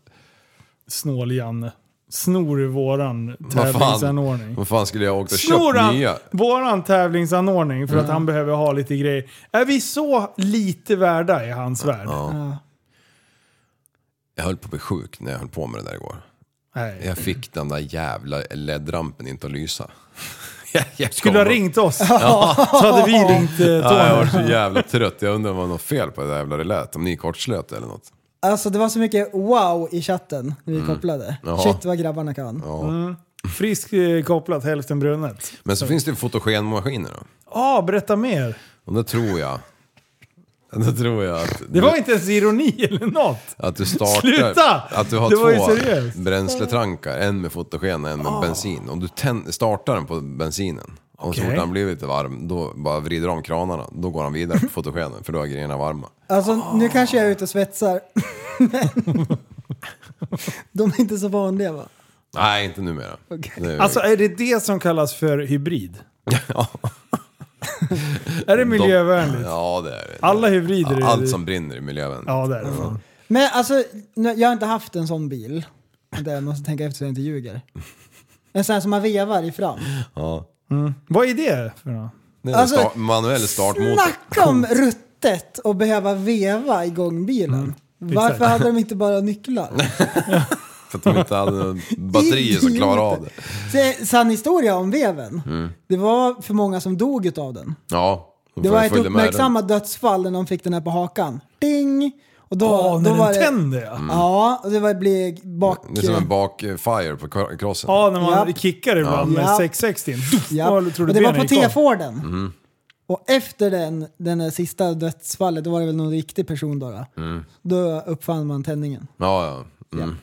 [SPEAKER 5] Snål-Janne. Snor i våran
[SPEAKER 7] Vad
[SPEAKER 5] tävlingsanordning.
[SPEAKER 7] fan, vad fan skulle jag ha åkt och
[SPEAKER 5] Snor
[SPEAKER 7] köpt
[SPEAKER 5] han
[SPEAKER 7] nya? Mm.
[SPEAKER 5] våran tävlingsanordning för att han behöver ha lite grejer? Är vi så lite värda i hans värld?
[SPEAKER 6] Ja.
[SPEAKER 7] Jag höll på att bli sjuk när jag höll på med det där igår.
[SPEAKER 5] Nej.
[SPEAKER 7] Jag fick den där jävla LED-rampen inte att lysa. Jag, jag
[SPEAKER 5] Skulle ha
[SPEAKER 7] kom-
[SPEAKER 5] ringt oss. Så hade vi ringt eh,
[SPEAKER 7] Ja, jag
[SPEAKER 5] Tony.
[SPEAKER 7] var så jävla trött. Jag undrar om det var något fel på det där jävla relät. Om ni kortslöt eller något.
[SPEAKER 6] Alltså det var så mycket wow i chatten när vi kopplade.
[SPEAKER 7] Mm. Ja.
[SPEAKER 6] Shit vad grabbarna kan.
[SPEAKER 7] Ja.
[SPEAKER 5] Frisk eh, kopplat hälften brunnet.
[SPEAKER 7] Men så finns det ju fotogenmaskiner då.
[SPEAKER 5] Ja, berätta mer.
[SPEAKER 7] Och då tror jag... Då tror jag att...
[SPEAKER 5] Det var inte ens ironi eller något.
[SPEAKER 7] Att du startar...
[SPEAKER 5] Sluta!
[SPEAKER 7] Att du har
[SPEAKER 5] Det var ju seriöst. Ah.
[SPEAKER 7] två bränsletrankar. En med fotogen och en med bensin. Och du tän- startar den på bensinen. Och så
[SPEAKER 5] Okej.
[SPEAKER 7] fort han blir lite varm, då bara vrider du om kranarna. Då går han vidare på fotogenen, för då är grejerna varma.
[SPEAKER 6] Alltså nu kanske jag är ute och svetsar. Men- De är inte så vanliga va?
[SPEAKER 7] Nej, inte numera. Det är-
[SPEAKER 5] Alltså är det det som kallas för hybrid?
[SPEAKER 7] ja,
[SPEAKER 5] Är det
[SPEAKER 7] de-
[SPEAKER 5] miljövänligt?
[SPEAKER 7] Ja, det är det.
[SPEAKER 5] Alla hybrider är-
[SPEAKER 7] Allt som brinner är miljövänligt.
[SPEAKER 5] Ja, det är det. fan.
[SPEAKER 6] Men alltså, nu- jag har inte haft en sån bil. Där jag måste tänka efter så jag inte ljuger. En sån här som man vevar i fram.
[SPEAKER 7] Ja.
[SPEAKER 5] Vad är det för något?
[SPEAKER 7] Det är en
[SPEAKER 6] Alltså,
[SPEAKER 7] start, manuell startmotor.
[SPEAKER 6] Snacka om ruttet och behöva veva igång bilen.
[SPEAKER 7] Mm,
[SPEAKER 6] Varför
[SPEAKER 5] exakt.
[SPEAKER 6] hade de inte bara nycklar?
[SPEAKER 7] För att de inte hade några batterier som klarar av det. Mm.
[SPEAKER 6] det. Sann historia om veven. Det var för många som dog utav den.
[SPEAKER 7] Ja.
[SPEAKER 6] Det var ett
[SPEAKER 7] följde med den.
[SPEAKER 6] uppmärksammat dödsfall när de fick den här på hakan. Ding! Och då,
[SPEAKER 5] Ja,
[SPEAKER 6] då
[SPEAKER 5] när
[SPEAKER 6] var
[SPEAKER 5] den
[SPEAKER 6] det,
[SPEAKER 5] tänder ja.
[SPEAKER 6] Ja, och det var, blev bak...
[SPEAKER 7] Det är som en bakfire på kro- crossen.
[SPEAKER 5] Ja, när man
[SPEAKER 6] Japp.
[SPEAKER 5] kickar ibland med
[SPEAKER 6] Japp.
[SPEAKER 5] 660.
[SPEAKER 6] Ja,
[SPEAKER 5] Ja. Tror du
[SPEAKER 6] och det var
[SPEAKER 5] benen
[SPEAKER 6] på
[SPEAKER 5] gick av?
[SPEAKER 6] T-Forden.
[SPEAKER 7] Mm.
[SPEAKER 6] Och efter den, den där sista dödsfallet, då var det väl någon riktig person då. Då,
[SPEAKER 7] Mm.
[SPEAKER 6] då uppfann man tändningen.
[SPEAKER 7] Ja, ja. Mm.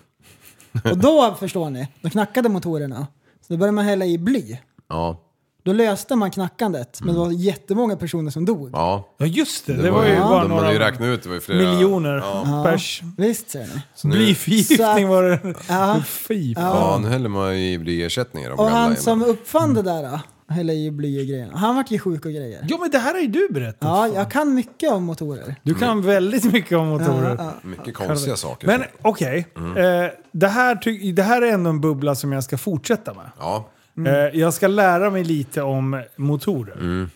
[SPEAKER 6] Och då, förstår ni, då knackade motorerna. Så då började man hälla i bly.
[SPEAKER 7] Ja.
[SPEAKER 6] Då löste man knackandet, men det var jättemånga personer som dog.
[SPEAKER 7] Mm. Ja.
[SPEAKER 5] Ja just det, det, var ju bara
[SPEAKER 7] de hade ju
[SPEAKER 5] några
[SPEAKER 7] räknat ut, det var ju flera...
[SPEAKER 5] miljoner
[SPEAKER 7] Ja.
[SPEAKER 5] pers.
[SPEAKER 6] Visst ser ni?
[SPEAKER 7] nu-
[SPEAKER 5] Blyförgiftning var det.
[SPEAKER 6] Ja.
[SPEAKER 5] Fy fan.
[SPEAKER 7] Ja, nu häller man ju i blyersättning i de
[SPEAKER 6] Och
[SPEAKER 7] gamla Mm.
[SPEAKER 6] han
[SPEAKER 7] jävla-
[SPEAKER 6] som uppfann det där, då, hälla i bly och grejerna, han vart ju sjuk och grejer.
[SPEAKER 5] Ja men det här har ju du berättat.
[SPEAKER 6] Ja, jag kan mycket om motorer.
[SPEAKER 5] Du
[SPEAKER 7] Mm.
[SPEAKER 5] kan väldigt mycket om motorer.
[SPEAKER 7] Mycket konstiga saker.
[SPEAKER 5] Men okej,
[SPEAKER 7] Mm.
[SPEAKER 5] eh, det, här ty- det här är ändå en bubbla som jag ska
[SPEAKER 6] Mm.
[SPEAKER 5] fortsätta med.
[SPEAKER 7] Ja. Mm.
[SPEAKER 5] Eh, jag ska lära mig lite om motorer.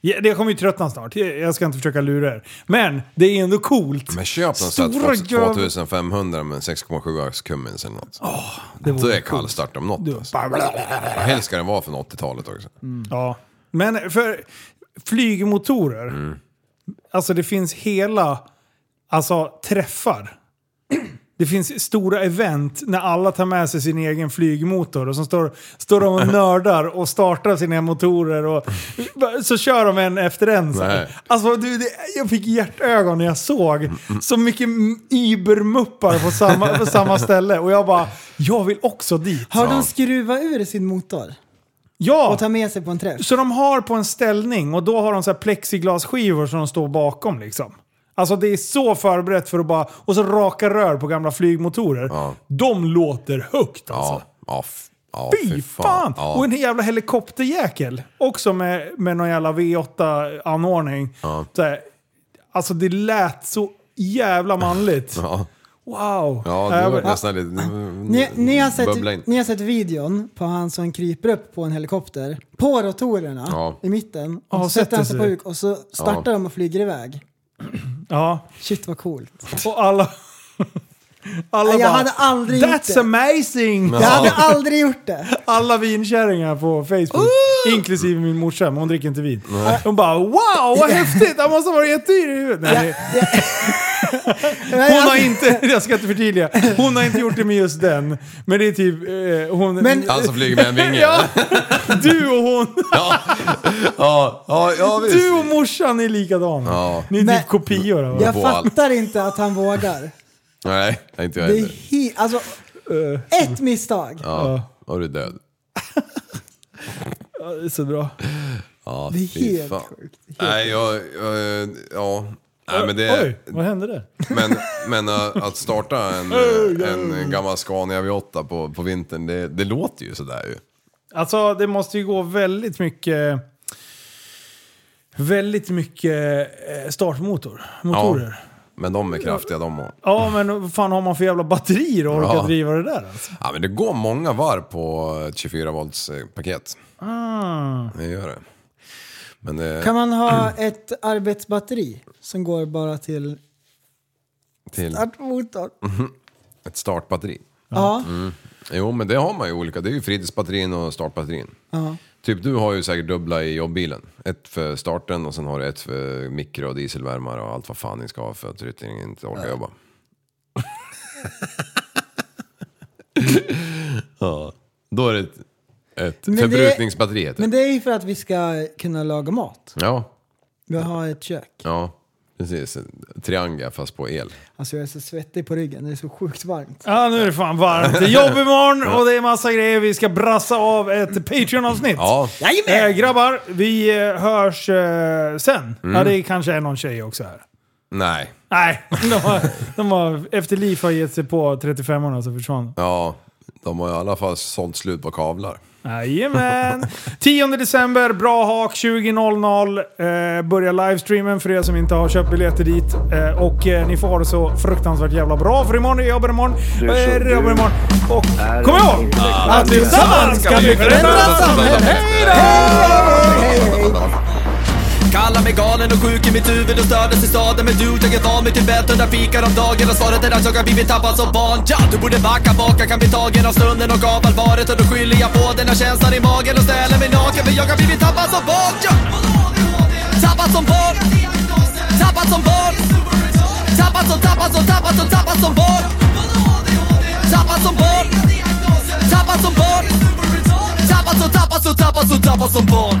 [SPEAKER 5] Ja, det kommer ju tröttna snart. Jag jag ska inte försöka lura er. Men det är ändå coolt.
[SPEAKER 7] Men köp någon sån
[SPEAKER 5] Stora
[SPEAKER 7] här
[SPEAKER 5] jävla-
[SPEAKER 7] 2500 med 6,7 ax Cummins eller något.
[SPEAKER 5] Det
[SPEAKER 7] Då
[SPEAKER 5] vore
[SPEAKER 7] är kallstart om något. Alltså. Helst ska den vara från 80-talet också.
[SPEAKER 6] Mm.
[SPEAKER 5] Ja. Men för flygmotorer, alltså det finns hela alltså, träffar. Det finns stora event när alla tar med sig sin egen flygmotor och så står, står de och nördar och startar sina motorer och så kör de en efter en. Så här.
[SPEAKER 7] Nej.
[SPEAKER 5] Alltså du, det, jag fick hjärtögon när jag såg så mycket m- übermuppar på samma, på samma ställe och jag bara, jag vill också dit.
[SPEAKER 6] Har de skruvat ur sin motor
[SPEAKER 5] Ja!
[SPEAKER 6] och tar med sig på en träff?
[SPEAKER 5] Så de har på en ställning och då har de så här plexiglasskivor som de står bakom liksom. Alltså det är så förberett för att bara... Och så raka rör på gamla flygmotorer. De låter högt alltså.
[SPEAKER 7] Ja, ja, f- ja
[SPEAKER 5] Fy fan!
[SPEAKER 7] Ja.
[SPEAKER 5] Och en jävla helikopterjäkel. Också med, med någon jävla V8-anordning. Så här, Alltså det lät så jävla manligt.
[SPEAKER 7] Ja,
[SPEAKER 5] Wow!
[SPEAKER 7] ja
[SPEAKER 5] Äh,
[SPEAKER 7] det var
[SPEAKER 5] men-
[SPEAKER 7] nästan lite...
[SPEAKER 6] Ah, Ni, ni, har
[SPEAKER 7] Mm, Bubbla in.
[SPEAKER 6] sett, ni har sett videon på han som kryper upp på en helikopter på rotorerna
[SPEAKER 7] Ja.
[SPEAKER 6] i mitten.
[SPEAKER 5] Ja,
[SPEAKER 6] Och så sätter han sig på
[SPEAKER 5] sätter sig.
[SPEAKER 6] huk och så startar
[SPEAKER 7] Ja.
[SPEAKER 6] de och flyger iväg.
[SPEAKER 5] ja.
[SPEAKER 6] Shit vad coolt.
[SPEAKER 5] Och alla... alla
[SPEAKER 6] Jag
[SPEAKER 5] bara,
[SPEAKER 6] hade aldrig gjort
[SPEAKER 5] That's
[SPEAKER 6] det."
[SPEAKER 5] amazing!
[SPEAKER 6] Jag hade aldrig gjort det.
[SPEAKER 5] alla vinkärringar på Facebook, inklusive min morsa, men hon dricker inte vin. Hon bara “Wow, vad häftigt! Han måste ha varit jättedyr i huvudet!” Nej,
[SPEAKER 6] Nej,
[SPEAKER 5] Hon har
[SPEAKER 6] alltså-
[SPEAKER 5] inte, jag ska inte förtydliga, hon har inte gjort det med just den. Men det är typ eh, hon...
[SPEAKER 6] Men-
[SPEAKER 7] Han som flyger med en vinge.
[SPEAKER 5] ja, du och hon,
[SPEAKER 7] Ja, ja, ja visst.
[SPEAKER 5] du och morsan är likadana.
[SPEAKER 7] Ja.
[SPEAKER 5] Ni är
[SPEAKER 6] Men-
[SPEAKER 5] typ kopior av varandra.
[SPEAKER 6] Jag
[SPEAKER 7] på allt.
[SPEAKER 6] fattar inte att han vågar.
[SPEAKER 7] Nej, inte jag
[SPEAKER 6] Det är
[SPEAKER 7] heller.
[SPEAKER 6] he- alltså, ett misstag.
[SPEAKER 7] Eh. Ja, och du är död.
[SPEAKER 5] Det är så bra.
[SPEAKER 7] Ja,
[SPEAKER 6] Det är
[SPEAKER 7] fy
[SPEAKER 6] helt
[SPEAKER 7] fan.
[SPEAKER 6] sjukt.
[SPEAKER 7] Nej, jag... jag ja. Nej, men det...
[SPEAKER 5] Oj, vad hände där?
[SPEAKER 7] Men, men äh, att starta en, äh, en gammal Scania V8 på, på vintern, det, det låter ju sådär ju.
[SPEAKER 5] Alltså det måste ju gå väldigt mycket... Väldigt mycket eh, startmotor. Motorer.
[SPEAKER 7] Men de är kraftiga de och.
[SPEAKER 5] Ja, men vad fan har man för jävla batterier och orkar
[SPEAKER 7] Ja.
[SPEAKER 5] driva det där alltså?
[SPEAKER 7] Ja men det går många varv på ett 24 volts eh, paket.
[SPEAKER 5] Ah.
[SPEAKER 7] Det gör det. Men eh, det
[SPEAKER 6] Kan man ha ett arbetsbatteri som går bara till
[SPEAKER 7] till
[SPEAKER 6] startmotorn?
[SPEAKER 7] ett startbatteri.
[SPEAKER 6] Ja.
[SPEAKER 7] Mm. Jo men det har man ju olika. Det är ju fritidsbatterin och startbatterin.
[SPEAKER 6] Ja.
[SPEAKER 7] Typ du har ju säkert dubbla i jobbbilen. Ett för starten och sen har du ett för mikro och dieselvärmare och allt vad fan ni ska ha för att ryttingen inte orkar jobba. ja. Då är det ett, ett
[SPEAKER 6] Men det-
[SPEAKER 7] förbrukningsbatteri heter
[SPEAKER 6] Men
[SPEAKER 7] det.
[SPEAKER 6] det är ju för att vi ska kunna laga mat.
[SPEAKER 7] Ja,
[SPEAKER 6] Vi har ett kök.
[SPEAKER 7] ja. Precis. En Trianga fast på el.
[SPEAKER 6] Alltså jag är så svettig på ryggen, det är så sjukt varmt.
[SPEAKER 5] Ja, nu är det fan varmt. Det är jobb imorgon och det är massa grejer. Vi ska brassa av ett Patreon-avsnitt.
[SPEAKER 7] Ja,
[SPEAKER 5] Eh, grabbar, vi eh, hörs eh, sen.
[SPEAKER 7] Mm.
[SPEAKER 5] Ja, det kanske är någon tjej också här.
[SPEAKER 7] nej.
[SPEAKER 5] Nej, de har, de har, efter Liv har gett sig på 35orna så försvann
[SPEAKER 7] Ja, de har i alla fall sålt slut på kavlar.
[SPEAKER 5] Jajamän! 10 december, bra hak 20.00. Eh, börjar livestreamen för er som inte har köpt biljetter dit. Eh, och eh, ni får ha det så fruktansvärt jävla bra för imorgon är det jobbar imorgon.
[SPEAKER 3] Du
[SPEAKER 5] Eh,
[SPEAKER 3] så
[SPEAKER 5] det jobbar
[SPEAKER 3] du
[SPEAKER 5] imorgon. Och
[SPEAKER 3] är
[SPEAKER 5] kom ihåg
[SPEAKER 3] intellektuell
[SPEAKER 5] att vi tillsammans ska vi förändra samhället.
[SPEAKER 1] Kallar mig galen och sjuk i mitt huvud och stördes i staden Men du, jag är van vid Tibet under fikar om dagen Och svaret är att jag har blivit tappad som barn ja, Du borde backa bak, jag kan bli tagen av stunden och av allvaret Och då skyller jag på den här känslan i magen och ställer mig naken För jag har blivit tappad som barn ja. Tappad som barn Tappad som barn Tappad som, tappad som, tappad som, tappad som barn Tappad som barn Tappad som barn Tappad som, tappad som, tappad som, tappad som barn